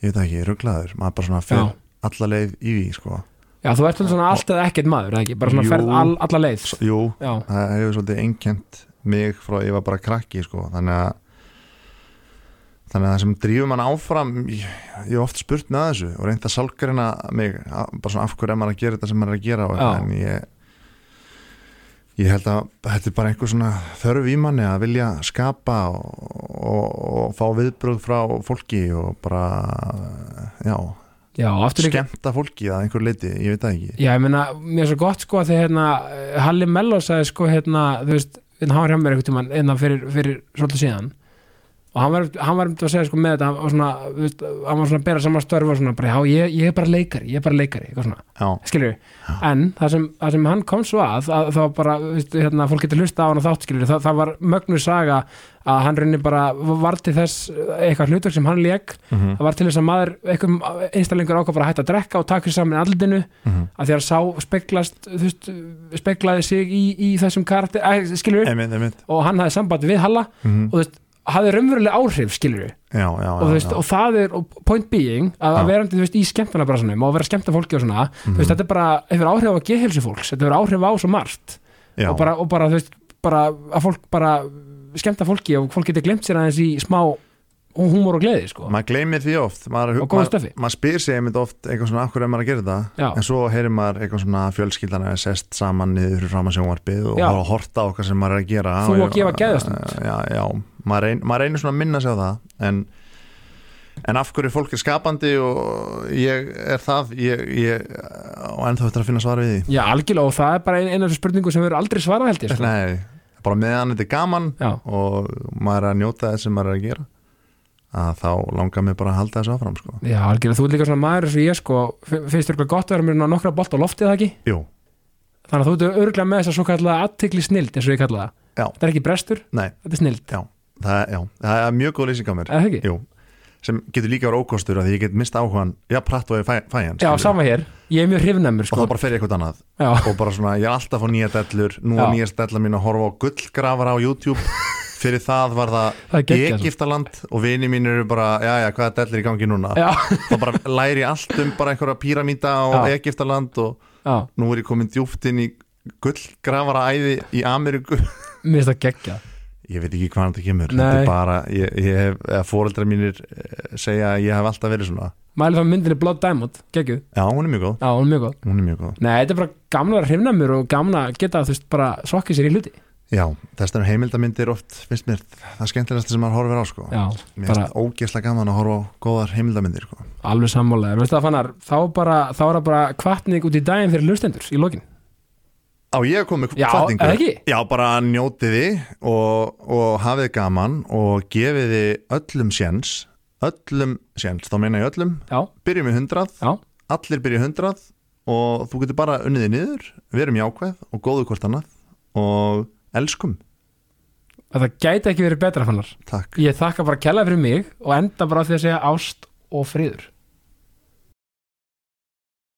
[SPEAKER 2] ég veit það ekki, rugglaður maður bara svona fer
[SPEAKER 1] Já.
[SPEAKER 2] alla leið í því sko.
[SPEAKER 1] já þú ert alveg svona allt eða ekkert maður, eða ekki, bara svona
[SPEAKER 2] Jú.
[SPEAKER 1] ferð all, alla leið
[SPEAKER 2] S- Jú,
[SPEAKER 1] já,
[SPEAKER 2] það hefur svolítið einkent mig frá ég var bara krakki sko. þannig að þannig að það sem drífum hann áfram ég, ég hef oft spurt með þessu og reynd að sálkarina mig a- bara svona af hverju er maður að gera þetta sem maður er að gera og,
[SPEAKER 1] Já.
[SPEAKER 2] en ég ég held að þetta er bara einhver svona þörf í manni að vilja skapa og, og, og fá viðbröð frá fólki og bara já,
[SPEAKER 1] Já, aftur líka
[SPEAKER 2] skemmta fólki að einhver leiti, ég veit það ekki
[SPEAKER 1] Já, ég meina, mér er svo gott sko að þegar hérna, eh, Halli Mello sagði sko hérna, þú veist, hérna, hann var hjá mér einhvern tímann hérna fyrir, fyrir svolítið síðan og hann var, hann var um að segja sko með þetta hann var svona, þú veist, hann var svona að bera saman störf og svona bara, já, ég, ég er bara leikari, ég er bara leikari eitthvað svona,
[SPEAKER 2] já,
[SPEAKER 1] skilur en það sem, það sem hann kom svo að, að þá bara, þú veist, hérna, fólk getur hlusta á hann og þátt skilur, það, það var mögnu saga að hann raunin bara var til þess eh, eitthvað hlutverk sem hann leik
[SPEAKER 2] mm
[SPEAKER 1] það var til þess að maður, einhver einstaklingur ákvað bara að hætta að drekka og taka sér saman í andlitinu að því að sá speglast þú veist, speklaði sig í, í þessum karakter, að, skilur við,
[SPEAKER 2] einmitt, einmitt
[SPEAKER 1] og hann hafði samband við Halla
[SPEAKER 2] mm
[SPEAKER 1] og þú veist, hafði raunveruleg áhrif, skilur við,
[SPEAKER 2] já, já,
[SPEAKER 1] og, þú
[SPEAKER 2] já,
[SPEAKER 1] veist,
[SPEAKER 2] já.
[SPEAKER 1] og það er og point being, að,
[SPEAKER 2] Já. Mm.
[SPEAKER 1] að verandi þú veist, í skemmtanabrasanum og að vera skemmta fólki og svona þú veist, þetta er bara, hefur áhrif á gehelsu fólks þetta hefur áhrif á svo margt
[SPEAKER 2] Mm. já,
[SPEAKER 1] og bara, og bara, þú veist, bara að fólk bara skemmta fólki og fólk getur glemt sér aðeins í smá húmor og gleði, sko
[SPEAKER 2] maður gleymir því oft maður,
[SPEAKER 1] Og góðu
[SPEAKER 2] maður,
[SPEAKER 1] stöffi.
[SPEAKER 2] maður spyr sig einmitt oft eitthvað svona af hverju er maður að gera þetta
[SPEAKER 1] Já.
[SPEAKER 2] en svo heyrir maður eitthvað svona að fjölskyldan er sest saman niður frá maður sjónvarpið og
[SPEAKER 1] Já.
[SPEAKER 2] horfa að horta á hvað sem maður er að gera
[SPEAKER 1] Þú
[SPEAKER 2] Og Eh,
[SPEAKER 1] að gefa um. geðastund.
[SPEAKER 2] já, já, maður, reyn, maður reynir svona að minna sig á það en, en af hverju fólk er skapandi og ég er það ég, ég, og ennþá þetta að finna svar við því
[SPEAKER 1] Já, algjörlega, og það er bara ein- eina af þessu spurningu sem við erum aldrei svarað held ég, sko
[SPEAKER 2] Nei, bara meðan þetta er gaman
[SPEAKER 1] Já,
[SPEAKER 2] og maður er að njóta þess sem maður er að gera að þá langar mig bara að halda þessu áfram sko.
[SPEAKER 1] Já, algjörlega, þú ert líka svona maður eins og ég sko, fi- finnst þér eitthvað gott að vera með nokkra bolt á loftið það ekki?
[SPEAKER 2] Jú,
[SPEAKER 1] Þannig að þú ert örgulega með þess að svo kallaða aðtegli snild eins og ég kalla það.
[SPEAKER 2] Já.
[SPEAKER 1] Þetta er ekki brestur,
[SPEAKER 2] nei,
[SPEAKER 1] þetta er snild.
[SPEAKER 2] það, er- já, það er mjög góð lýsing á mér
[SPEAKER 1] Er það ekki?
[SPEAKER 2] Jú, sem getur líka verið ókostur að því ég get mist áhugan, já, pratt og ég fæ, fæ hann
[SPEAKER 1] Já,
[SPEAKER 2] skilur.
[SPEAKER 1] sama hér. Ég er mjög hrifnæmur
[SPEAKER 2] og
[SPEAKER 1] sko.
[SPEAKER 2] þá bara fer ég eitthvað annað
[SPEAKER 1] Já,
[SPEAKER 2] og bara svona, ég er alltaf að fá nýja dellur nú er
[SPEAKER 1] Já.
[SPEAKER 2] nýja della mín að horfa á gullgrafara á YouTube fyrir það var
[SPEAKER 1] *laughs*
[SPEAKER 2] það
[SPEAKER 1] það er geggjað. sko.
[SPEAKER 2] Egiptaland og vini mín eru bara, já, já, hvaða dellir í gangi núna
[SPEAKER 1] Já,
[SPEAKER 2] þá bara læri ég allt um bara einhverja píramíta á
[SPEAKER 1] Já.
[SPEAKER 2] Egiptaland og
[SPEAKER 1] já,
[SPEAKER 2] nú er ég komin djúpt inn í gullgrafara æði í Ameríku
[SPEAKER 1] mér finnst það geggja.
[SPEAKER 2] ég veit ekki hvaðan þetta kemur
[SPEAKER 1] Nei.
[SPEAKER 2] þetta er bara, ég, ég hef, eða fóreldrar mínir eh, segja að ég hef alltaf verið svona
[SPEAKER 1] Mæli þá með myndinni Blood Diamond, geggjuð.
[SPEAKER 2] já, hún er mjög góð,
[SPEAKER 1] Já, hún er mjög góð.
[SPEAKER 2] hún er mjög góð
[SPEAKER 1] Nei, þetta er bara gamla að vera hrifnæmur og gamla að geta, þú veist, bara sokkið sér í hluti.
[SPEAKER 2] já, þess vegna heimildamindir oft finnst mér það skemmtilegast sem maður horfir á sko
[SPEAKER 1] Já,
[SPEAKER 2] mér
[SPEAKER 1] bara-
[SPEAKER 2] finnst ógeðslega gaman að horfa á góðar heimildamindir sko.
[SPEAKER 1] alveg sammálaður. Veistu það, Fannar, þá bara, þá er það bara kvartning út í daginn fyrir hlustendur í lokin.
[SPEAKER 2] á ég kom með
[SPEAKER 1] Já,
[SPEAKER 2] hvatningu.
[SPEAKER 1] eða ekki?
[SPEAKER 2] já, bara njótiði og, og hafið gaman og gefiði öllum séns öllum séns, þá meina ég öllum
[SPEAKER 1] Já,
[SPEAKER 2] byrjum í 100
[SPEAKER 1] já,
[SPEAKER 2] allir byrja í 100 og þú getur bara unniði niður, verum jákvæð og góðu hvort annað og elskum,
[SPEAKER 1] þetta gæti ekki verið betra, Fannar.
[SPEAKER 2] takk
[SPEAKER 1] Ég þakka bara kella fyrir mig og enda bara á því að segja ást og friður.